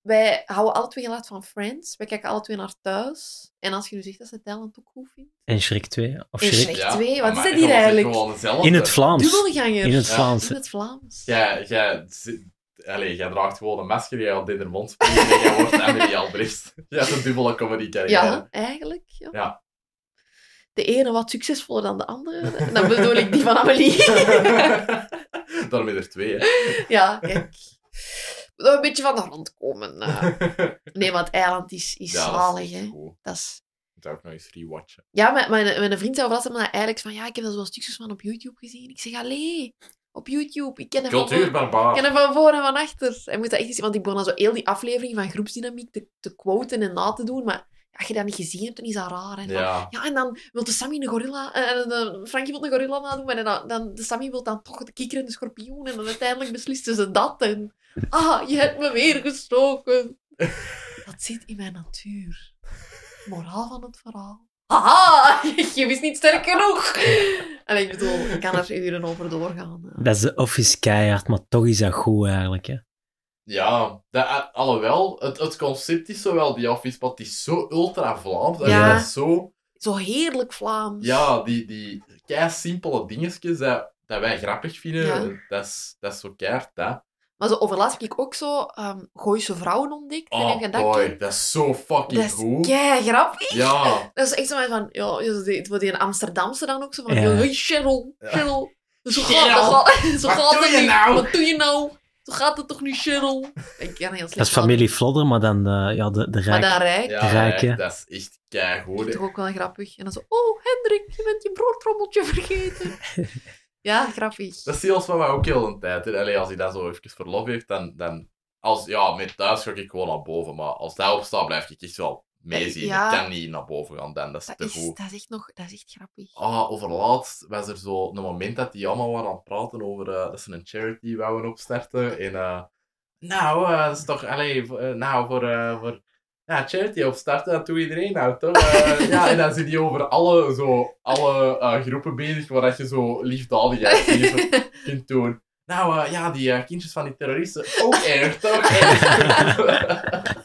Speaker 3: Wij houden alle twee gelaat van Friends. Wij kijken alle twee naar thuis. En als je nu zegt dat ze het eiland ook goed vindt...
Speaker 2: En Shrek 2. Of
Speaker 3: En
Speaker 2: Shrek.
Speaker 3: Shrek. echt twee. Wat
Speaker 1: maar
Speaker 3: is
Speaker 1: jij
Speaker 3: dat hier
Speaker 1: wilt
Speaker 3: eigenlijk?
Speaker 1: gewoon hetzelfde.
Speaker 2: In het Vlaams.
Speaker 3: Dubbelganger.
Speaker 2: In het
Speaker 1: Ja.
Speaker 2: Vlaams.
Speaker 3: In het Vlaams.
Speaker 1: Jij, jij, zit- allee, jij draagt gewoon een masker, jij had in haar mond springen en jij wordt Emily [LAUGHS] Albrecht. Jij hebt een dubbele comedy carrière.
Speaker 3: Ja, eigenlijk. Ja.
Speaker 1: Ja.
Speaker 3: De ene wat succesvoller dan de andere. Dan bedoel ik die van Amelie.
Speaker 1: [LAUGHS] Daarom is er twee, hè. [LAUGHS]
Speaker 3: ja, kijk. We moeten een beetje van de grond komen. eh. Nee, want het eiland is, is
Speaker 1: Ja, dat
Speaker 3: zalig.
Speaker 1: is echt
Speaker 3: Hè.
Speaker 1: goed.
Speaker 3: Dat is...
Speaker 1: Ik zou ook nog eens rewatchen.
Speaker 3: Ja, mijn, mijn, mijn vriend zei overlast me naar eigenlijk van ja, ik heb daar zo'n stukjes van op YouTube gezien. Ik zeg, allee, op YouTube. Ik ken hem van voor-
Speaker 1: Cultuurbarbaar.
Speaker 3: ik ken hem van voor en van achter. Hij moet dat echt eens, want ik begon dan zo heel die aflevering van groepsdynamiek te, te quoten en na te doen. Maar als je dat niet gezien hebt, dan is dat raar. Hè.
Speaker 1: Ja.
Speaker 3: Ja, en dan wil de Sammy een gorilla... eh, En de Frankie wil een gorilla nadoen, maar dan, dan, de Sammy wil dan toch de kikker en de schorpioen. En dan uiteindelijk beslisten ze dat. En, ah, je hebt me weer
Speaker 1: [LAUGHS]
Speaker 3: gestoken. Dat zit in mijn natuur. Moraal van het verhaal. Haha, [LAUGHS] je wist niet sterk genoeg. En ik bedoel, ik kan er uren over doorgaan. eh.
Speaker 2: Dat is de office keihard, maar toch is dat goed eigenlijk. Hè?
Speaker 1: Ja, dat, eh, alhoewel, het, het concept is zowel die office, maar het is zo ultra-Vlaams. en
Speaker 3: Ja.
Speaker 1: dat is zo...
Speaker 3: Zo heerlijk Vlaams.
Speaker 1: Ja, die, die kei simpele dingetjes dat, dat wij grappig vinden,
Speaker 3: Ja.
Speaker 1: dat, is, dat is zo keihard, hè.
Speaker 3: Maar zo overlaatst heb ik ook zo ehm Gooise vrouwen ontdekt. en
Speaker 1: Oh
Speaker 3: ik dat
Speaker 1: boy,
Speaker 3: ken-
Speaker 1: dat is zo fucking
Speaker 3: Dat is
Speaker 1: goed.
Speaker 3: kei grappig.
Speaker 1: Ja,
Speaker 3: Dat is echt zo van, ja, ja, zo die- voor die Amsterdamse dan ook zo van,
Speaker 2: Ja.
Speaker 3: ja. hey Cheryl, Cheryl. Zo
Speaker 1: Cheryl,
Speaker 3: gaat, dat gaat, zo
Speaker 1: wat
Speaker 3: gaat
Speaker 1: doe
Speaker 3: het
Speaker 1: je
Speaker 3: nu.
Speaker 1: nou?
Speaker 3: Wat doe je nou? Zo gaat het toch nu, Cheryl? Ik ken heel slecht.
Speaker 2: Dat is familie Flodder, maar dan de, ja, de, de rijk.
Speaker 3: Maar dan
Speaker 1: ja,
Speaker 3: rijk.
Speaker 2: Rijk, hè.
Speaker 1: echt, dat is echt
Speaker 3: Dat is
Speaker 1: keigoed.
Speaker 3: toch ook wel grappig. En dan zo, oh Hendrik, je bent je broodtrommeltje
Speaker 2: [LAUGHS]
Speaker 3: vergeten. ja, grappig.
Speaker 1: Dat is zelfs van mij ook heel een tijd. hè. Allee, als hij dan zo even verlof heeft, dan... dan als, ja, met thuis ga ik gewoon naar boven, maar als hij opstaat, blijf ik echt wel meezien.
Speaker 3: Ja.
Speaker 1: Ik kan niet naar boven gaan, dan. dat is
Speaker 3: Dat
Speaker 1: te
Speaker 3: is,
Speaker 1: goed.
Speaker 3: dat is echt nog, dat is echt grappig.
Speaker 1: Ah, overlaatst was er zo een moment dat die allemaal waren aan het praten over eh, dat ze een charity wouden opstarten. En eh, nou, eh, dat is toch alleen nou, voor, eh, voor ja, charity opstarten, dat doet iedereen nou toch? Eh, ja, en dan zit die over alle, zo, alle eh, groepen bezig waar dat je zo liefdadigheid tegen kunt doen. Nou eh, ja, die eh, kindjes van die terroristen, ook erg toch?
Speaker 3: [LAUGHS]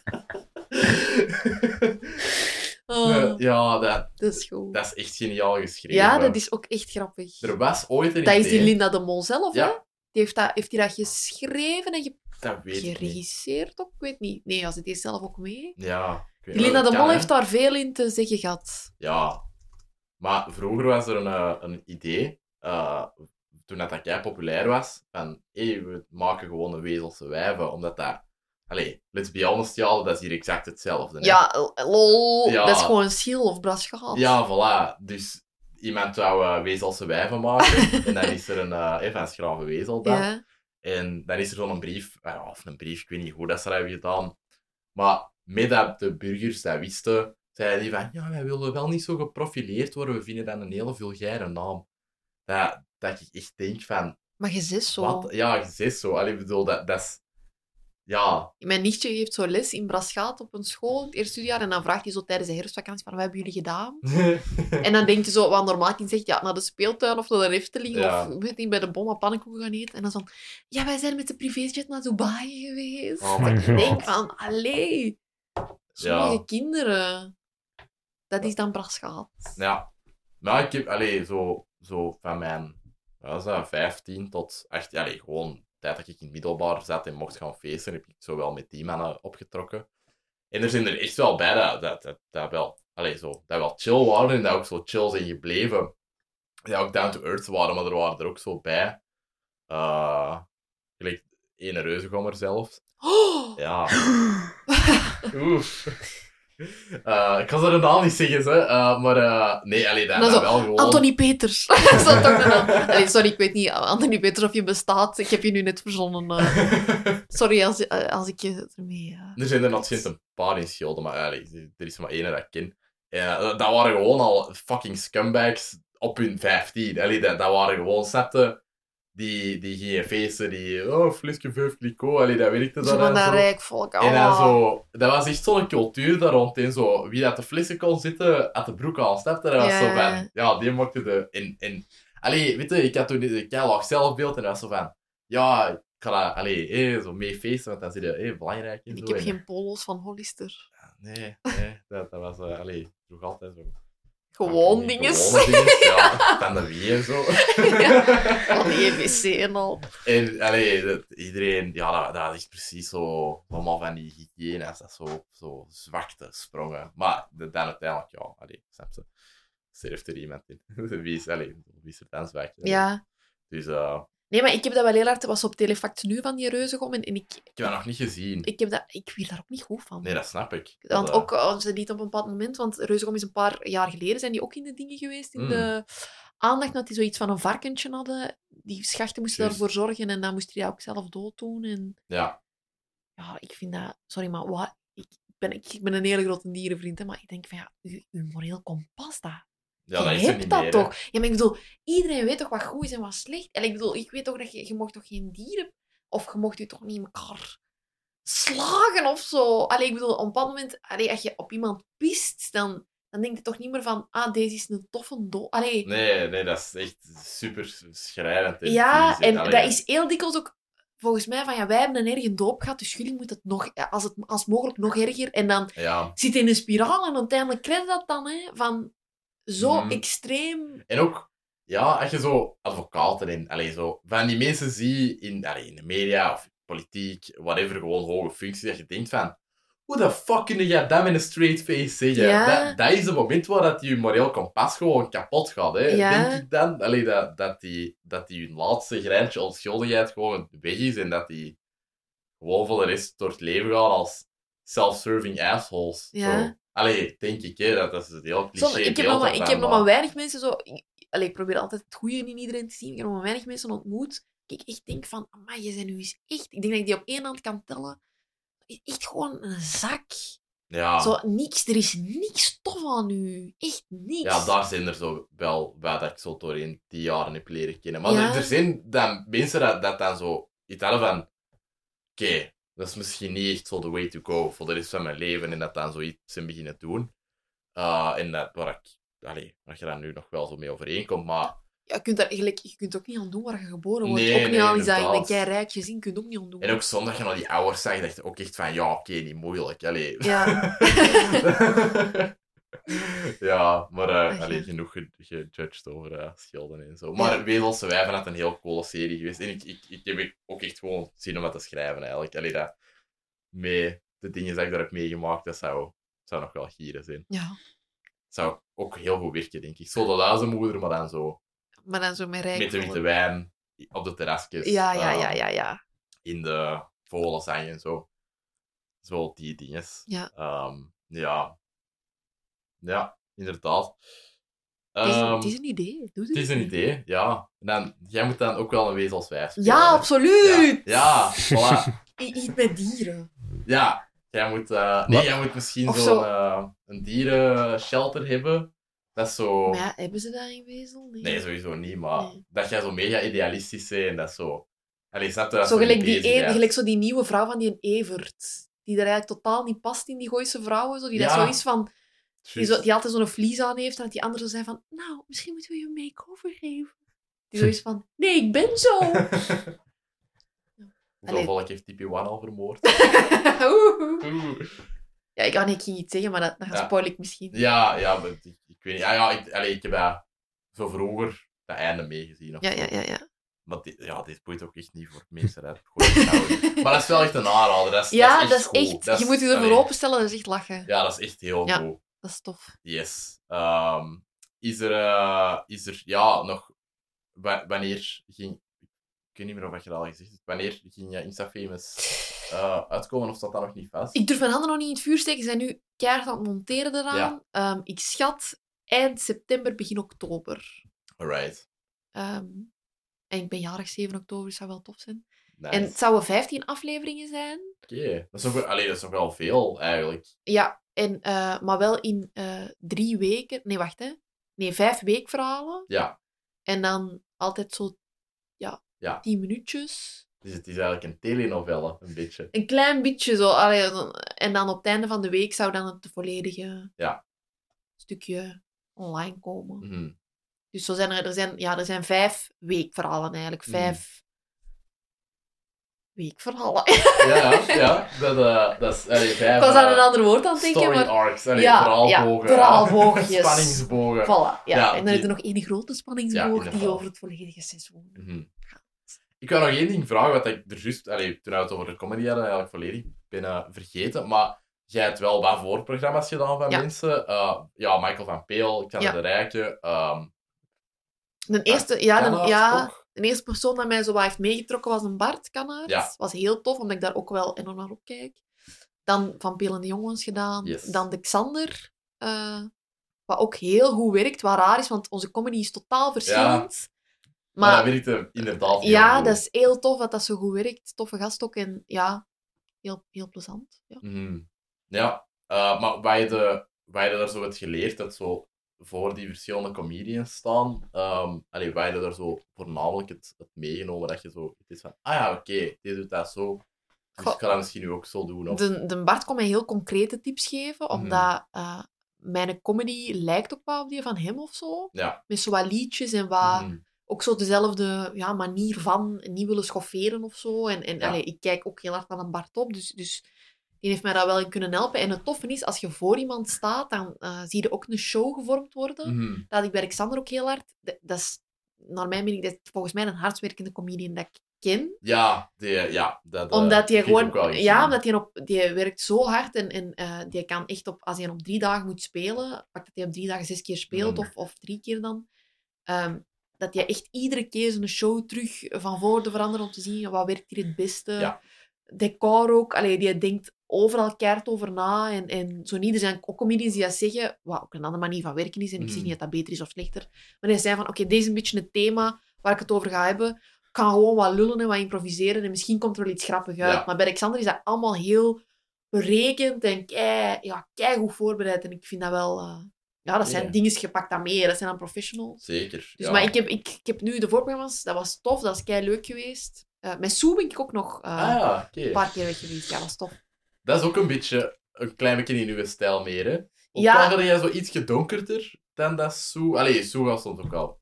Speaker 3: Oh,
Speaker 1: [LAUGHS] ja, dat,
Speaker 3: dat is goed.
Speaker 1: dat is echt geniaal geschreven.
Speaker 3: ja, dat is ook echt grappig.
Speaker 1: Er was ooit een
Speaker 3: Dat is die
Speaker 1: idee-
Speaker 3: Linda de Mol zelf,
Speaker 1: Ja.
Speaker 3: hè? Die heeft, dat, heeft die dat geschreven en
Speaker 1: Dat weet ik niet.
Speaker 3: geregisseerd ook? Ik weet niet. Nee, als het is zelf ook mee.
Speaker 1: Ja. ik weet-
Speaker 3: Linda
Speaker 1: dat
Speaker 3: de
Speaker 1: kan,
Speaker 3: Mol
Speaker 1: hè.
Speaker 3: heeft daar veel in te zeggen gehad.
Speaker 1: Ja. Maar vroeger was er een, eh, een idee eh, toen dat, dat kei populair was, van hé, we maken gewoon een wezelse wijven, omdat dat... Allee, let's be honest, ja, dat is hier exact hetzelfde. hè.
Speaker 3: Ja, l- lol.
Speaker 1: Ja.
Speaker 3: Dat is gewoon ziel of braschaat.
Speaker 1: Ja, voilà. Dus iemand zou eh, wezelse wijven maken. en dan is er een eh even een schrave wezel dan.
Speaker 3: Ja.
Speaker 1: En dan is er zo'n brief, eh, of een brief, ik weet niet hoe dat ze dat hebben gedaan. Maar met dat de burgers dat wisten, zeiden die van, ja, wij willen wel niet zo geprofileerd worden. We vinden dat een hele vulgaire naam. Dat, dat ik echt denk van,
Speaker 3: Maar je zit zo.
Speaker 1: wat? Ja, je zegt zo. Allee, ik bedoel, dat, dat is... Ja,
Speaker 3: Mijn nichtje geeft zo les in Braschaat op een school, het eerste studiejaar, en dan vraagt hij zo tijdens de herfstvakantie van, wat hebben jullie gedaan? En dan denkt je zo, wat normaal kind zegt, ja, naar de speeltuin of naar de Efteling,
Speaker 1: Ja.
Speaker 3: of ik weet niet, bij de bomma pannenkoeken gaan eten. En dan zo, van, ja, wij zijn met de privéjet naar Dubai geweest.
Speaker 1: Oh
Speaker 3: dat
Speaker 1: my
Speaker 3: ik
Speaker 2: God.
Speaker 3: denk van, allee, sommige kinderen, dat is dan Braschaat.
Speaker 1: Ja. Maar ik heb, allee, zo, zo van mijn, wat was dat, 15 tot 18, allee, gewoon de tijd dat ik in het middelbaar zat en mocht gaan feesten, heb ik zo wel met die mannen opgetrokken. En er zijn er echt wel bij dat, dat, dat, dat wel, allee, zo, dat wel chill waren en dat ook zo chill zijn gebleven. Die ook down to earth waren, maar er waren er ook zo bij. Eh gelijk ene reuzegommer zelfs.
Speaker 3: Oh,
Speaker 1: Ja. Oef. Eh, ik kan ze de naam niet zeggen, hè. eh, maar eh, nee, allee, dat,
Speaker 3: Dan
Speaker 1: dat
Speaker 3: zo,
Speaker 1: wel gewoon.
Speaker 3: Anthony Peters. [LAUGHS] Dat is toch de naam. Allee, sorry, ik weet niet, Anthony Peters, of je bestaat. Ik heb je nu net verzonnen. eh.
Speaker 1: [LAUGHS]
Speaker 3: Sorry als, eh, als ik je ermee... eh,
Speaker 1: er zijn er nog sinds een paar in Schilden, maar allee, er is maar één dat ik ken. Eh, dat dat waren gewoon al fucking scumbags op hun 15. Allee, dat, dat waren gewoon zetten die, die gingen feesten, die. Oh, flisje, vijf, kliko, allee, dat werkte
Speaker 3: Zo van
Speaker 1: dan.
Speaker 3: dat
Speaker 1: en zo.
Speaker 3: rijk volk. Oh.
Speaker 1: En
Speaker 3: allemaal.
Speaker 1: dan zo, dat was echt zo'n cultuur daar rond. En zo, wie dat de flessen kon zitten, had de broek al snapte. Dat was
Speaker 3: Ja.
Speaker 1: zo van, ja, die mocht de... En, en, allee, weet je, ik had toen een keilaag zelfbeeld en dat was zo van, ja, ik ga dat, allee, eh, zo mee feesten, want dan zit je, eh, belangrijk en
Speaker 3: Ik
Speaker 1: zo.
Speaker 3: heb
Speaker 1: En-
Speaker 3: geen polo's van Hollister.
Speaker 1: Nee, nee, dat, dat was, eh, allee, ik droeg altijd zo.
Speaker 3: Gewoon
Speaker 1: Van die
Speaker 3: dingen.
Speaker 1: Gewone dingen, ja. Van de wie en zo.
Speaker 3: Van de EVC en al.
Speaker 1: En allee, dat, iedereen, ja, dat, dat is precies zo, allemaal van die hygiëne's, dat zo, zo zwakte sprongen. Maar de- dan uiteindelijk, ja, allee, snap ze. Surft er iemand in. [LAUGHS] wie, is, allee, wie is er dan zwak?
Speaker 3: Ja.
Speaker 1: Dus eh,
Speaker 3: Nee, maar ik heb dat wel heel hard. Dat was op Telefact nu van die reuzegom. En, en ik,
Speaker 1: ik heb dat nog niet gezien.
Speaker 3: ik, heb dat, ik wil daar ook niet goed van.
Speaker 1: Nee, dat snap ik.
Speaker 3: Want
Speaker 1: Dat,
Speaker 3: ook eh, als ze niet op een bepaald moment, want Reuzegom is een paar jaar geleden, zijn die ook in de dingen geweest, in
Speaker 1: Mm.
Speaker 3: de aandacht, dat die zoiets van een varkentje hadden. Die schachten moesten
Speaker 1: Juist.
Speaker 3: daarvoor zorgen en dan moest hij dat ook zelf dood doen. En
Speaker 1: eh, ja.
Speaker 3: ja, ik vind dat, sorry, maar wat, ik, ben, ik ben een hele grote dierenvriend, hè, maar ik denk van ja, uw, uw moreel kompas, dat
Speaker 1: ja, dat
Speaker 3: je
Speaker 1: is er
Speaker 3: hebt
Speaker 1: niet
Speaker 3: dat
Speaker 1: meer. hè.
Speaker 3: toch? Ja, maar ik bedoel, iedereen weet toch wat goed is en wat slecht. En ik bedoel, ik weet toch dat je, je mocht toch geen dieren... Of je mocht je toch niet in elkaar slagen of zo. Allee, ik bedoel, op een bepaald moment... Allee, als je op iemand pist, dan, dan denk je toch niet meer van... Ah, deze is een toffe do... Allee,
Speaker 1: Nee, nee, dat is echt super schrijnend.
Speaker 3: ja,
Speaker 1: vies, hè.
Speaker 3: en
Speaker 1: Allee,
Speaker 3: dat is heel dikwijls ook... Volgens mij van, ja, wij hebben een erge doop gehad, dus jullie moeten het nog... Als het als mogelijk nog erger. En dan
Speaker 1: Ja,
Speaker 3: zit je in een spiraal en uiteindelijk krijg je dat dan, hè. Van zo
Speaker 1: Mhm.
Speaker 3: extreem...
Speaker 1: En ook, ja, als je zo advocaten en allee, zo, van die mensen zie in, allee, in de media of politiek, whatever, gewoon hoge functies, dat je denkt van, hoe de fuck kun je dat met een straight face zeggen?
Speaker 3: Ja.
Speaker 1: Dat, dat is het moment waar dat je moreel kompas gewoon kapot gaat, hè?
Speaker 3: Ja.
Speaker 1: denk ik dan. Allee, dat, dat, die, dat die hun laatste grijntje onschuldigheid gewoon weg is en dat die gewoon voor de rest door het leven gaan als self-serving assholes.
Speaker 3: Ja.
Speaker 1: Zo. Allee, denk ik, hè, dat, dat is het heel cliché
Speaker 3: Soms- ik heb,
Speaker 1: beeld
Speaker 3: nog maar, ik
Speaker 1: ervan,
Speaker 3: heb nog maar weinig mensen zo... Ik, allee, ik probeer altijd het goede in iedereen te zien. Ik heb nog maar weinig mensen ontmoet. Dat ik echt denk van, amai, je bent nu eens echt... Ik denk dat ik die op één hand kan tellen. E- Echt gewoon een zak.
Speaker 1: Ja.
Speaker 3: Zo niks, er is niks tof aan u. Echt niks.
Speaker 1: Ja, daar zijn er zo wel wat ik zo door in die jaren heb leren kennen. Maar
Speaker 3: Ja.
Speaker 1: er, er zijn dan mensen dat, dat dan zo iets hadden van... Oké, dat is misschien niet echt zo the way to go voor de rest van mijn leven. En dat dan zoiets zijn beginnen doen. Eh, en dat, waar ik... Allee, waar je daar nu nog wel zo mee overeenkomt, maar...
Speaker 3: Ja, je, kunt daar, eigenlijk, je kunt ook niet aan doen waar je geboren wordt.
Speaker 1: Nee,
Speaker 3: ook niet
Speaker 1: nee,
Speaker 3: al is dat
Speaker 1: inderdaad.
Speaker 3: jij rijk gezien, kun je ook niet aan doen.
Speaker 1: En ook zondag je naar die ouders zag, dacht je ook echt van... Ja, oké, niet moeilijk. Allee. [LAUGHS]
Speaker 3: Ja,
Speaker 1: ja, maar eh,
Speaker 3: Ach, ja.
Speaker 1: allee, genoeg ge- gejudged over eh, schilden en zo. Maar Wezelse Wijven had een heel coole serie geweest. En ik, ik, ik heb ook echt gewoon zin om dat te schrijven eigenlijk. Allee, dat, mee, de dingen die ik daar heb meegemaakt, dat zou, zou nog wel gieren zijn.
Speaker 3: ja,
Speaker 1: zou ook heel goed werken, denk ik. Zo de luizenmoeder, maar dan zo
Speaker 3: maar dan zo met rijk
Speaker 1: met de
Speaker 3: worden.
Speaker 1: witte wijn. op de terrasjes.
Speaker 3: Ja, ja,
Speaker 1: eh,
Speaker 3: ja, ja, ja.
Speaker 1: In de vogelenzang en zo. Zo die dinges.
Speaker 3: Ja.
Speaker 1: Ehm, ja. Ja, inderdaad.
Speaker 3: Het is,
Speaker 1: Ehm,
Speaker 3: het is een idee. Doe
Speaker 1: het is een idee, ja. En dan, jij moet dan ook wel een wezenlijf spelen.
Speaker 3: Ja,
Speaker 1: hè?
Speaker 3: absoluut!
Speaker 1: Ja, ja, Ah, voilà.
Speaker 3: I- Iets met dieren.
Speaker 1: Ja, jij moet, eh, nee,
Speaker 2: Wat?
Speaker 1: jij moet misschien
Speaker 3: Of
Speaker 1: zo'n
Speaker 3: zo.
Speaker 1: eh, een dierenshelter hebben. Dat is zo.
Speaker 3: Maar ja, hebben ze daar in wezen?
Speaker 1: Oh. Nee, sowieso niet, maar
Speaker 3: Nee.
Speaker 1: dat jij zo mega idealistisch bent en dat zo. Allee, snap je dat
Speaker 3: zo
Speaker 1: zo
Speaker 3: gelijk,
Speaker 1: mee
Speaker 3: die
Speaker 1: bezig
Speaker 3: een,
Speaker 1: bent?
Speaker 3: gelijk zo die nieuwe vrouw van die een Evert. Die er eigenlijk totaal niet past in die Gooise vrouwen. Zo, die dat
Speaker 1: Ja.
Speaker 3: zo is van... Die,
Speaker 1: Juist.
Speaker 3: zo, die altijd zo'n vlies aan heeft. En dat die andere zo zei van... Nou, misschien moeten we je een make-over geven.
Speaker 1: [LAUGHS]
Speaker 3: Die zo is van... Nee, ik ben [LAUGHS] zo!
Speaker 1: Hoeveel
Speaker 3: Allee.
Speaker 1: volk heeft TP1 al
Speaker 3: [LAUGHS]
Speaker 1: vermoord?
Speaker 3: Oeh.
Speaker 1: Oeh.
Speaker 3: ja, ik, ah, nee, ik ging iets zeggen, maar dat, dat
Speaker 1: Ja.
Speaker 3: spoil ik misschien.
Speaker 1: ja, ja, maar ik, ik weet niet. Ah, Ja, ja, ik, allee, ik heb ja, zo vroeger dat einde meegezien. of
Speaker 3: Ja,
Speaker 1: zo.
Speaker 3: ja, ja. ja.
Speaker 1: Maar dit, ja, dit boeit ook echt niet voor mensen. Hè. Gewoon
Speaker 3: [LAUGHS]
Speaker 1: trouwen. maar dat is wel echt een aanrader. Dat is,
Speaker 3: Ja,
Speaker 1: dat is echt, goed. Dat
Speaker 3: je
Speaker 1: is-
Speaker 3: moet je ervoor
Speaker 1: allee,
Speaker 3: openstellen, dat is echt lachen.
Speaker 1: Ja, dat is echt heel
Speaker 3: Ja.
Speaker 1: goed.
Speaker 3: Dat is tof.
Speaker 1: Yes. Ehm, is, er, eh, is er, ja, nog, wa- wanneer ging, ik weet niet meer of dat je dat al gezegd hebt, wanneer ging je Instafamous eh uitkomen of staat dat nog niet vast?
Speaker 3: Ik durf mijn handen nog niet in het vuur steken. Ze zijn nu keihard aan het monteren eraan.
Speaker 1: Ja.
Speaker 3: Ehm, ik schat eind september, begin oktober.
Speaker 1: Alright.
Speaker 3: Ehm, en ik ben jarig 7 oktober, dus dat zou wel tof zijn.
Speaker 1: Nice.
Speaker 3: En het zouden 15 afleveringen zijn.
Speaker 1: Oké. Dat, is nog wel- allee, dat is nog wel veel, eigenlijk.
Speaker 3: Ja, en, eh, maar wel in eh, drie weken. Nee, wacht hè. Nee, vijf weekverhalen.
Speaker 1: Ja.
Speaker 3: En dan altijd zo, ja,
Speaker 1: Ja.
Speaker 3: 10 minuutjes.
Speaker 1: Dus het is eigenlijk een telenovelle, een beetje.
Speaker 3: Een klein beetje zo. allee, dan- en dan op het einde van de week zou dan het volledige
Speaker 1: Ja.
Speaker 3: stukje online komen.
Speaker 1: Mhm.
Speaker 3: Dus zo zijn er, er, zijn, ja, er zijn vijf weekverhalen eigenlijk.
Speaker 1: Mhm.
Speaker 3: Vijf weekverhalen.
Speaker 1: Ja, ja, ja. Dat, eh, dat is, allee, vijf,
Speaker 3: Ik was aan
Speaker 1: eh,
Speaker 3: een ander woord aan het denken,
Speaker 1: story
Speaker 3: maar...
Speaker 1: arcs, allee,
Speaker 3: Ja,
Speaker 1: verhaalbogen.
Speaker 3: ja,
Speaker 1: [LAUGHS]
Speaker 3: verhaalboogjes.
Speaker 1: Spanningsbogen.
Speaker 3: Voilà, ja.
Speaker 1: Ja,
Speaker 3: en dan
Speaker 1: die-
Speaker 3: is er nog één grote
Speaker 1: Ja,
Speaker 3: spanningsboog die
Speaker 1: inderdaad.
Speaker 3: over het volledige seizoen
Speaker 1: Mhm.
Speaker 3: gaat.
Speaker 1: Ik wil nog één ding vragen, wat ik er juist, allee, toen we het over de comedy hadden, eigenlijk volledig ben eh, vergeten. Maar jij hebt wel wat voorprogramma's gedaan van
Speaker 3: Ja.
Speaker 1: mensen. Eh, ja, Michael van Peel, Xander de Rijke. ehm
Speaker 3: De eerste, ja, de,
Speaker 1: Kannaert
Speaker 3: ja,
Speaker 1: ook.
Speaker 3: de eerste persoon die mij zo wat heeft meegetrokken was een Bart Kanaert.
Speaker 1: Ja.
Speaker 3: was heel tof, omdat ik daar ook wel enorm naar opkijk. Dan Van Peel en de Jongens gedaan.
Speaker 1: Yes.
Speaker 3: Dan de Xander. eh, wat ook heel goed werkt, wat raar is, want onze comedy is totaal verschillend.
Speaker 1: Maar,
Speaker 3: Maar
Speaker 1: dat werkte inderdaad heel
Speaker 3: ja,
Speaker 1: goed.
Speaker 3: dat is heel tof dat dat zo goed werkt. Toffe gast ook en ja, heel, heel plezant. Ja.
Speaker 1: Mhm. Ja, eh, maar waar je, de, waar je daar zo het geleerd dat zo voor die verschillende comedians staan, ehm allee, waar je daar zo voornamelijk het, het meegenomen dat je zo, het is van, ah ja, oké, dit doet dat zo. Dus
Speaker 3: Goh.
Speaker 1: ik ga dat misschien nu ook zo doen. Of...
Speaker 3: De, de Bart kon mij heel concrete tips geven,
Speaker 1: Mhm.
Speaker 3: omdat eh, mijn comedy lijkt ook wel op die van hem of zo.
Speaker 1: Ja.
Speaker 3: Met zo wat liedjes en wat,
Speaker 1: Mhm.
Speaker 3: ook zo dezelfde ja, manier van niet willen schofferen of zo. En, en
Speaker 1: Ja.
Speaker 3: allee, ik kijk ook heel hard naar een Bart op, dus, dus die heeft mij daar wel in kunnen helpen. En het toffe is, als je voor iemand staat, dan eh, zie je ook een show gevormd worden.
Speaker 1: Mhm.
Speaker 3: Dat had ik bij Alexander ook heel hard. Dat, dat is, naar mijn mening, dat is volgens mij een hardwerkende comedian dat ik ken
Speaker 1: Ja, die, ja dat, eh, die
Speaker 3: omdat die
Speaker 1: heb ik ook wel
Speaker 3: gewoon,
Speaker 1: gezien.
Speaker 3: ja, omdat die, op, die werkt zo hard en, en eh, die kan echt op, als hij op drie dagen moet spelen, pak dat hij op drie dagen zes keer speelt
Speaker 1: Mm.
Speaker 3: of, of drie keer dan, ehm, dat hij echt iedere keer zijn show terug van voren veranderen om te zien wat werkt hier het beste.
Speaker 1: Ja.
Speaker 3: Decor ook, allee, die denkt overal keihard over na en, en zo niet. Er zijn ook comedians die dat zeggen, wat ook een andere manier van werken is en ik zeg
Speaker 1: Mm.
Speaker 3: niet dat dat beter is of slechter, maar die zijn van, oké, deze is een beetje het thema waar ik het over ga hebben ik kan gewoon wat lullen en wat improviseren en misschien komt er wel iets grappigs uit.
Speaker 1: Ja.
Speaker 3: Maar bij Alexander is dat allemaal heel berekend en kei, ja, goed voorbereid. En ik vind dat wel... eh, ja, dat zijn
Speaker 1: Ja.
Speaker 3: dingen gepakt aan meer. Dat zijn dan professionals.
Speaker 1: Zeker.
Speaker 3: Dus,
Speaker 1: ja.
Speaker 3: Maar ik heb, ik, ik heb nu de voorprogramma's. Dat was tof. Dat is kei leuk geweest. Eh, met Sue ben ik ook nog eh,
Speaker 1: Ah ja, oké.
Speaker 3: een paar keer weg geweest. Ja, dat was tof.
Speaker 1: Dat is ook een beetje, een klein beetje in uw stijl meer, hè? Ook
Speaker 3: Ja.
Speaker 1: al had jij zo iets gedonkerder dan dat Sue... Allee, Sue was soms ook al...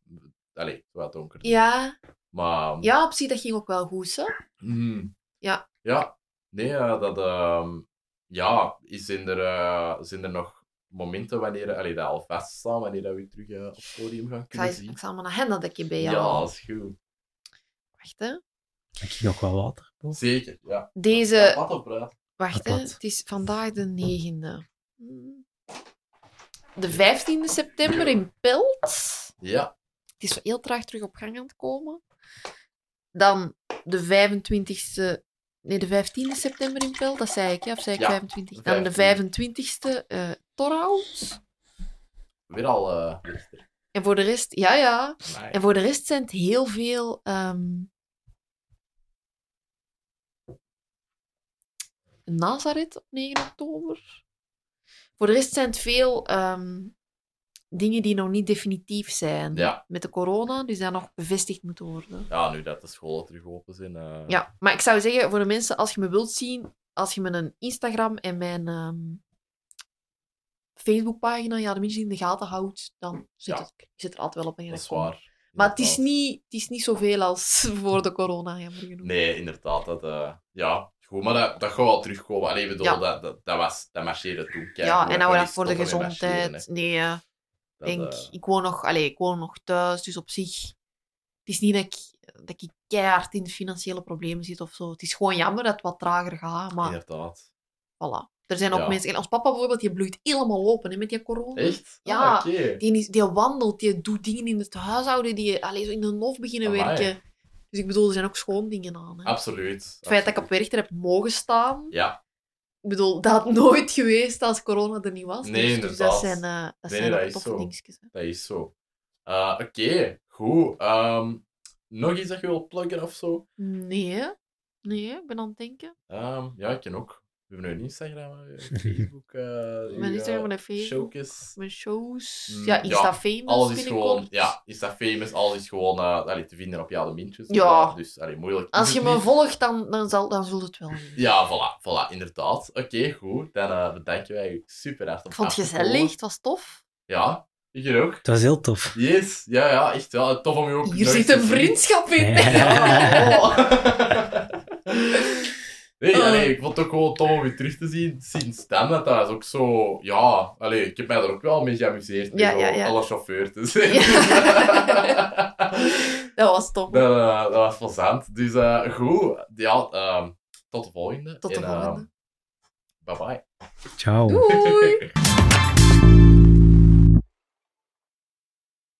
Speaker 1: Allee, wat donkerder.
Speaker 3: Ja,
Speaker 1: Maar...
Speaker 3: ja op zich, dat ging ook wel goed. Hè?
Speaker 1: mhm.
Speaker 3: Ja.
Speaker 1: Ja. Nee, eh, dat... ehm, ja, is- zijn er, eh, zijn er nog momenten wanneer... Allee, dat al vaststaan, wanneer dat we je terug eh, op het podium gaan
Speaker 3: Ik, ga,
Speaker 1: kunnen
Speaker 3: eens-
Speaker 1: zien?
Speaker 3: ik zal maar naar hen dat ik je bij
Speaker 1: Ja,
Speaker 3: jou...
Speaker 1: dat is goed.
Speaker 3: Wacht, hè.
Speaker 2: Ik [LAUGHS] heb nog wel water.
Speaker 1: Zeker, ja.
Speaker 3: Deze...
Speaker 1: Wat op, praat.
Speaker 3: Wacht, hè.
Speaker 2: Apart.
Speaker 3: het is vandaag de 9e. De 15e september in Pelt.
Speaker 1: Ja.
Speaker 3: Het is zo heel traag terug op gang aan het komen. Dan de 25e... Nee, de 15e september in Pel, dat zei ik, ja? Of zei ik
Speaker 1: Ja,
Speaker 3: 25? Dan de 25e eh Torhout.
Speaker 1: Weer al eh, lichter.
Speaker 3: En voor de rest... Ja, ja.
Speaker 1: Amai.
Speaker 3: En voor de rest zijn het heel veel. ehm, Nazareth op 9 oktober. Voor de rest zijn het veel ehm, dingen die nog niet definitief zijn.
Speaker 1: Ja.
Speaker 3: Met de corona, dus dat nog bevestigd moet worden.
Speaker 1: Ja, nu dat de scholen terug open zijn. eh,
Speaker 3: Ja, maar ik zou zeggen voor de mensen, als je me wilt zien, als je mijn Instagram en mijn ehm, Facebookpagina ja, de mensen in de gaten houdt, dan zit,
Speaker 1: Ja.
Speaker 3: het, zit er altijd wel op een
Speaker 1: Dat is
Speaker 3: reactie.
Speaker 1: waar.
Speaker 3: Maar het is,
Speaker 1: Inderdaad.
Speaker 3: niet, het is niet zoveel als [LAUGHS] voor de corona, jammer genoeg.
Speaker 1: Nee, inderdaad. Dat, eh, ja, goed. Maar dat, dat gaat wel terugkomen. Allee, ik bedoel,
Speaker 3: Ja.
Speaker 1: dat, dat, dat, was, dat marcheerde toen. Kijk,
Speaker 3: ja,
Speaker 1: hoe
Speaker 3: en nou
Speaker 1: kan
Speaker 3: dat
Speaker 1: niet
Speaker 3: voor de
Speaker 1: stoppen met marcheren,
Speaker 3: gezondheid. Nee, eh,
Speaker 1: hè.
Speaker 3: denk,
Speaker 1: Dat, eh,
Speaker 3: ik, woon nog, allez, ik woon nog thuis, dus op zich... Het is niet dat ik, dat ik keihard in financiële problemen zit of zo. Het is gewoon jammer dat het wat trager gaat, maar
Speaker 1: Inderdaad.
Speaker 3: voilà. Er zijn ook
Speaker 1: Ja.
Speaker 3: mensen... En ons papa bijvoorbeeld, die bloeit helemaal open hè, met die corona.
Speaker 1: Echt?
Speaker 3: Ja.
Speaker 1: Ah, oké.
Speaker 3: Die, is- die wandelt, die doet dingen in het huishouden, die allez, zo in de nof beginnen
Speaker 1: Amai. Ah,
Speaker 3: werken. Dus ik bedoel, er zijn ook schoon dingen aan. Hè.
Speaker 1: Absoluut.
Speaker 3: Het feit dat ik op Werchter heb mogen staan,
Speaker 1: Ja,
Speaker 3: Ik bedoel, dat had nooit geweest als corona er niet was.
Speaker 1: Nee,
Speaker 3: dus, dus
Speaker 1: inderdaad.
Speaker 3: dat zijn, eh dat
Speaker 1: Nee,
Speaker 3: zijn
Speaker 1: dat
Speaker 3: wel
Speaker 1: is
Speaker 3: toffe
Speaker 1: zo.
Speaker 3: dingetjes. hè.
Speaker 1: dat is zo. Eh, Oké, goed. Ehm, nog iets dat je wilt pluggen of zo?
Speaker 3: Nee, nee, ik ben aan het denken.
Speaker 1: Ehm, ja, ik ken ook. We hebben nu een Instagram, eh, Facebook. eh uw,
Speaker 3: Mijn Instagram,
Speaker 1: eh,
Speaker 3: mijn Facebook,
Speaker 1: Showcase.
Speaker 3: mijn shows.
Speaker 1: Mm,
Speaker 3: Ja, Insta
Speaker 1: ja,
Speaker 3: Famous
Speaker 1: Alles is
Speaker 3: binnenkort.
Speaker 1: gewoon, ja, is dat famous? Alles is gewoon eh, allee, te vinden op jouw mintjes.
Speaker 3: Ja.
Speaker 1: Dus allee, moeilijk. is
Speaker 3: Als je
Speaker 1: het
Speaker 3: me
Speaker 1: niet.
Speaker 3: volgt, dan, dan, zal, dan zult het wel. weten.
Speaker 1: Ja, voilà, voilà, inderdaad. Oké, goed. Dan eh bedanken wij je super hard. om
Speaker 3: Ik vond het
Speaker 1: af te komen.
Speaker 3: gezellig, het was tof.
Speaker 1: Ja, ik hier ook.
Speaker 2: Het was heel
Speaker 3: [LAUGHS]
Speaker 2: tof.
Speaker 1: Yes, ja, ja, echt wel. Tof om je ook
Speaker 3: Hier
Speaker 1: nog eens
Speaker 3: zit een
Speaker 1: te zien.
Speaker 3: vriendschap in.
Speaker 1: Ja, oh. [LAUGHS] Nee,
Speaker 3: Oh.
Speaker 1: allee, ik vond het ook gewoon tof om je terug te zien sinds dan. Dat dat is ook zo... Ja, allee, ik heb mij er ook wel mee geamuseerd. met
Speaker 3: Ja,
Speaker 1: zo
Speaker 3: ja, ja.
Speaker 1: Alle chauffeur
Speaker 3: [LAUGHS]
Speaker 1: te zijn.
Speaker 3: dat was tof.
Speaker 1: dat, eh, dat was plezant. Dus eh, goed. Ja, ehm, tot de volgende.
Speaker 3: Tot de
Speaker 1: En, ehm,
Speaker 3: volgende.
Speaker 1: bye bye.
Speaker 2: [LAUGHS] Ciao.
Speaker 3: Doei!